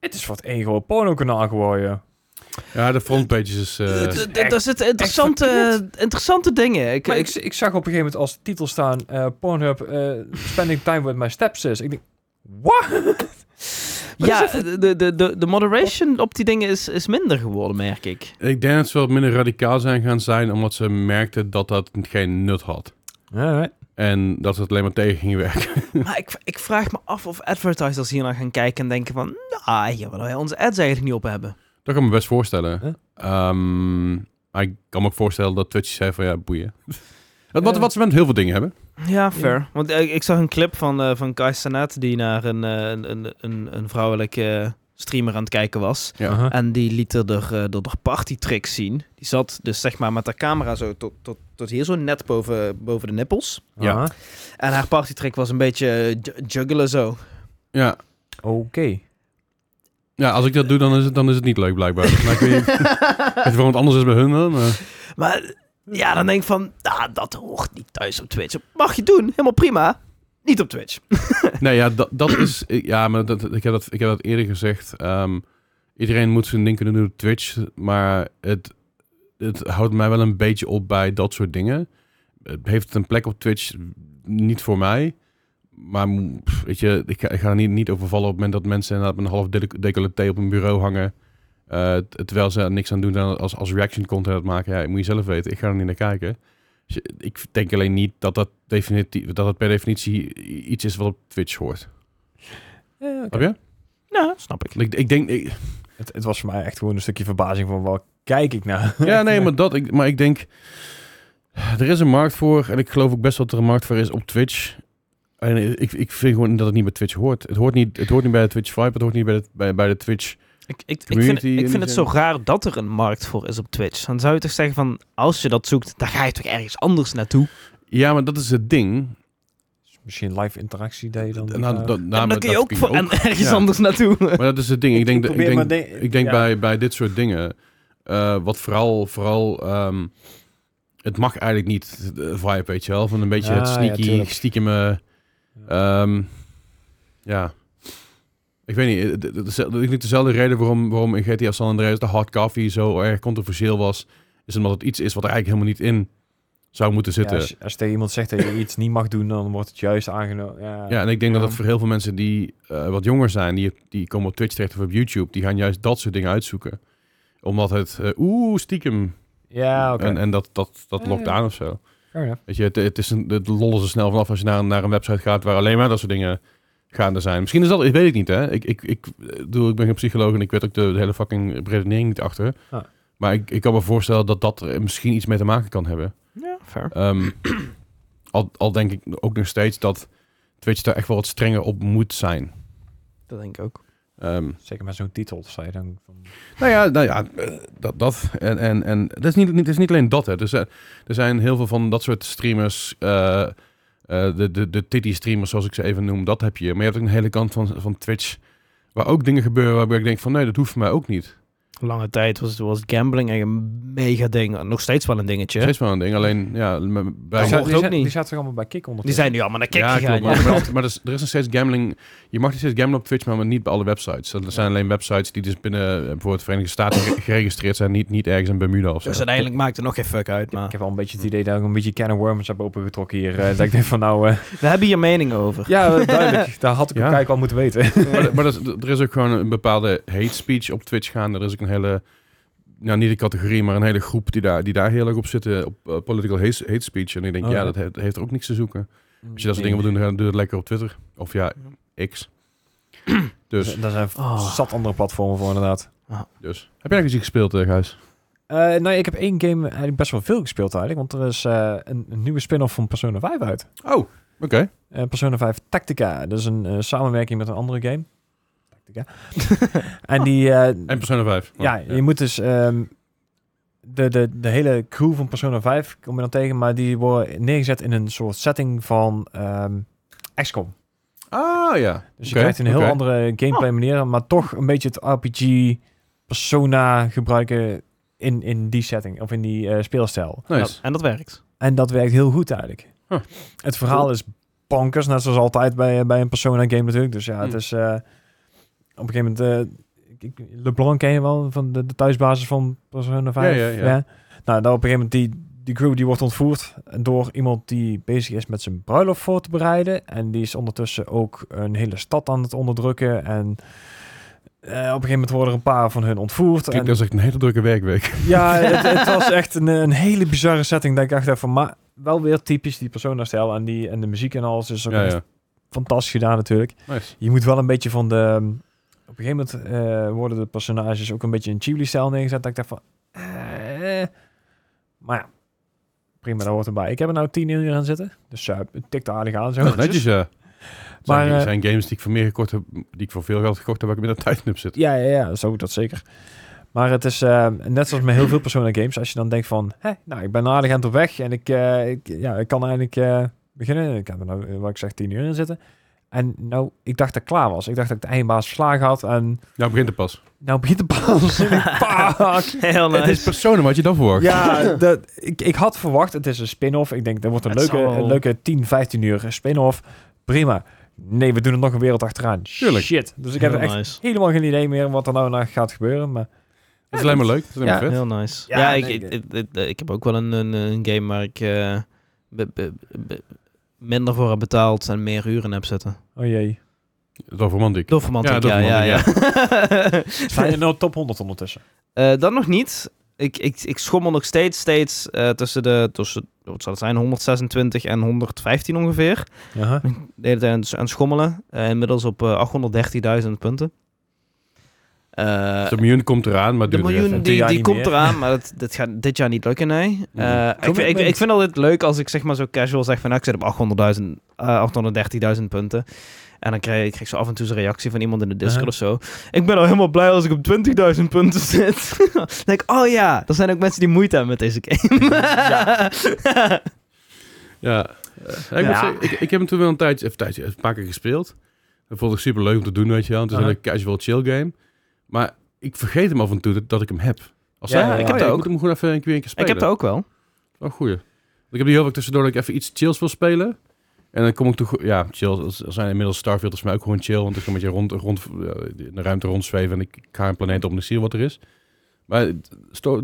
Speaker 3: het is wat één gewoon porno-kanaal geworden. joh.
Speaker 1: Ja, de frontpages is... eh,
Speaker 4: D- d- d- Daar zitten interessante,
Speaker 3: verkeerd.
Speaker 4: interessante dingen. Ik,
Speaker 3: Maar
Speaker 4: ik,
Speaker 3: ik, ik zag op een gegeven moment als titel staan... eh, Pornhub, eh, spending time with my stepsis. Ik denk, what? Wat
Speaker 4: ja,
Speaker 3: is dat?
Speaker 4: de, de, de, de moderation op die dingen is, is minder geworden, merk ik.
Speaker 1: ik denk dat ze wat minder radicaal zijn gaan zijn, omdat ze merkten dat dat geen nut had.
Speaker 3: Alright.
Speaker 1: En dat het alleen maar tegen ging werken.
Speaker 4: Maar ik, ik vraag me af of advertisers hiernaar gaan kijken en denken van... Nou, hier willen wij onze ads eigenlijk niet op hebben.
Speaker 1: Dat kan ik me best voorstellen.
Speaker 3: Huh?
Speaker 1: Ehm, ik kan me ook voorstellen dat Twitch zei van ja, boeien. wat, wat,
Speaker 3: Ja.
Speaker 1: wat ze met heel veel dingen hebben.
Speaker 4: Ja, fair. Want eh, ik zag een clip van, eh van Kai Sanat die naar een, eh, een, een, een, een vrouwelijke streamer aan het kijken was.
Speaker 1: Ja.
Speaker 3: Aha.
Speaker 4: En die liet er de, eh, de, de partytricks zien. Die zat dus zeg maar met haar camera zo tot, tot, tot hier zo net boven, boven de nippels.
Speaker 1: Ja.
Speaker 3: Aha.
Speaker 4: En haar partytrick was een beetje eh, ju- juggelen zo.
Speaker 1: Ja.
Speaker 3: Oké.
Speaker 1: ja, als ik dat doe, dan is het, dan is het niet leuk blijkbaar. Maar ik weet niet of het voor iemand anders is bij hun dan. maar-
Speaker 4: Maar Ja, dan denk ik van, ah, dat hoort niet thuis op Twitch. Mag je doen, helemaal prima. Niet op Twitch.
Speaker 1: Nee, ja, dat, dat is... Ja, maar dat, ik, heb dat, ik heb dat eerder gezegd. Ehm, iedereen moet zijn ding kunnen doen op Twitch. Maar het, het houdt mij wel een beetje op bij dat soort dingen. Het heeft het een plek op Twitch? Niet voor mij. Maar mm, pff, weet je, ik ga, ik ga er niet, niet overvallen op het moment dat mensen inderdaad met een half dele- decolleté op een bureau hangen. eh, t- terwijl ze er niks aan doen zijn als, als reaction content aan het maken. Ja, moet je zelf weten. Ik ga er niet naar kijken. Dus je- ik denk alleen niet dat dat, definitief, dat dat per definitie i- iets is wat op Twitch hoort.
Speaker 3: Eh, oké.
Speaker 1: Heb je?
Speaker 4: Ja, Nou, snap ik.
Speaker 1: Ik, ik denk, ik-
Speaker 3: Het, het was voor mij echt gewoon een stukje verbazing van waar kijk ik naar.
Speaker 1: Ja, nee, maar dat. Ik, maar ik denk, er is een markt voor. En ik geloof ook best wel dat er een markt voor is op Twitch. En ik, ik vind gewoon dat het niet bij Twitch hoort. Het hoort niet, het hoort niet bij de Twitch vibe. Het hoort niet bij de, bij, bij de Twitch.
Speaker 4: Ik, ik, ik vind,
Speaker 1: Community in
Speaker 4: ik
Speaker 1: die
Speaker 4: vind het zo
Speaker 1: zin.
Speaker 4: raar dat er een markt voor is op Twitch. Dan zou je toch zeggen van, als je dat zoekt, dan ga je toch ergens anders naartoe.
Speaker 1: Ja, maar dat is het ding.
Speaker 3: Misschien live interactie deed je dan. eh,
Speaker 1: Nou, dat- nou,
Speaker 4: en
Speaker 1: maar
Speaker 4: dan kun je
Speaker 1: dat
Speaker 4: ook voor, en ergens
Speaker 1: Ja.
Speaker 4: anders naartoe.
Speaker 1: Maar dat is het ding. Ik denk, dat- ik
Speaker 3: eh, probeer
Speaker 1: denk,
Speaker 3: maar de-
Speaker 1: ik denk
Speaker 3: ja.
Speaker 1: bij, bij dit soort dingen, eh, wat vooral, vooral ehm, het mag eigenlijk niet, de vibe, weet je wel, van een beetje
Speaker 3: Ah,
Speaker 1: het
Speaker 3: ja,
Speaker 1: sneaky,
Speaker 3: tuurlijk.
Speaker 1: stiekem, ja, ik weet niet, eh, het- het- het is- dat is niet dezelfde reden waarom, waarom in GTA San Andreas de hard coffee zo erg controversieel was, is omdat het iets is wat er eigenlijk helemaal niet in zou moeten
Speaker 3: Ja,
Speaker 1: zitten.
Speaker 3: als, als je tegen iemand zegt dat je iets niet mag doen, dan wordt het juist aangenomen. Ja,
Speaker 1: Ja, en ik denk dat
Speaker 3: Ja.
Speaker 1: dat voor heel veel mensen die eh, wat jonger zijn, die, die komen op Twitch terecht of op YouTube, die gaan juist dat soort dingen uitzoeken. Omdat het, eh, oeh, stiekem.
Speaker 3: ja oké.
Speaker 1: En, en dat, dat, dat lokt aan of zo.
Speaker 3: Fair enough.
Speaker 1: Weet je, het, het, is een, het lollen ze snel vanaf als je naar, een- naar een website gaat waar alleen maar dat soort dingen gaande zijn. Misschien is dat, ik weet het niet, hè. Ik, ik, ik, eh, bedoel, ik ben geen psycholoog en ik weet ook de, de hele fucking redenering niet achter.
Speaker 3: Ah.
Speaker 1: Maar ik, ik kan me voorstellen dat dat er misschien iets mee te maken kan hebben.
Speaker 4: Ja, fair.
Speaker 1: Ehm, al, al denk ik ook nog steeds dat Twitch daar echt wel wat strenger op moet zijn.
Speaker 4: Dat denk ik ook.
Speaker 1: Ehm,
Speaker 3: Zeker met zo'n titel of zei je dan. Van,
Speaker 1: nou ja, nou ja eh, dat, dat. En, en, en het, is niet, niet- het is niet alleen dat. Hè. Dus, eh, er zijn heel veel van dat soort streamers. eh, eh, de, de, de titty streamers, zoals ik ze even noem, dat heb je. Maar je hebt ook een hele kant van, van Twitch. Waar ook dingen gebeuren waarbij ik denk van nee, dat hoeft voor mij ook niet.
Speaker 4: Lange tijd was, was gambling echt een mega ding. Nog steeds wel een dingetje.
Speaker 1: Steeds wel een ding. Alleen ja, m- m- bij
Speaker 4: Ja,
Speaker 3: die,
Speaker 4: hoort ook
Speaker 3: zat-
Speaker 4: niet.
Speaker 3: die zaten toch allemaal bij Kik onder.
Speaker 4: Die zijn nu allemaal naar kick
Speaker 1: ja,
Speaker 4: gegaan.
Speaker 1: klopt, maar,
Speaker 4: ja.
Speaker 1: maar, maar er, is, er is nog steeds gambling. Je mag nog steeds gamblen op Twitch, maar maar niet bij alle websites. Er zijn alleen websites die dus binnen eh, bijvoorbeeld de Verenigde Staten gere- geregistreerd zijn, niet, niet ergens in Bermuda of zo.
Speaker 4: Dus uiteindelijk maakt het nog geen fuck uit.
Speaker 3: Ik
Speaker 4: Maar
Speaker 3: heb al een beetje het idee dat ik een beetje can of worms heb opengetrokken hier. eh, dat ik denk van nou... eh,
Speaker 4: we hebben hier mening over.
Speaker 3: ja, eh, duidelijk. Daar had ik
Speaker 1: Ja.
Speaker 3: op kijk al moeten weten.
Speaker 1: maar maar dat is- er is ook gewoon een bepaalde hate speech op Twitch gaande. Er is ook een hele, nou niet een categorie, maar een hele groep die daar, die daar heel erg op zitten, op eh, political hate, hate speech. En ik denk,
Speaker 3: Oh,
Speaker 1: ja,
Speaker 3: ja.
Speaker 1: dat he- heeft er ook niks te zoeken. Als je dat soort dingen wil doen, dan doe het lekker op Twitter. Of ja, X. Dus,
Speaker 3: Daar zijn
Speaker 4: Oh.
Speaker 3: zat andere platformen voor inderdaad.
Speaker 1: dus. Heb jij eigenlijk iets gespeeld, eh, Gijs?
Speaker 3: Eh, nou, ik heb één game eigenlijk best wel veel gespeeld eigenlijk. Want er is eh, een, een nieuwe spin-off van Persona 5 uit.
Speaker 1: Oh, oké.
Speaker 3: Eh, Persona 5 Tactica. Dat is een eh, samenwerking met een andere game. Tactica. en die... eh,
Speaker 1: En Persona 5. Oh,
Speaker 3: ja, je moet dus... ehm, de, de, de hele crew van Persona 5 kom je dan tegen, maar die worden neergezet in een soort setting van ehm XCOM.
Speaker 1: Ah, ja.
Speaker 3: Dus je
Speaker 1: Oké,
Speaker 3: krijgt een heel
Speaker 1: oké.
Speaker 3: andere gameplay manier, maar toch een beetje het RPG persona gebruiken in, in die setting of in die eh, speelstijl.
Speaker 1: Nice.
Speaker 4: En dat werkt.
Speaker 3: En dat werkt heel goed eigenlijk.
Speaker 1: Huh.
Speaker 3: Het verhaal is bonkers, net zoals altijd bij, bij een persona game natuurlijk. Dus ja, het
Speaker 1: Hmm.
Speaker 3: is eh, op een gegeven moment... eh, ik- ik- LeBlanc ken je wel, van de, de thuisbasis van Persona 5.
Speaker 1: Ja, ja, ja.
Speaker 3: Nou, dan op een gegeven moment die, die crew die wordt ontvoerd door iemand die bezig is met zijn bruiloft voor te bereiden. En die is ondertussen ook een hele stad aan het onderdrukken. En eh, op een gegeven moment worden er een paar van hun ontvoerd.
Speaker 1: Klinkt
Speaker 3: en-
Speaker 1: als echt een hele drukke werkweek.
Speaker 3: ja, het, het was echt een, een hele bizarre setting. Dat ik echt van, maar wel weer typisch die persona-stijl. En, die, en de muziek en alles is ook
Speaker 1: Ja,
Speaker 3: echt
Speaker 1: ja.
Speaker 3: fantastisch gedaan natuurlijk.
Speaker 1: Nice.
Speaker 3: Je moet wel een beetje van de... Op een gegeven moment eh, worden de personages ook een beetje in Ghibli-stijl neergezet. Dat ik dacht van... eh, maar ja, prima, dat hoort erbij. Ik heb er nou tien uur aan zitten. Dus ja, het tikt aardig aan zo.
Speaker 1: Ja, netjes, ja.
Speaker 3: Maar,
Speaker 1: Maar, zijn,
Speaker 3: eh,
Speaker 1: zijn games die ik voor meer gekocht heb, die ik voor veel geld gekocht heb, waar ik minder tijd in op zit.
Speaker 3: Ja, ja, ja, zo dat zeker. Maar het is eh, net zoals met heel veel Persona games. Als je dan denkt van, hè, nou, ik ben aardig aan het op weg en ik, eh, ik, ja, ik kan eigenlijk eh, beginnen. Ik heb er nou, eh, wat ik zeg, tien uur in zitten. En nou, ik dacht dat ik klaar was. Ik dacht dat ik de eindbaas verslagen had. En
Speaker 1: Nou begint het pas.
Speaker 3: nou begint de baas. Fuck.
Speaker 4: Heel
Speaker 1: Het is personen wat je dan verwacht.
Speaker 3: Ja, dat, ik, ik had verwacht, het is een spin-off. Ik denk, dat wordt een
Speaker 4: Het
Speaker 3: leuke,
Speaker 4: zal wel.
Speaker 3: een leuke 10, 15 uur spin-off. Prima. Nee, we doen er nog een wereld achteraan.
Speaker 1: Tuurlijk.
Speaker 3: Shit. Dus ik heb
Speaker 4: Heel
Speaker 3: echt
Speaker 4: nice.
Speaker 3: helemaal geen idee meer wat er nou naar gaat gebeuren. Maar
Speaker 1: Het is alleen maar leuk. Het is alleen maar
Speaker 3: Ja.
Speaker 1: vet.
Speaker 4: Heel nice.
Speaker 3: Ja,
Speaker 4: Ja, ik,
Speaker 3: nee,
Speaker 4: ik,
Speaker 3: ik-
Speaker 4: ik, ik- ik heb ook wel een, een, een game waar ik eh, be- be- be- minder voor heb betaald en meer uren heb zitten.
Speaker 3: oh jee.
Speaker 1: Dorfromantic.
Speaker 4: Dovermantic, ja,
Speaker 1: Ja,
Speaker 4: ja, ja.
Speaker 3: Sta je nou top 100 ondertussen?
Speaker 4: Eh, dat nog niet. Ik, ik, ik schommel nog steeds, steeds eh, tussen de, tussen, wat zal het zijn, 126 en 115 ongeveer. De hele tijd aan het- aan het schommelen. Eh, inmiddels op eh, 830.000 punten. Eh,
Speaker 1: De miljoen komt eraan, maar
Speaker 4: De
Speaker 1: duurt
Speaker 4: miljoen
Speaker 3: Dit
Speaker 4: die,
Speaker 3: jaar
Speaker 4: die
Speaker 3: niet
Speaker 4: komt
Speaker 3: meer.
Speaker 4: eraan, maar dat, dat gaat dit jaar niet lukken, nee. Eh,
Speaker 1: Mhm.
Speaker 4: ik, vind- ik,
Speaker 3: Commitment.
Speaker 4: ik vind altijd leuk als ik zeg maar zo casual zeg van nou, ik zit op 800.000, eh, 830.000 punten. En dan krijg ik krijg ik zo af en toe zo'n reactie van iemand in de Discord
Speaker 3: Aha.
Speaker 4: of zo. Ik ben al helemaal blij als ik op 20.000 punten zit. dan denk ik, oh ja, er zijn ook mensen die moeite hebben met deze game.
Speaker 1: Ja. Eh, ik, moet
Speaker 4: Ja.
Speaker 1: zeggen, ik, ik heb hem toen wel een tijdje, even een tijdje, een paar keer gespeeld. Dat vond ik super leuk om te doen, weet je wel. Het is
Speaker 3: Aha.
Speaker 1: een casual chill game. Maar ik vergeet hem af en toe dat, dat ik hem heb. Als
Speaker 3: Ja,
Speaker 1: zij-
Speaker 3: ja,
Speaker 1: ik
Speaker 3: ja.
Speaker 1: heb
Speaker 4: Ja,
Speaker 1: dat
Speaker 4: ook.
Speaker 1: ook. Ik moet hem gewoon even een keer, een keer
Speaker 4: ik
Speaker 1: spelen.
Speaker 4: heb dat ook wel.
Speaker 1: Oh, goeie. Want Ik heb die heel vaak tussendoor dat ik even iets chills wil spelen. En dan kom ik toch... Ja, chill. Er zijn inmiddels Starfield is voor mij ook gewoon chill. Want ik kan met je rond, rond, ja, in de ruimte rondzweven. En ik, ik ga een planeet op en ik zie wat er is. Maar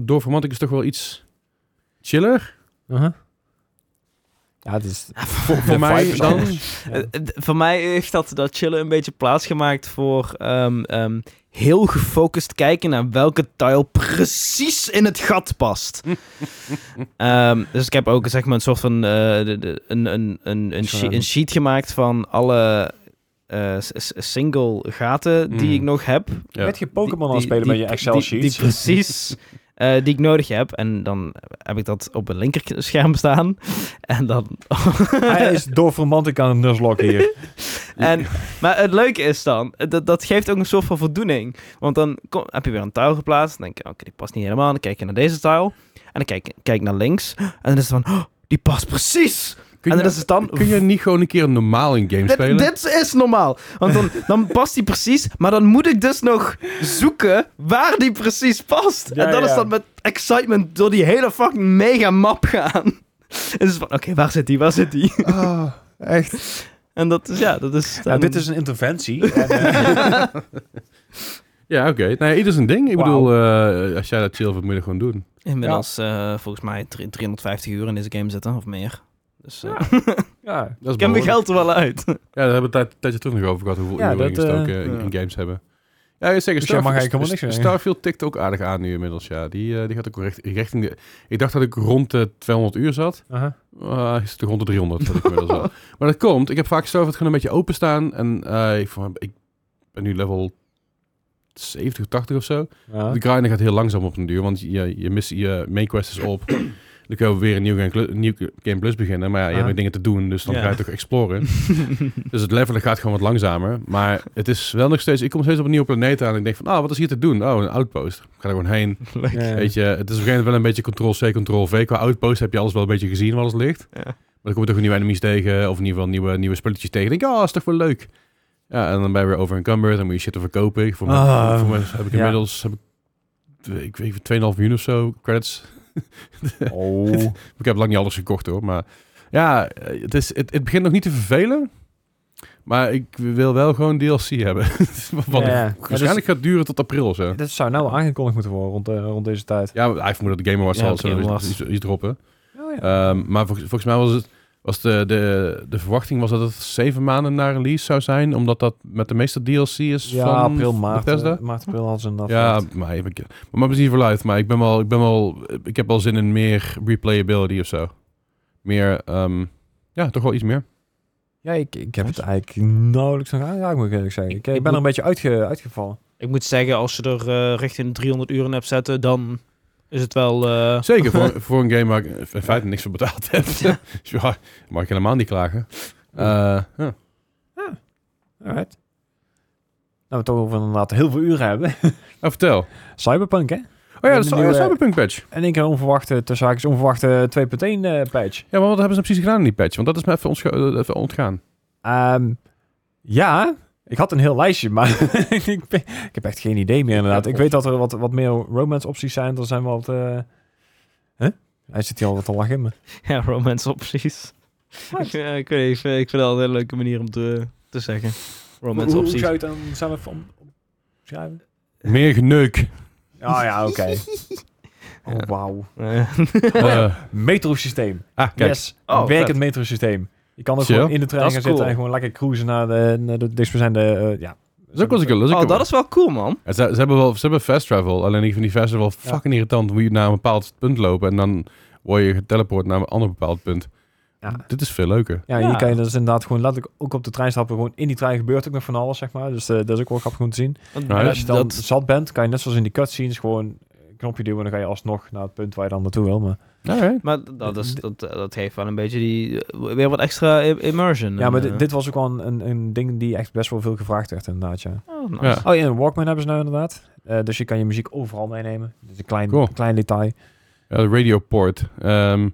Speaker 1: door Romantic is toch wel iets chiller
Speaker 3: Ja, het is...
Speaker 1: voor, voor mij dan.
Speaker 3: Ja.
Speaker 4: Eh, d- voor mij heeft dat, dat chillen een beetje plaatsgemaakt voor ehm, ehm, heel gefocust kijken naar welke tile precies in het gat past. Ehm, dus ik heb ook zeg maar, een soort van eh, de- de- een, een, een, een, she- een sheet gemaakt van alle eh, s- s- single gaten die
Speaker 1: Mm.
Speaker 4: ik nog heb.
Speaker 1: Ja.
Speaker 3: Met je Pokémon aan
Speaker 4: Die-
Speaker 3: het spelen
Speaker 4: die-
Speaker 3: met je
Speaker 4: die-
Speaker 3: Excel
Speaker 4: die-
Speaker 3: sheet.
Speaker 4: Die precies eh, die ik nodig heb. En dan heb ik dat op een linkerscherm staan. En dan
Speaker 3: Hij is door romantic aan het nuzlocke hier.
Speaker 4: En, maar het leuke is dan, dat, dat geeft ook een soort van voldoening. Want dan kom- heb je weer een tile geplaatst. Dan denk je, oké, die past niet helemaal. Dan kijk je naar deze tile. En dan kijk, kijk naar links. En dan is het van, oh, die past precies.
Speaker 1: Kun
Speaker 4: en
Speaker 1: je,
Speaker 4: dan is het dan...
Speaker 1: kun je niet gewoon een keer normaal in game spelen?
Speaker 4: Dit, dit is normaal. Want dan, dan past die precies. Maar dan moet ik dus nog zoeken waar die precies past.
Speaker 3: Ja,
Speaker 4: en dan
Speaker 3: ja.
Speaker 4: is dat met excitement door die hele fucking mega map gaan. En dan is het van, oké, waar zit die, waar zit die?
Speaker 3: echt.
Speaker 4: En dat is, ja, dat is...
Speaker 3: Nou,
Speaker 4: dan-
Speaker 3: dit is een interventie. En, eh,
Speaker 1: Ja, oké. Nou ja, ieder zijn ding. Ik
Speaker 3: Wauw.
Speaker 1: bedoel, eh, als jij dat chill vindt, moet je dat gewoon doen.
Speaker 4: Inmiddels eh, volgens mij drie- 350 uur in deze game zitten, of meer. Dus eh,
Speaker 3: ja.
Speaker 1: Dat is
Speaker 4: ik heb mijn
Speaker 1: behoorlijk.
Speaker 4: geld er wel uit.
Speaker 1: Ja, daar hebben we een tijd- tijdje terug nog over gehad, hoeveel
Speaker 3: Ja,
Speaker 1: uren we
Speaker 3: dat,
Speaker 1: gestoken
Speaker 3: eh,
Speaker 1: in, in
Speaker 4: ja.
Speaker 1: games hebben. Ja, ik zeg,
Speaker 3: Dus jij
Speaker 1: Starfield,
Speaker 3: mag eigenlijk helemaal niks zeggen.
Speaker 1: Starfield tikt ook aardig aan nu inmiddels, ja. Die, eh, die gaat ook recht, richting de... Ik dacht dat ik rond de 200 uur zat.
Speaker 3: Aha.
Speaker 1: Eh, is het rond de 300 dat ik inmiddels zat. Maar dat komt, ik heb vaak Starfield gewoon een beetje openstaan. En eh, ik, vond- ik ben nu level 70, 80 of zo.
Speaker 3: Ja.
Speaker 1: De grinden gaat heel langzaam op een duur, want je, je, mist, je main quest is op. Dan kunnen we weer een nieuw game, clu- nieuw game plus beginnen. Maar ja, je hebt
Speaker 3: Ah.
Speaker 1: weer dingen te doen, dus dan
Speaker 4: Ja.
Speaker 1: ga je toch exploren. dus het levelen gaat gewoon wat langzamer. Maar het is wel nog steeds... Ik kom steeds op een nieuwe planeet aan en ik denk van... Ah, wat is hier te doen? Oh, een outpost. Ik ga er gewoon heen.
Speaker 3: Ja.
Speaker 1: Weet je, het is op een gegeven moment wel een beetje Ctrl-C, Ctrl-V. Qua outpost heb je alles wel een beetje gezien waar alles ligt.
Speaker 4: Ja.
Speaker 1: Maar dan kom je toch weer nieuwe enemies tegen, of in ieder geval nieuwe, nieuwe spulletjes tegen. Dan denk ik, ah, is toch wel leuk. Ja, en dan ben je weer over encumbered, dan moet je shit er verkopen. Voor mij,
Speaker 3: Ah,
Speaker 1: voor mij heb ik
Speaker 3: ja.
Speaker 1: inmiddels, heb ik, eh, ik weet niet, 2,5 miljoen of zo credits.
Speaker 3: Oh.
Speaker 1: Ik heb lang niet alles gekocht hoor, maar ja, eh, het, is, het, het begint nog niet te vervelen. Maar ik wil wel gewoon DLC hebben. Wat
Speaker 3: Ja, ja. Ja, dus-
Speaker 1: waarschijnlijk gaat duren tot april of zo.
Speaker 3: Dat zou nou aangekondigd moeten worden rond, eh, rond deze tijd.
Speaker 1: Ja, hij vermoedt dat de Game Awards
Speaker 4: Ja,
Speaker 1: zal
Speaker 4: de Game
Speaker 1: zo
Speaker 4: Awards.
Speaker 1: iets, iets droppen.
Speaker 3: Oh, ja.
Speaker 1: Ehm, maar vol- volgens mij was het was de, de, de verwachting was dat het zeven maanden na release zou zijn, omdat dat met de meeste DLC is
Speaker 3: ja,
Speaker 1: Dus van
Speaker 3: april, maart.
Speaker 1: Bethesda.
Speaker 3: eh, maart, april hadden ze een
Speaker 1: ja,
Speaker 3: afspraak.
Speaker 1: maar ik maar maar precies voor live. Maar ik ben wel, ik ben wel, ik heb wel zin in meer replayability of zo. Meer, ehm, ja, toch wel iets meer.
Speaker 3: Ja, ik, ik heb het eigenlijk nauwelijks nog aangeraakt, moet ik eerlijk zeggen. Ik,
Speaker 4: Ik-
Speaker 3: ik ben er een beetje uitge, uitgevallen.
Speaker 4: Ik moet zeggen, als je er eh, richting de 300 uur in hebt zetten, dan is het wel... eh,
Speaker 1: Zeker voor, voor een game waar ik in feite niks voor betaald heb. Ja. ja, mag ik helemaal niet klagen. Eh, ja.
Speaker 3: Alright. Nou, we het toch over inderdaad heel veel uren hebben.
Speaker 1: Nou, vertel.
Speaker 3: Cyberpunk, hè?
Speaker 1: Oh ja,
Speaker 3: En
Speaker 1: dat is
Speaker 3: de
Speaker 1: oh ja,
Speaker 3: nieuwe-
Speaker 1: Cyberpunk patch.
Speaker 3: En ik een onverwachte, tussen haakjes, onverwachte 2.1 eh patch.
Speaker 1: Ja, maar wat hebben ze nou precies gedaan in die patch? Want dat is me even, ontscha- eh, even ontgaan.
Speaker 3: Ehm, Ja, ik had een heel lijstje, maar ik, ben- ik heb echt geen idee meer inderdaad. Ik weet dat er wat, wat meer romance opties zijn. Er zijn wat... eh hè? Hij zit hier al wat te lachen in me.
Speaker 4: Ja, romance opties. ik, eh, ik weet niet, ik vind- ik vind het altijd een hele leuke manier om te, te zeggen. Romance opties.
Speaker 3: je het dan samen van schrijven?
Speaker 1: Meer geneuk.
Speaker 3: Ah ja, oké.
Speaker 4: Ja.
Speaker 3: Oh, wauw.
Speaker 4: Eh,
Speaker 1: Eh,
Speaker 3: Metrosysteem.
Speaker 1: ah, kijk.
Speaker 3: Yes,
Speaker 4: Oh,
Speaker 3: een werkend
Speaker 4: vet.
Speaker 3: metrosysteem. Je kan ook
Speaker 1: Chill.
Speaker 3: gewoon in de trein
Speaker 4: Dat
Speaker 3: gaan
Speaker 4: is
Speaker 3: zitten
Speaker 4: cool.
Speaker 3: en gewoon lekker cruisen naar de, naar de dichtstbijzijnde, eh, ja.
Speaker 1: Dat is ook wel eens een keer- dat is ook
Speaker 4: oh,
Speaker 1: wel-
Speaker 4: dat is wel cool, man.
Speaker 1: En Ze, ze hebben wel, ze hebben fast travel, alleen ik vind die fast travel fucking irritant. Dan moet je naar een bepaald punt lopen en dan word je geteleport naar een ander bepaald punt.
Speaker 3: Ja.
Speaker 1: Dit is veel leuker.
Speaker 3: Ja,
Speaker 4: Ja.
Speaker 3: hier kan je dus inderdaad gewoon letterlijk ook op de trein stappen. Gewoon in die trein gebeurt ook nog van alles, zeg maar. Dus eh, dat is ook wel grappig om te zien.
Speaker 4: Want
Speaker 1: Ja,
Speaker 3: en
Speaker 1: dat-
Speaker 3: als je dan
Speaker 4: Nou,
Speaker 3: dus-
Speaker 4: dat-
Speaker 3: zat bent, kan je net zoals in die cutscenes gewoon een knopje duwen en dan ga je alsnog naar het punt waar je dan naartoe wil. Maar,
Speaker 1: Alright.
Speaker 4: Maar dat, is, dat, dat geeft wel een beetje die, eh, weer wat extra i- immersion.
Speaker 3: ja, maar
Speaker 4: En,
Speaker 3: dit-
Speaker 4: eh,
Speaker 3: dit was ook wel een- een, een ding die echt best wel veel gevraagd werd, inderdaad, ja.
Speaker 4: oh, nice.
Speaker 1: Ja.
Speaker 3: Oh ja, een Walkman hebben ze nou inderdaad. Eh, dus je kan je muziek overal meenemen. Dat is een klein,
Speaker 1: Cool.
Speaker 3: klein detail.
Speaker 1: Ja, de radio port. Ehm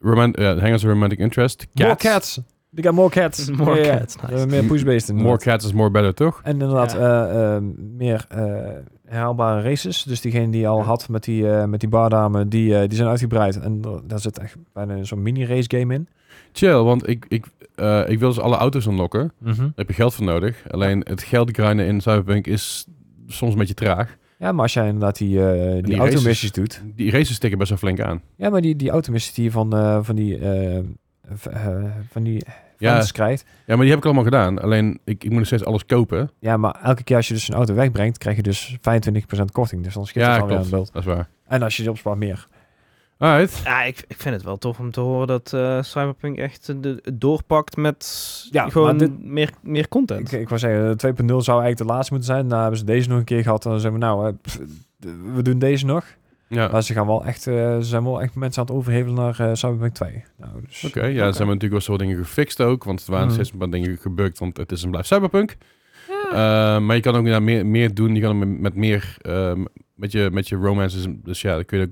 Speaker 1: romant, ja, Hangers of Romantic Interest. Cats.
Speaker 3: More cats! We got more cats!
Speaker 4: More
Speaker 3: Ja, ja.
Speaker 4: cats, nice.
Speaker 3: We hebben meer
Speaker 1: Hm.
Speaker 3: pushbeesten.
Speaker 1: More cats is more better, toch?
Speaker 3: En inderdaad,
Speaker 4: Ja.
Speaker 3: eh, eh, meer eh, herhaalbare races. Dus diegene die je al had met die, eh, met die bardame, die, eh, die zijn uitgebreid. En da- daar zit echt bijna zo'n mini-race game in.
Speaker 1: Chill, want ik, ik, eh, ik wil dus alle auto's unlocken. Daar heb je geld voor nodig. Alleen het geld grinden in Cyberpunk is soms een beetje traag.
Speaker 3: Ja, maar als jij inderdaad die, eh die,
Speaker 1: die
Speaker 3: automissies doet.
Speaker 1: Die races stikken best wel flink aan.
Speaker 3: Ja, maar die, die automissies die je van, eh, van die... eh, v- eh, van die
Speaker 1: Ja,
Speaker 3: fans krijgt.
Speaker 1: ja, maar die heb ik allemaal gedaan. Alleen ik, ik moet nog steeds alles kopen.
Speaker 3: Ja, maar elke keer als je dus een auto wegbrengt, krijg je dus 25% korting. Dus dan schiet
Speaker 1: Ja,
Speaker 3: het alweer aan
Speaker 1: klopt.
Speaker 3: het beeld.
Speaker 1: Dat is waar.
Speaker 3: En als je die opspaart, meer.
Speaker 1: Alright.
Speaker 4: Ja, ik, ik vind het wel tof om te horen dat eh, Cyberpunk echt eh, de, het doorpakt met
Speaker 3: Ja, maar
Speaker 4: gewoon
Speaker 3: dit-
Speaker 4: meer, meer content.
Speaker 3: Ik, ik wou zeggen, eh, 2.0 zou eigenlijk de laatste moeten zijn. Nou hebben ze deze nog een keer gehad. En dan zeggen we, nou, eh, pff, d- we doen deze nog.
Speaker 1: Ja.
Speaker 3: Maar ze, gaan wel echt, eh, ze zijn wel echt mensen aan het overhevelen naar eh Cyberpunk 2. Nou, dus,
Speaker 1: Oké, ja, er zijn we natuurlijk wel soort dingen gefixt ook. Want er waren
Speaker 3: Mhm.
Speaker 1: steeds een paar dingen gebukt, want het is een blijf cyberpunk. Eh, maar je kan ook inderdaad meer, meer doen. Je kan met, met meer, ehm, met, je, met je romances. Dus ja, dan kun je,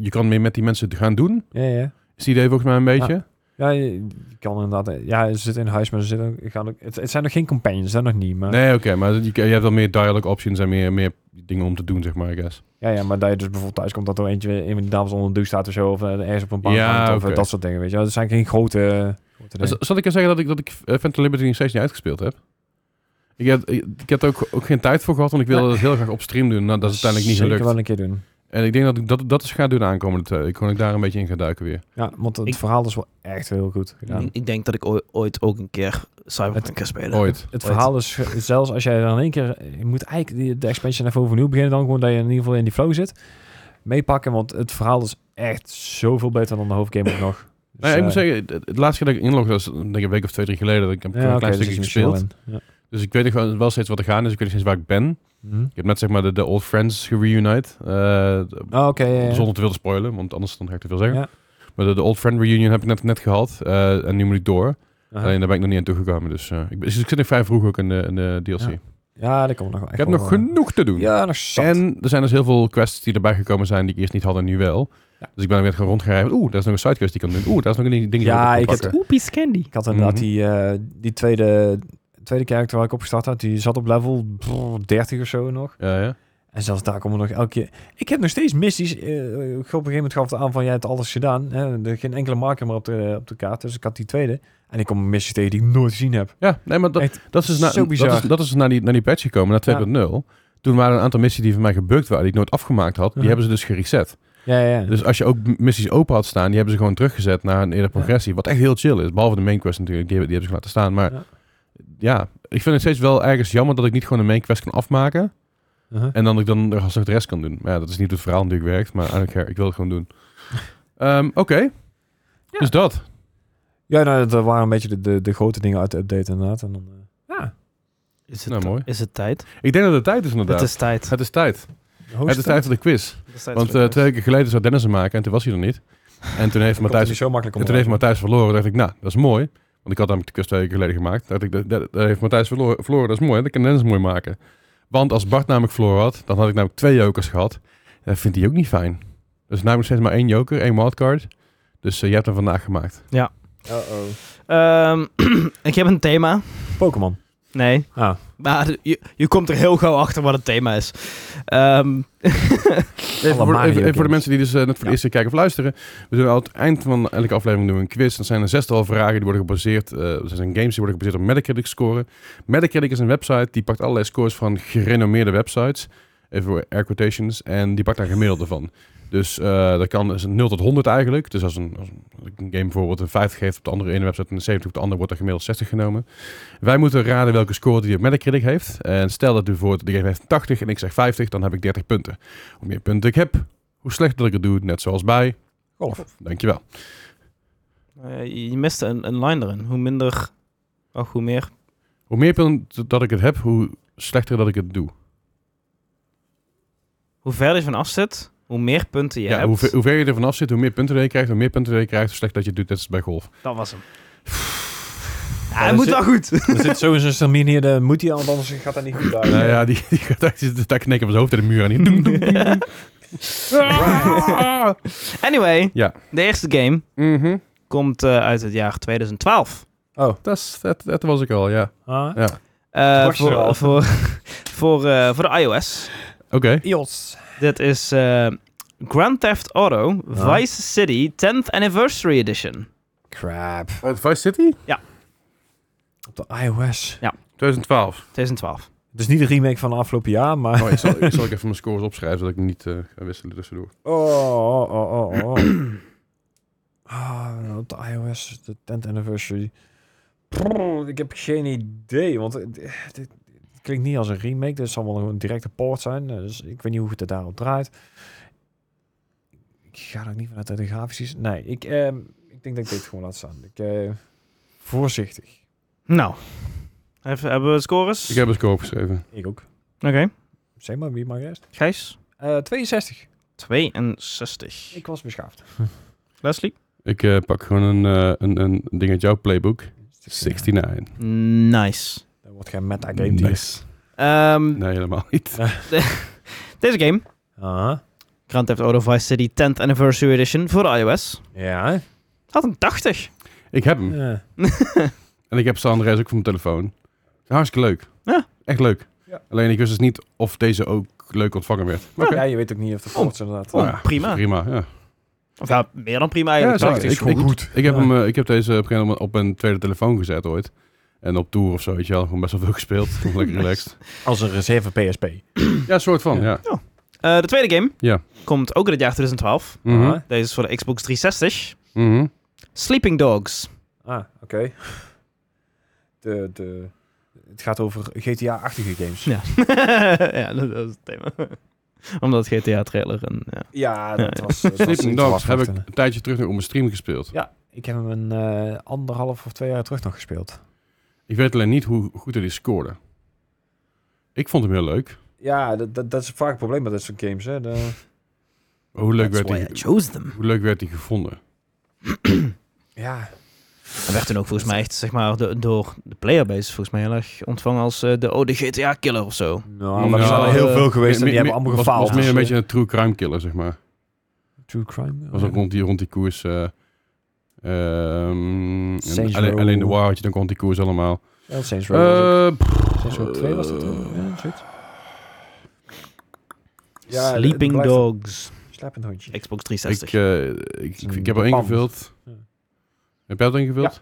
Speaker 1: je kan meer met die mensen gaan doen.
Speaker 3: Ja, ja.
Speaker 1: Is het idee volgens mij een beetje.
Speaker 3: ja je, je kan inderdaad... eh, Ja, ze zitten in huis, maar ze zitten ook... ik ga ook het, het zijn nog geen companions, dat nog niet. Maar,
Speaker 1: nee, oké, maar je, je hebt wel meer dialogue options en meer, meer dingen om te doen, zeg maar, I guess.
Speaker 3: ja, ja, maar dat je dus bijvoorbeeld thuis komt dat er eentje... Een van die dames onder de douche staat of zo. Of eh, ergens op een bank
Speaker 1: Ja,
Speaker 3: hangt, of eh,
Speaker 1: oké.
Speaker 3: dat soort dingen, weet je wel. Het zijn geen grote... grote dingen.
Speaker 1: Z- Zal ik er zeggen dat ik, dat ik eh, Phantom Liberty nog steeds niet uitgespeeld heb? Ik heb, ik, ik heb er ook, ook geen tijd voor gehad, want ik wilde dat heel graag op stream doen. Nou, dat is uiteindelijk niet
Speaker 3: Zeker
Speaker 1: gelukt.
Speaker 3: wel een keer doen.
Speaker 1: En ik denk dat ik dat, dat is ga doen de aankomende tijd. Ik kon ik daar een beetje in gaan duiken weer.
Speaker 3: Ja, want het
Speaker 4: Ik-
Speaker 3: verhaal is wel echt heel goed gedaan.
Speaker 4: Ik, ik denk dat ik ooi- ooit ook een keer Cyberpunk
Speaker 3: Het-
Speaker 4: ga spelen.
Speaker 1: Ooit.
Speaker 3: Het verhaal is eh, zelfs als jij dan in één keer... Je moet eigenlijk die- de expansion even overnieuw beginnen dan. Gewoon dat je in ieder geval in die flow zit. Meepakken, want het verhaal is echt zoveel beter dan de hoofdgame ook nog. Dus,
Speaker 1: Nou, ja, ik moet
Speaker 3: eh,
Speaker 1: zeggen, het, het laatste keer dat ik inlogde was denk ik een week of twee, drie geleden. Dat ik heb
Speaker 3: ja,
Speaker 1: een
Speaker 3: oké,
Speaker 1: klein
Speaker 3: dus
Speaker 1: stukje
Speaker 3: je zit
Speaker 1: gespeeld.
Speaker 3: er wel in. Ja.
Speaker 1: Dus ik weet nog wel- wel steeds wat er gaan is. Ik weet nog steeds waar ik ben.
Speaker 3: Mhm.
Speaker 1: Ik heb net zeg maar de, de old friends gereunite. eh,
Speaker 3: Ah, oké, ja, ja.
Speaker 1: Zonder te willen spoilen, want anders dan ga ik te veel zeggen.
Speaker 3: Ja.
Speaker 1: Maar de, de old friend reunion heb ik net, net gehad. eh, en nu moet ik door.
Speaker 3: Aha.
Speaker 1: Alleen daar ben ik nog niet aan toegekomen. Dus, eh, ik, ben- dus ik zit nog vrij vroeg ook in de, in de DLC.
Speaker 3: Ja, Ja, dat komt nog wel
Speaker 1: ik
Speaker 3: echt
Speaker 1: heb
Speaker 3: wel,
Speaker 1: nog
Speaker 3: eh,
Speaker 1: genoeg te doen.
Speaker 3: Ja, nog zat.
Speaker 1: En er zijn dus heel veel quests die erbij gekomen zijn die ik eerst niet had en nu wel.
Speaker 3: Ja.
Speaker 1: Dus ik ben weer gaan rondgerijden. Oeh, daar is nog een sidequest die ik kan doen. Oeh, daar is nog een ding ding die
Speaker 3: Ja,
Speaker 1: ik
Speaker 3: ik
Speaker 1: kan
Speaker 3: heb-
Speaker 1: pakken.
Speaker 4: Oepies Candy.
Speaker 3: Ik had inderdaad
Speaker 1: Mhm.
Speaker 3: die, eh, die tweede, tweede character waar ik opgestart had. Die zat op level brrr, 30 of zo nog.
Speaker 1: Ja, ja.
Speaker 3: En zelfs daar komen nog elke keer... Ik heb nog steeds missies. Eh, op een gegeven moment gaf het aan van... Jij hebt alles gedaan. Hè? Er geen enkele marker meer op de, op de kaart. Dus ik had die tweede. En ik kom missies tegen die ik nooit gezien heb.
Speaker 1: Ja, nee, maar dat,
Speaker 3: Echt
Speaker 1: dat is dus
Speaker 3: zo
Speaker 1: na,
Speaker 3: bizar.
Speaker 1: Dat is, dat is dus naar, die, naar die patch gekomen, naar 2.0. Toen waren er een aantal missies die van mij gebukt waren, die ik nooit afgemaakt had. Die
Speaker 3: Mhm.
Speaker 1: hebben ze dus gereset.
Speaker 3: Ja, ja. ja.
Speaker 1: Dus als je ook m- missies open had staan, die hebben ze gewoon teruggezet naar een eerder progressie. Wat echt heel chill is. Behalve de main quest natuurlijk, die, hebben- die hebben ze laten staan. Maar
Speaker 3: Ja.
Speaker 1: ja. ik vind het steeds wel ergens jammer dat ik niet gewoon de main quest kan afmaken.
Speaker 3: Uh-huh.
Speaker 1: En dan dat ik dan nog alsnog de rest kan doen. Maar ja, dat is niet hoe het verhaal natuurlijk werkt. Maar I don't care, ik wil het gewoon doen. Ehm, Oké.
Speaker 4: Ja.
Speaker 1: Dus dat.
Speaker 3: Ja, nou, dat waren een beetje de, de, de grote dingen uit de update inderdaad. En dan, eh, ja,
Speaker 4: Is het,
Speaker 1: Nou, mooi.
Speaker 4: Is het tijd?
Speaker 1: Ik denk dat het tijd is inderdaad.
Speaker 4: Het is tijd.
Speaker 1: het is tijd.
Speaker 3: de hoogste-
Speaker 1: Het is tijd voor de quiz.
Speaker 4: Het is tijd
Speaker 1: Want
Speaker 4: voor de
Speaker 1: eh, twee weken geleden zou Dennis hem maken en toen was hij er niet. En toen heeft
Speaker 3: Komt er niet
Speaker 1: Matthijs,
Speaker 3: zo makkelijk eh,
Speaker 1: en toen heeft
Speaker 3: onderuit.
Speaker 1: Matthijs verloren. dacht ik, nou, dat is mooi. Want ik had hem de kust twee weken geleden gemaakt. Dacht ik, dat, dat- dat heeft Matthijs verloren, verloren, dat is mooi. Dat kan Dennis mooi maken. Want als Bart namelijk verloren had, dan had ik namelijk twee jokers gehad. Dat vindt hij ook niet fijn. Dus namelijk steeds maar één joker, één wildcard. Dus eh, je hebt hem vandaag gemaakt.
Speaker 3: Uh-oh.
Speaker 4: Ehm, ik heb een thema.
Speaker 3: Pokémon.
Speaker 4: Nee.
Speaker 3: Ah,
Speaker 4: Maar je, je komt er heel gauw achter wat het thema is. Ehm,
Speaker 1: Even voor,
Speaker 3: Mario
Speaker 1: even- even voor de
Speaker 3: games.
Speaker 1: mensen die dus eh, net voor de
Speaker 3: Ja.
Speaker 1: eerste keer kijken of luisteren. We doen aan het eind van elke aflevering doen we een quiz. Dat zijn er zestal vragen die worden gebaseerd. eh dat zijn games die worden gebaseerd op Metacritic scoren. Metacritic is een website die pakt allerlei scores van gerenommeerde websites. Even voor air quotations. En die pakt daar gemiddelde van. Dus eh, dat kan is een 0 tot 100 eigenlijk. Dus als een, als een- als een game bijvoorbeeld een 50 geeft op de andere ene website en een 70 op de andere, wordt er gemiddeld 60 genomen. Wij moeten raden welke score die op Metacritic heeft. En stel dat u voor de game heeft 80 en ik zeg 50, dan heb ik 30 punten. Hoe meer punten ik heb, hoe slechter dat ik het doe, net zoals bij.
Speaker 3: golf.
Speaker 1: Dankjewel.
Speaker 4: eh, je- je miste een, een line erin. Hoe minder, ach, hoe meer.
Speaker 1: Hoe meer punten dat ik het heb, hoe slechter dat ik het doe.
Speaker 4: Hoe verder je van af zit, hoe meer punten je hebt.
Speaker 1: hoe, ver, hoe ver je er vanaf zit, hoe meer punten dat je krijgt, hoe meer punten dat je krijgt, hoe slechter dat je het doet, net als bij golf.
Speaker 4: Dat was hem. Ja,
Speaker 3: Ja,
Speaker 4: hij
Speaker 3: dus
Speaker 4: moet
Speaker 3: ik-
Speaker 4: wel goed.
Speaker 3: er zit sowieso een termijn hier, de moet hij, want anders gaat dat niet goed uit.
Speaker 1: Nou ja, die, die gaat daar, die zit daar knikken met zijn hoofd in de muur aan. Die doem, doem, doem, doem. Ah!
Speaker 4: Anyway,
Speaker 1: Ja.
Speaker 4: de eerste game
Speaker 1: Mhm.
Speaker 4: komt eh, uit het jaar 2012.
Speaker 3: Oh,
Speaker 1: Dat, is- dat, dat was ik al, ja.
Speaker 3: ah.
Speaker 4: Eh,
Speaker 3: was je er al.
Speaker 4: voor, voor, voor, eh, voor de iOS.
Speaker 1: Oké.
Speaker 3: Ios.
Speaker 4: Dit is eh, Grand Theft Auto
Speaker 3: Ja.
Speaker 4: Vice City 10th Anniversary Edition.
Speaker 3: Crap.
Speaker 1: Vice City?
Speaker 3: Op de iOS.
Speaker 1: 2012.
Speaker 4: 2012.
Speaker 3: Dus niet de remake van afgelopen jaar, maar...
Speaker 1: Oh, ik, zal, ik zal ook even mijn scores opschrijven, zodat ik niet eh, ga wisselen tussendoor.
Speaker 3: Oh, oh, oh, oh, oh. ah, op de iOS, de 10th anniversary. Brrr, ik heb geen idee, want het- dit, dit klinkt niet als een remake. Dit zal wel een directe port zijn, eh, dus ik weet niet hoe het er daarop draait. Ik ga er ook niet vanuit dat de grafisch is. Nee, ik, ehm, ik denk dat ik dit gewoon laat staan. Ik, eh, voorzichtig.
Speaker 4: Nou, Even- hebben we scores?
Speaker 1: Ik heb een score opgeschreven.
Speaker 3: Ik ook.
Speaker 4: Oké,
Speaker 3: Zeg maar, wie mag eerst?
Speaker 4: Gijs?
Speaker 3: Eh 62.
Speaker 4: 62.
Speaker 3: Ik was beschaafd.
Speaker 4: Leslie?
Speaker 1: Ik eh, pak gewoon een, eh, een, een ding uit jouw playbook. 69.
Speaker 4: Nice.
Speaker 3: Dat wordt geen metagame. die
Speaker 1: Nice.
Speaker 3: is.
Speaker 4: Ehm,
Speaker 1: Nee, helemaal niet.
Speaker 4: Deze game,
Speaker 3: Aha.
Speaker 4: Grand Theft Auto Vice City 10th Anniversary Edition voor de iOS,
Speaker 3: Ja.
Speaker 4: had een 80.
Speaker 1: Ik heb hem.
Speaker 3: Ja.
Speaker 1: En ik heb San Andreas ook voor mijn telefoon. Hartstikke leuk.
Speaker 4: Ja.
Speaker 1: Echt leuk.
Speaker 3: Ja.
Speaker 1: Alleen ik wist dus niet of deze ook leuk ontvangen werd. Maar oké.
Speaker 3: Ja, je weet ook niet of de ports inderdaad.
Speaker 4: Oh,
Speaker 1: Nou ja,
Speaker 4: prima.
Speaker 1: Prima, ja.
Speaker 4: Of ja, meer dan prima
Speaker 1: Ja,
Speaker 4: eigenlijk.
Speaker 1: zeker.
Speaker 4: 80 is
Speaker 1: ik,
Speaker 4: gewoon
Speaker 1: ik-
Speaker 4: goed.
Speaker 1: Ik heb,
Speaker 3: Ja.
Speaker 1: hem, eh, ik heb deze op een gegeven moment op een tweede telefoon gezet ooit. En op tour of zo, weet je wel. Gewoon best wel veel gespeeld. Gewoon lekker relaxed.
Speaker 3: Als een reserve PSP.
Speaker 1: Ja, soort van, ja.
Speaker 4: Eh, de tweede game
Speaker 1: Ja.
Speaker 4: komt ook in het jaar 2012.
Speaker 1: Mhm.
Speaker 3: Ah,
Speaker 4: Deze is voor de Xbox 360.
Speaker 1: Mhm.
Speaker 4: Sleeping Dogs.
Speaker 3: Ah, oké. De, de, het gaat over GTA-achtige games.
Speaker 4: Ja, ja dat, dat is het thema. Omdat GTA-trailer en... Ja.
Speaker 3: Ja, dat
Speaker 4: Ja.
Speaker 3: was... eh, dat was
Speaker 1: Sleeping
Speaker 3: iets
Speaker 1: Dogs heb ik
Speaker 3: afwachten.
Speaker 1: een tijdje terug nog op mijn stream gespeeld.
Speaker 3: Ja, ik heb hem een eh, anderhalf of twee jaar terug nog gespeeld.
Speaker 1: Ik weet alleen niet hoe goed hij scoorde. Ik vond hem heel leuk.
Speaker 3: Ja, dat, dat, dat is vaak het probleem met dat soort games, hè. De-
Speaker 1: Maar Hoe leuk,
Speaker 4: That's
Speaker 1: werd
Speaker 4: why
Speaker 1: hij,
Speaker 4: I chose them.
Speaker 1: hoe leuk werd hij gevonden?
Speaker 3: ja.
Speaker 4: Dat werd toen ook volgens mij echt, zeg maar, de- door de playerbase volgens mij heel erg ontvangen als eh, de oude GTA-killer of zo.
Speaker 3: Nou,
Speaker 1: Nou,
Speaker 3: maar er zijn er heel
Speaker 4: eh,
Speaker 3: veel geweest en die hebben allemaal
Speaker 1: was-
Speaker 3: gefaald.
Speaker 1: was meer een
Speaker 3: dus,
Speaker 1: beetje een true crime killer, zeg maar.
Speaker 3: eh, True crime.
Speaker 1: was ook rond die, rond die koers. eh, ehm, en
Speaker 3: Saints
Speaker 1: alleen,
Speaker 3: Row.
Speaker 1: alleen de war had je dan rond die koers allemaal.
Speaker 3: Wel, Saints Row was ook.
Speaker 1: Eh, pff,
Speaker 3: Saints Row 2 was het. eh, ja, zoiets. Ja, het- het
Speaker 4: Sleeping
Speaker 3: blijft een
Speaker 4: Dogs.
Speaker 3: Slapend hondje.
Speaker 4: Xbox
Speaker 1: ik,
Speaker 4: 360.
Speaker 1: eh, ik, ik, ik heb er
Speaker 3: Een
Speaker 1: één
Speaker 3: pand.
Speaker 1: gevuld.
Speaker 3: Ja.
Speaker 1: Heb jij dat ingevuld?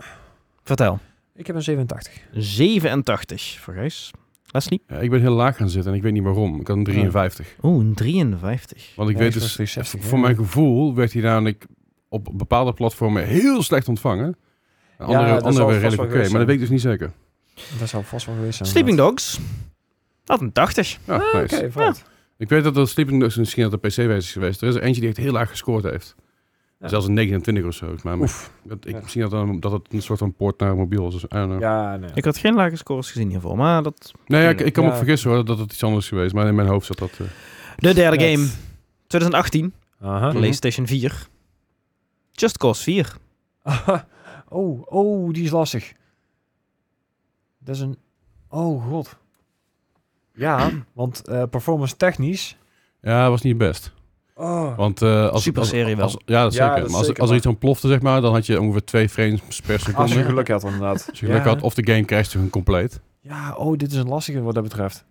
Speaker 4: Vertel.
Speaker 3: Ik heb een 87.
Speaker 4: 87 voor Gijs. Leslie?
Speaker 1: Ja, ik ben heel laag gaan zitten en ik weet niet waarom. Ik had een 53.
Speaker 4: Oeh, een 53.
Speaker 1: Want ik
Speaker 3: Ja,
Speaker 1: weet
Speaker 3: Xbox
Speaker 1: dus,
Speaker 3: 360,
Speaker 1: voor
Speaker 3: ja.
Speaker 1: mijn gevoel werd hij namelijk op bepaalde platformen heel slecht ontvangen. En Andere,
Speaker 3: dat zal
Speaker 1: andere
Speaker 3: vast
Speaker 1: waren redelijk
Speaker 3: wel
Speaker 1: oké,
Speaker 3: geweest
Speaker 1: maar dat
Speaker 3: zijn.
Speaker 1: weet ik dus niet zeker.
Speaker 3: Dat zou vast wel geweest zijn.
Speaker 4: Sleeping Dogs. Had een 80.
Speaker 1: Ja, Ah, nice.
Speaker 3: Ah, Oké, valt.
Speaker 1: Ik weet dat er Sleeping Dogs misschien dat de PC-wijze is geweest. Er is er eentje die echt heel laag gescoord heeft.
Speaker 3: Ja.
Speaker 1: Zelfs een 29 of zo. Maar
Speaker 3: Oef.
Speaker 1: dat, ik,
Speaker 3: Ja.
Speaker 1: Misschien dat, dan, dat het een soort van poort naar mobiel is. Dus, I don't know.
Speaker 3: Ja, nee.
Speaker 4: Ik had geen lage scores gezien hiervoor, maar dat...
Speaker 1: Nee, ja, ik, ik kan me
Speaker 3: Ja.
Speaker 1: vergissen hoor, dat het iets anders is geweest. Maar in mijn hoofd zat dat... eh,
Speaker 4: De derde
Speaker 3: Net.
Speaker 4: game, 2018,
Speaker 3: Aha.
Speaker 1: Mhm.
Speaker 4: PlayStation 4. Just Cause 4.
Speaker 3: Aha. Oh, oh, die is lastig. Dat is een... Oh, god. Ja, want eh, performance technisch...
Speaker 1: ja, was niet best.
Speaker 3: Oh.
Speaker 1: Want eh, als,
Speaker 4: Super
Speaker 1: als-
Speaker 4: serie wel.
Speaker 1: Als, ja, dat
Speaker 3: Ja,
Speaker 1: zeker.
Speaker 3: dat
Speaker 1: maar als,
Speaker 3: zeker,
Speaker 1: als er
Speaker 3: maar-
Speaker 1: iets ontplofte, zeg maar, dan had je ongeveer twee frames per seconde.
Speaker 3: Als je geluk had, inderdaad.
Speaker 1: Als je geluk had, of de game crasht gewoon compleet.
Speaker 3: Ja, oh, dit is een lastige wat dat betreft.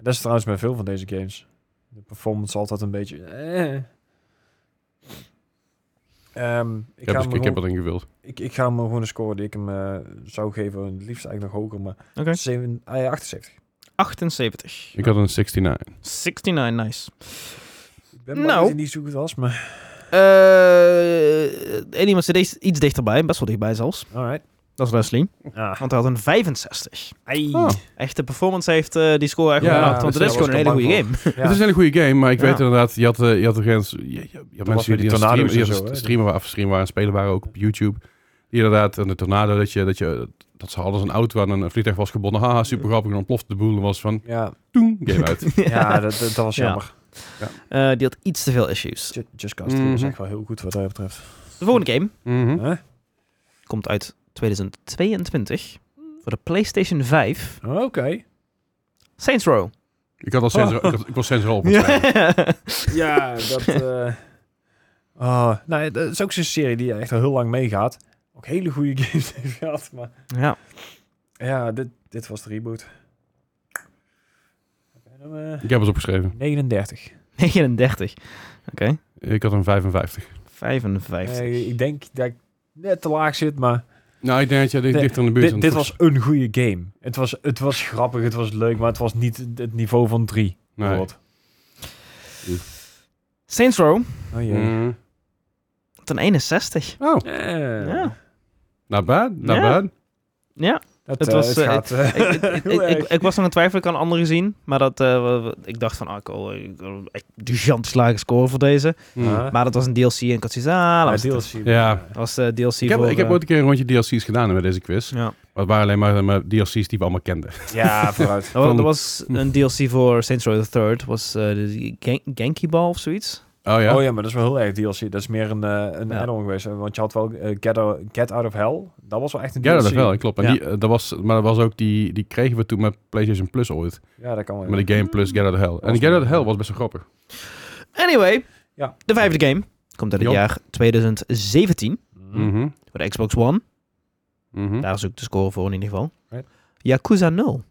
Speaker 3: Dat is trouwens bij veel van deze games. De performance is altijd een beetje... eh. Ehm,
Speaker 1: Ik,
Speaker 3: ga
Speaker 1: heb,
Speaker 3: hem
Speaker 1: dus, ik heb
Speaker 3: gewoon-
Speaker 1: dat ingewild.
Speaker 3: ik, ik ga hem gewoon een score die ik hem eh, zou geven. Het liefst eigenlijk nog hoger, maar
Speaker 4: Oké.
Speaker 3: zeven- ah ja, 78.
Speaker 4: 78.
Speaker 1: Ik had een 69.
Speaker 4: 69, nice.
Speaker 3: Ik ben blij
Speaker 4: Nou.
Speaker 3: dat hij niet zo goed was, maar...
Speaker 4: Eh en iemand zit iets- iets dichterbij, best wel dichtbij zelfs.
Speaker 3: Alright.
Speaker 4: Dat is Leslie.
Speaker 3: Ah.
Speaker 4: Want hij had een 65.
Speaker 3: Ei.
Speaker 1: Ah.
Speaker 4: Echt, de performance heeft eh, die score echt
Speaker 1: Ja,
Speaker 4: gemaakt. Want
Speaker 1: dus
Speaker 4: het is
Speaker 1: daar
Speaker 4: gewoon een hele
Speaker 3: was ik
Speaker 4: goede
Speaker 3: al
Speaker 4: game.
Speaker 3: Ja.
Speaker 1: Het is een hele goede game, maar ik
Speaker 3: Ja.
Speaker 1: weet inderdaad, je had, eh, je had er eens, je, je- je, had
Speaker 3: was
Speaker 1: mensen die,
Speaker 3: weer die
Speaker 1: aan het
Speaker 3: tornado's
Speaker 1: streamen, die
Speaker 3: en
Speaker 1: aan
Speaker 3: zo,
Speaker 1: het
Speaker 3: hè?
Speaker 1: streamen waren, of streamen waren, spelen waren ook op YouTube. Die inderdaad, en de tornado, dat je, dat je, dat ze hadden een auto aan een vliegtuig was gebonden. Haha, super grappig. En dan plofte de boel en was van,
Speaker 3: Ja,
Speaker 1: toen, game uit.
Speaker 3: ja dat, dat, dat was
Speaker 4: Ja.
Speaker 3: jammer.
Speaker 4: Eh, die had iets te veel issues.
Speaker 3: Ju- Just Cause 3 was
Speaker 1: Mhm.
Speaker 3: echt wel heel goed wat dat betreft.
Speaker 4: De volgende game
Speaker 1: Mhm.
Speaker 3: Huh?
Speaker 4: komt uit 2022 voor de PlayStation 5.
Speaker 3: Oké.
Speaker 4: Saints Row.
Speaker 1: Ik
Speaker 3: Oh.
Speaker 1: had al sensor, ik, had- ik was sensor op. aan het spelen.
Speaker 3: Ja, dat... eh ah, nou, dat is ook zo'n serie die echt al heel lang meegaat. Ook hele goede games heeft gehad, maar...
Speaker 4: ja.
Speaker 3: Ja, dit, dit was de reboot. Heb jij hem, eh,
Speaker 1: Ik heb het opgeschreven.
Speaker 3: 39.
Speaker 4: 39. Oké.
Speaker 1: Ik had een 55.
Speaker 4: 55.
Speaker 3: Eh, ik denk dat ik net te laag zit, maar...
Speaker 1: Nou, ik denk dat jij dicht-
Speaker 3: Nee,
Speaker 1: dichter in de buurt
Speaker 3: Dit,
Speaker 1: bent.
Speaker 3: dit was een goede game. Het was, het was grappig, het was leuk, maar het was niet het niveau van 3.
Speaker 1: Nee.
Speaker 3: bijvoorbeeld.
Speaker 4: Saints Row.
Speaker 3: Oh jee.
Speaker 1: Mhm.
Speaker 4: had een 61.
Speaker 1: Oh,
Speaker 3: Eh,
Speaker 4: Ja.
Speaker 1: not bad, not
Speaker 4: Ja.
Speaker 1: bad.
Speaker 4: Ja.
Speaker 3: Dat,
Speaker 4: Het
Speaker 3: eh,
Speaker 4: was,
Speaker 3: het
Speaker 4: eh,
Speaker 3: gaat, eh,
Speaker 4: ik, ik, ik,
Speaker 3: heel
Speaker 4: ik,
Speaker 3: erg.
Speaker 4: ik was nog aan het twijfelen, ik had een andere zien. Maar dat, eh, wa- wa- ik dacht van, ah, ik wil ik wil echt gigantisch lage score voor deze.
Speaker 3: Ah,
Speaker 1: Mhm.
Speaker 4: Maar dat was een DLC en ik had zoiets, ah, dat
Speaker 3: Ja,
Speaker 4: was het.
Speaker 3: DLC.
Speaker 1: Ja.
Speaker 4: Dat was de DLC
Speaker 1: Ik heb,
Speaker 4: voor...
Speaker 1: ik heb
Speaker 4: eh,
Speaker 1: ooit een keer een rondje DLC's gedaan met deze quiz.
Speaker 4: ja.
Speaker 1: Maar het waren alleen maar, maar DLC's die we allemaal kenden. Oh
Speaker 3: Ja, vooruit.
Speaker 4: Dat wa-
Speaker 1: Van-
Speaker 4: dat was een DLC voor Saints Row the Third. was eh, de Gen- Genki Ball of zoiets.
Speaker 1: Oh ja?
Speaker 3: Oh ja, maar dat is wel heel erg DLC. Dat is meer een, eh, een
Speaker 4: Ja.
Speaker 3: add-on geweest. hè, Want je had wel eh, Get, Out, Get Out of Hell. Dat was wel echt een DLC.
Speaker 1: Ja, dat wel, klopt. En
Speaker 4: Ja.
Speaker 1: die, eh, dat was, maar dat was ook die, die kregen we toen met PlayStation Plus ooit.
Speaker 3: Ja, dat kan wel.
Speaker 1: Met de Game Plus Get Out of Hell. En
Speaker 3: Was
Speaker 1: Get Out of
Speaker 3: wel-
Speaker 1: Hell was best wel grappig.
Speaker 4: Anyway,
Speaker 3: Ja.
Speaker 4: de vijfde game komt uit het
Speaker 1: Ja.
Speaker 4: jaar 2017
Speaker 3: Mhm.
Speaker 1: Mhm.
Speaker 4: voor de Xbox One.
Speaker 1: Mhm.
Speaker 4: Daar is ook de score voor in ieder geval.
Speaker 3: Hm? Right.
Speaker 4: Yakuza 0.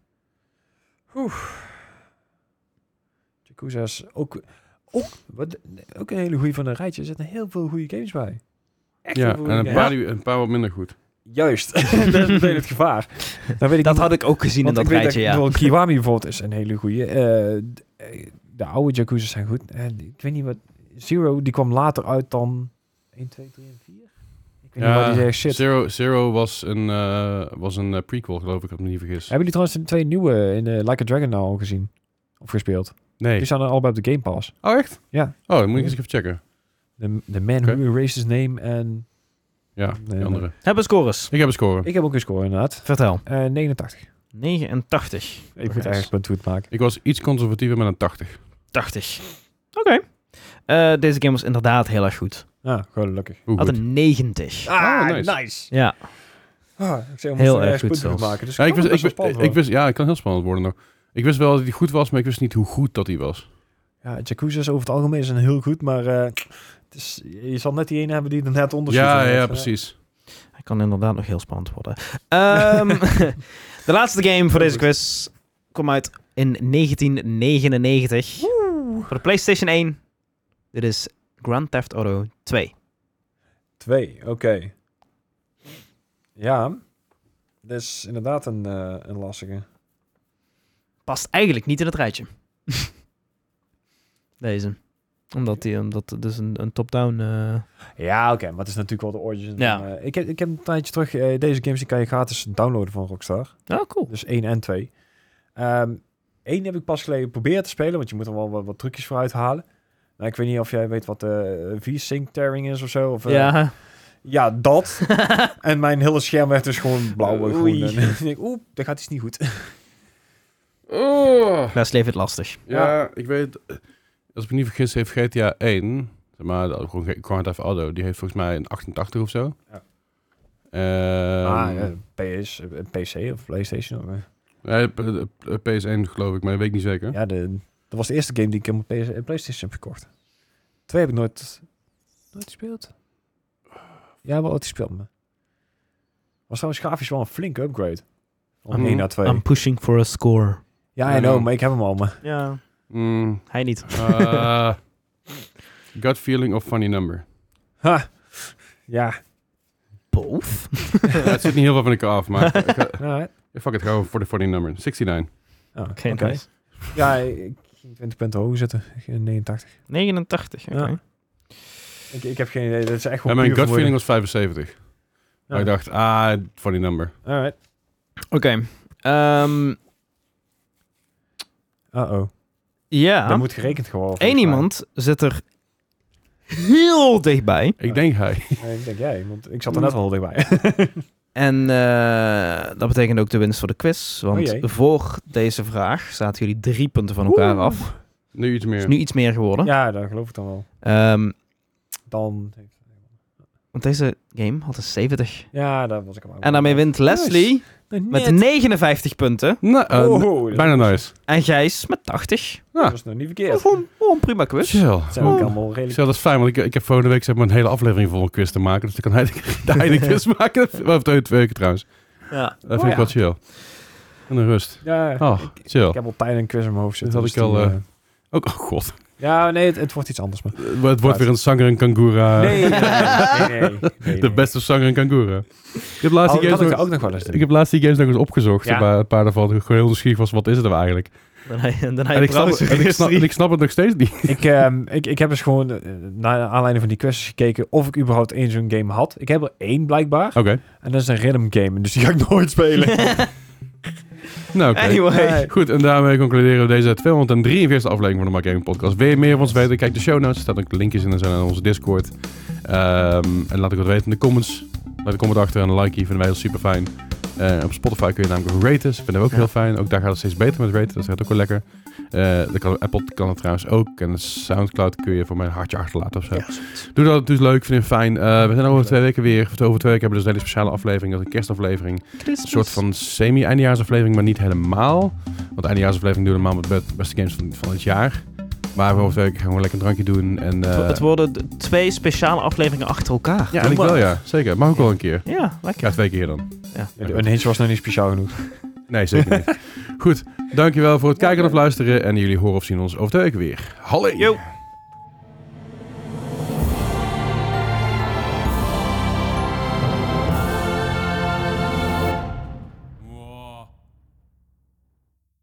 Speaker 3: Yakuza is ook, ook, wat, ook een hele goede van een rijtje. Er zitten heel veel goede games bij. Echt
Speaker 1: Ja,
Speaker 3: heel
Speaker 1: en
Speaker 3: veel
Speaker 1: een
Speaker 3: goede
Speaker 1: paar,
Speaker 3: games.
Speaker 1: die- een paar wat minder goed.
Speaker 3: Juist. dat is meteen het gevaar. Dan weet ik
Speaker 4: Dat
Speaker 3: niet-
Speaker 4: had ik ook gezien in
Speaker 3: want
Speaker 4: dat
Speaker 3: ik weet
Speaker 4: rijtje, ja.
Speaker 3: bijvoorbeeld Kiwami bijvoorbeeld is een hele goede. eh, de oude Yakuza's zijn goed. Eh, ik weet niet wat... Zero, die kwam later uit dan 1, 2, 3 en 4? Ik weet niet
Speaker 1: Ja,
Speaker 3: wat die zegt. Shit.
Speaker 1: Zero, Zero was een, eh, was een eh, prequel, geloof ik, als ik me niet vergis.
Speaker 3: Hebben jullie trouwens de twee nieuwe in eh, Like a Dragon nou al gezien? Of gespeeld?
Speaker 1: Nee.
Speaker 3: Die staan er allebei op de Game Pass.
Speaker 1: Oh, echt?
Speaker 3: Ja.
Speaker 1: Oh, dan moet ik eens even checken.
Speaker 3: The, the Man
Speaker 1: Oké.
Speaker 3: Who Erased His Name en...
Speaker 1: Ja,
Speaker 3: Nee,
Speaker 1: die andere.
Speaker 4: Hebben scores.
Speaker 1: Ik heb een score.
Speaker 3: Ik heb ook een score inderdaad.
Speaker 4: Vertel.
Speaker 3: Eh, 89. Ik
Speaker 4: 89.
Speaker 3: moet eigenlijk mijn tweet maken.
Speaker 1: Ik was iets conservatiever met een 80.
Speaker 4: 80. Oké. Eh, deze game was inderdaad heel erg goed.
Speaker 3: Ah, gelukkig.
Speaker 1: Hoe
Speaker 4: Had
Speaker 1: goed.
Speaker 4: een 90.
Speaker 1: Ah, nice.
Speaker 4: Ja.
Speaker 3: Ah, ik zei, we
Speaker 4: Heel
Speaker 3: moesten
Speaker 4: erg
Speaker 3: ergens
Speaker 4: goed
Speaker 3: punten voor
Speaker 4: zelfs.
Speaker 3: maken. Dus
Speaker 1: Ja, ik
Speaker 3: kan
Speaker 1: wist, ik,
Speaker 3: best wel
Speaker 1: wist, ik
Speaker 3: spannend worden.
Speaker 1: wist- ja, het kan heel spannend worden nog. Ik wist wel dat hij goed was, maar ik wist niet hoe goed dat hij was.
Speaker 3: Ja, Jacuzzas over het algemeen zijn heel goed, maar eh, het is, je zal net die ene hebben die er net onder Eh, zit.
Speaker 1: Ja, ja,
Speaker 3: inderdaad.
Speaker 1: precies.
Speaker 4: Hij kan inderdaad nog heel spannend worden. Ehm, de laatste game voor deze quiz kwam uit in 1999. Voor de PlayStation 1. Dit is Grand Theft Auto 2.
Speaker 3: Twee, oké. Ja, dat is inderdaad een, eh, een lastige.
Speaker 4: Past eigenlijk niet in het rijtje. deze. Omdat, die, omdat het dus een, een top-down... eh,
Speaker 3: Ja, oké, maar het is natuurlijk wel de origin.
Speaker 4: Ja.
Speaker 3: van, eh, ik, heb, ik heb een tijdje terug, eh, deze games die kan je gratis downloaden van Rockstar.
Speaker 4: Oh, cool.
Speaker 3: Dus één en twee. Eén heb ik pas geleden proberen te spelen, want je moet er wel wat, wat trucjes voor uithalen. Nou, ik weet niet of jij weet wat eh V-Sync tearing is of zo. Of, eh,
Speaker 4: Ja.
Speaker 3: Ja, dat. en mijn hele scherm werd dus gewoon blauw en groen.
Speaker 4: Oei.
Speaker 3: En ik denk, oeh, dat gaat iets niet
Speaker 1: Ehm,
Speaker 3: goed.
Speaker 1: Oh,
Speaker 4: Les leeft het lastig.
Speaker 1: ja, ik weet... eh, Als ik me niet vergis heeft GTA 1, zeg maar de- gewoon G- Grand Theft Auto, die heeft volgens mij een 88 of zo.
Speaker 3: Ja.
Speaker 1: Ehm,
Speaker 3: ah, ja, PS, eh, PC of PlayStation. of, eh.
Speaker 1: nee, p- eh, PS1 geloof ik, maar dat weet ik niet zeker.
Speaker 3: Ja, de, dat was de eerste game die ik op PS, eh, PlayStation heb gekocht. Twee heb ik nooit, nooit gespeeld. Ja, wel ooit gespeeld, maar... Was trouwens grafisch wel een flinke upgrade. Van
Speaker 1: Aan-
Speaker 3: 1 naar 2.
Speaker 4: I'm pushing for a score.
Speaker 3: ja, I know, maar ik heb hem al, maar...
Speaker 4: Ja,
Speaker 1: Mm,
Speaker 4: hij niet.
Speaker 1: eh, gut feeling of funny number.
Speaker 3: Ha! Ja,
Speaker 4: Both?
Speaker 1: Ja, het zit niet heel veel van elkaar af, maar ik, ga-
Speaker 3: alright.
Speaker 1: ik fuck het gewoon voor de funny number. 69.
Speaker 3: Nou, Oh, Oké,
Speaker 4: Oké, nice.
Speaker 3: Ja, ik ging 20 punten hoger zetten. Ik ging 89.
Speaker 4: 89, oké.
Speaker 3: Ja. Ik, ik heb geen idee, dat is echt
Speaker 1: Ja,
Speaker 3: gewoon
Speaker 1: mijn
Speaker 3: puur
Speaker 1: gut feeling
Speaker 3: vermoeden.
Speaker 1: was 75. Maar
Speaker 3: Ja.
Speaker 1: ik dacht, ah, funny number.
Speaker 3: Alright.
Speaker 4: Oké. ehm,
Speaker 3: Uh-oh.
Speaker 4: ja,
Speaker 3: Dat moet gerekend gewoon. volgens
Speaker 4: Eén
Speaker 3: mij.
Speaker 4: iemand zit er heel dichtbij.
Speaker 1: Ik denk hij.
Speaker 3: Nee, ik denk jij, want ik zat er net al heel dichtbij.
Speaker 4: En eh, dat betekent ook de winst voor de quiz. Want
Speaker 3: Oh jee.
Speaker 4: voor deze vraag zaten jullie drie punten van elkaar af. Het
Speaker 1: Nu iets meer.
Speaker 4: is nu iets meer geworden.
Speaker 3: ja, dat geloof ik dan wel.
Speaker 4: Ehm,
Speaker 3: Dan...
Speaker 4: want deze game had een 70.
Speaker 3: Ja, daar was ik hem aan.
Speaker 4: En daarmee wint Leslie met 59 punten.
Speaker 1: Nou, eh,
Speaker 3: oh,
Speaker 1: n-
Speaker 3: dat
Speaker 1: bijna nice.
Speaker 4: En Gijs met 80.
Speaker 1: Ja.
Speaker 3: was nog niet
Speaker 4: Oh,
Speaker 3: verkeerd.
Speaker 4: gewoon- oh, een prima quiz.
Speaker 1: Chill.
Speaker 3: Dat zijn ook
Speaker 1: Oh.
Speaker 3: allemaal
Speaker 1: Ik
Speaker 3: redelijk...
Speaker 1: zeg, dat is fijn, want ik, ik heb volgende week zeg maar, een hele aflevering voor een quiz te maken. Dus dan kan hij de, de hij de quiz maken. Of twee, twee weken trouwens.
Speaker 4: Ja.
Speaker 1: Dat vind
Speaker 3: Oh,
Speaker 1: ik wel chill. En een rust.
Speaker 3: Ja,
Speaker 1: Oh,
Speaker 3: ik
Speaker 1: chill.
Speaker 3: heb al pijn een quiz in mijn hoofd zitten.
Speaker 1: Dat had
Speaker 3: dus
Speaker 1: ik
Speaker 3: die,
Speaker 1: al,
Speaker 3: eh,
Speaker 1: Ook, oh god.
Speaker 3: Ja, nee, het, het wordt iets anders. Maar...
Speaker 1: Eh, Het wordt weer een zanger en kangoera.
Speaker 3: Nee, nee, nee, nee, nee, nee.
Speaker 1: De beste zanger en kangoera. Ik heb laatst
Speaker 3: Oh,
Speaker 1: die
Speaker 3: dat had
Speaker 1: games
Speaker 3: ik
Speaker 1: nog...
Speaker 3: ook nog wel eens.
Speaker 1: Ik heb laatst die games nog eens opgezocht.
Speaker 3: Ja.
Speaker 1: Maar een paar daarvan. Ik gewoon heel nieuwsgierig was, wat is het nou eigenlijk?
Speaker 4: Dan hij, dan hij
Speaker 1: En ik, snap,
Speaker 4: browser-
Speaker 1: en, ik snap, en ik snap het nog steeds niet.
Speaker 3: ik, ehm, ik, ik heb eens gewoon eh, naar aanleiding van die quizzes gekeken of ik überhaupt één zo'n game had. Ik heb er één blijkbaar.
Speaker 1: Oké.
Speaker 3: En dat is een rhythm game, dus die ga ik nooit spelen.
Speaker 1: Nou, oké.
Speaker 4: Anyway.
Speaker 3: Nee.
Speaker 1: Goed, en daarmee concluderen we deze 243 aflevering van de Mark Gaming Podcast. Wil je meer van ons weten? Kijk de show notes. Er staan ook linkjes in en zo naar onze Discord. Ehm, en laat ik wat weten in de comments. Laat een comment achter en een like. Vinden wij heel super fijn. Eh, op Spotify kun je namelijk ook raten. Dat vinden we ook
Speaker 4: Ja.
Speaker 1: heel fijn. Ook daar gaat het steeds beter met raten. Dat gaat ook wel lekker. Eh, dat kan, Apple kan het trouwens ook. En Soundcloud kun je voor mij een hartje achterlaten of zo. Doe dat, doe het leuk. Vind het fijn. Eh, we zijn over twee weken weer. Over twee weken hebben we dus een hele speciale aflevering. Dat is een kerstaflevering. Een soort van semi-eindejaarsaflevering, maar niet helemaal. Want eindejaarsaflevering doen we normaal met de beste games van, van het jaar. Maar we over twee weken gaan we gewoon lekker een drankje doen. En, eh,
Speaker 4: Het wo- Het worden d- twee speciale afleveringen achter elkaar.
Speaker 1: ja, eigenlijk wel, ja. Zeker. Mag ook wel een keer.
Speaker 4: Ja,
Speaker 1: Ja,
Speaker 4: lekker.
Speaker 1: twee keer dan.
Speaker 4: Ja.
Speaker 3: Een hintje was nog niet speciaal genoeg.
Speaker 1: Nee, zeker niet. Goed, dankjewel voor het kijken of luisteren. En jullie horen of zien ons over twee weken weer. Hallo!
Speaker 4: Yo.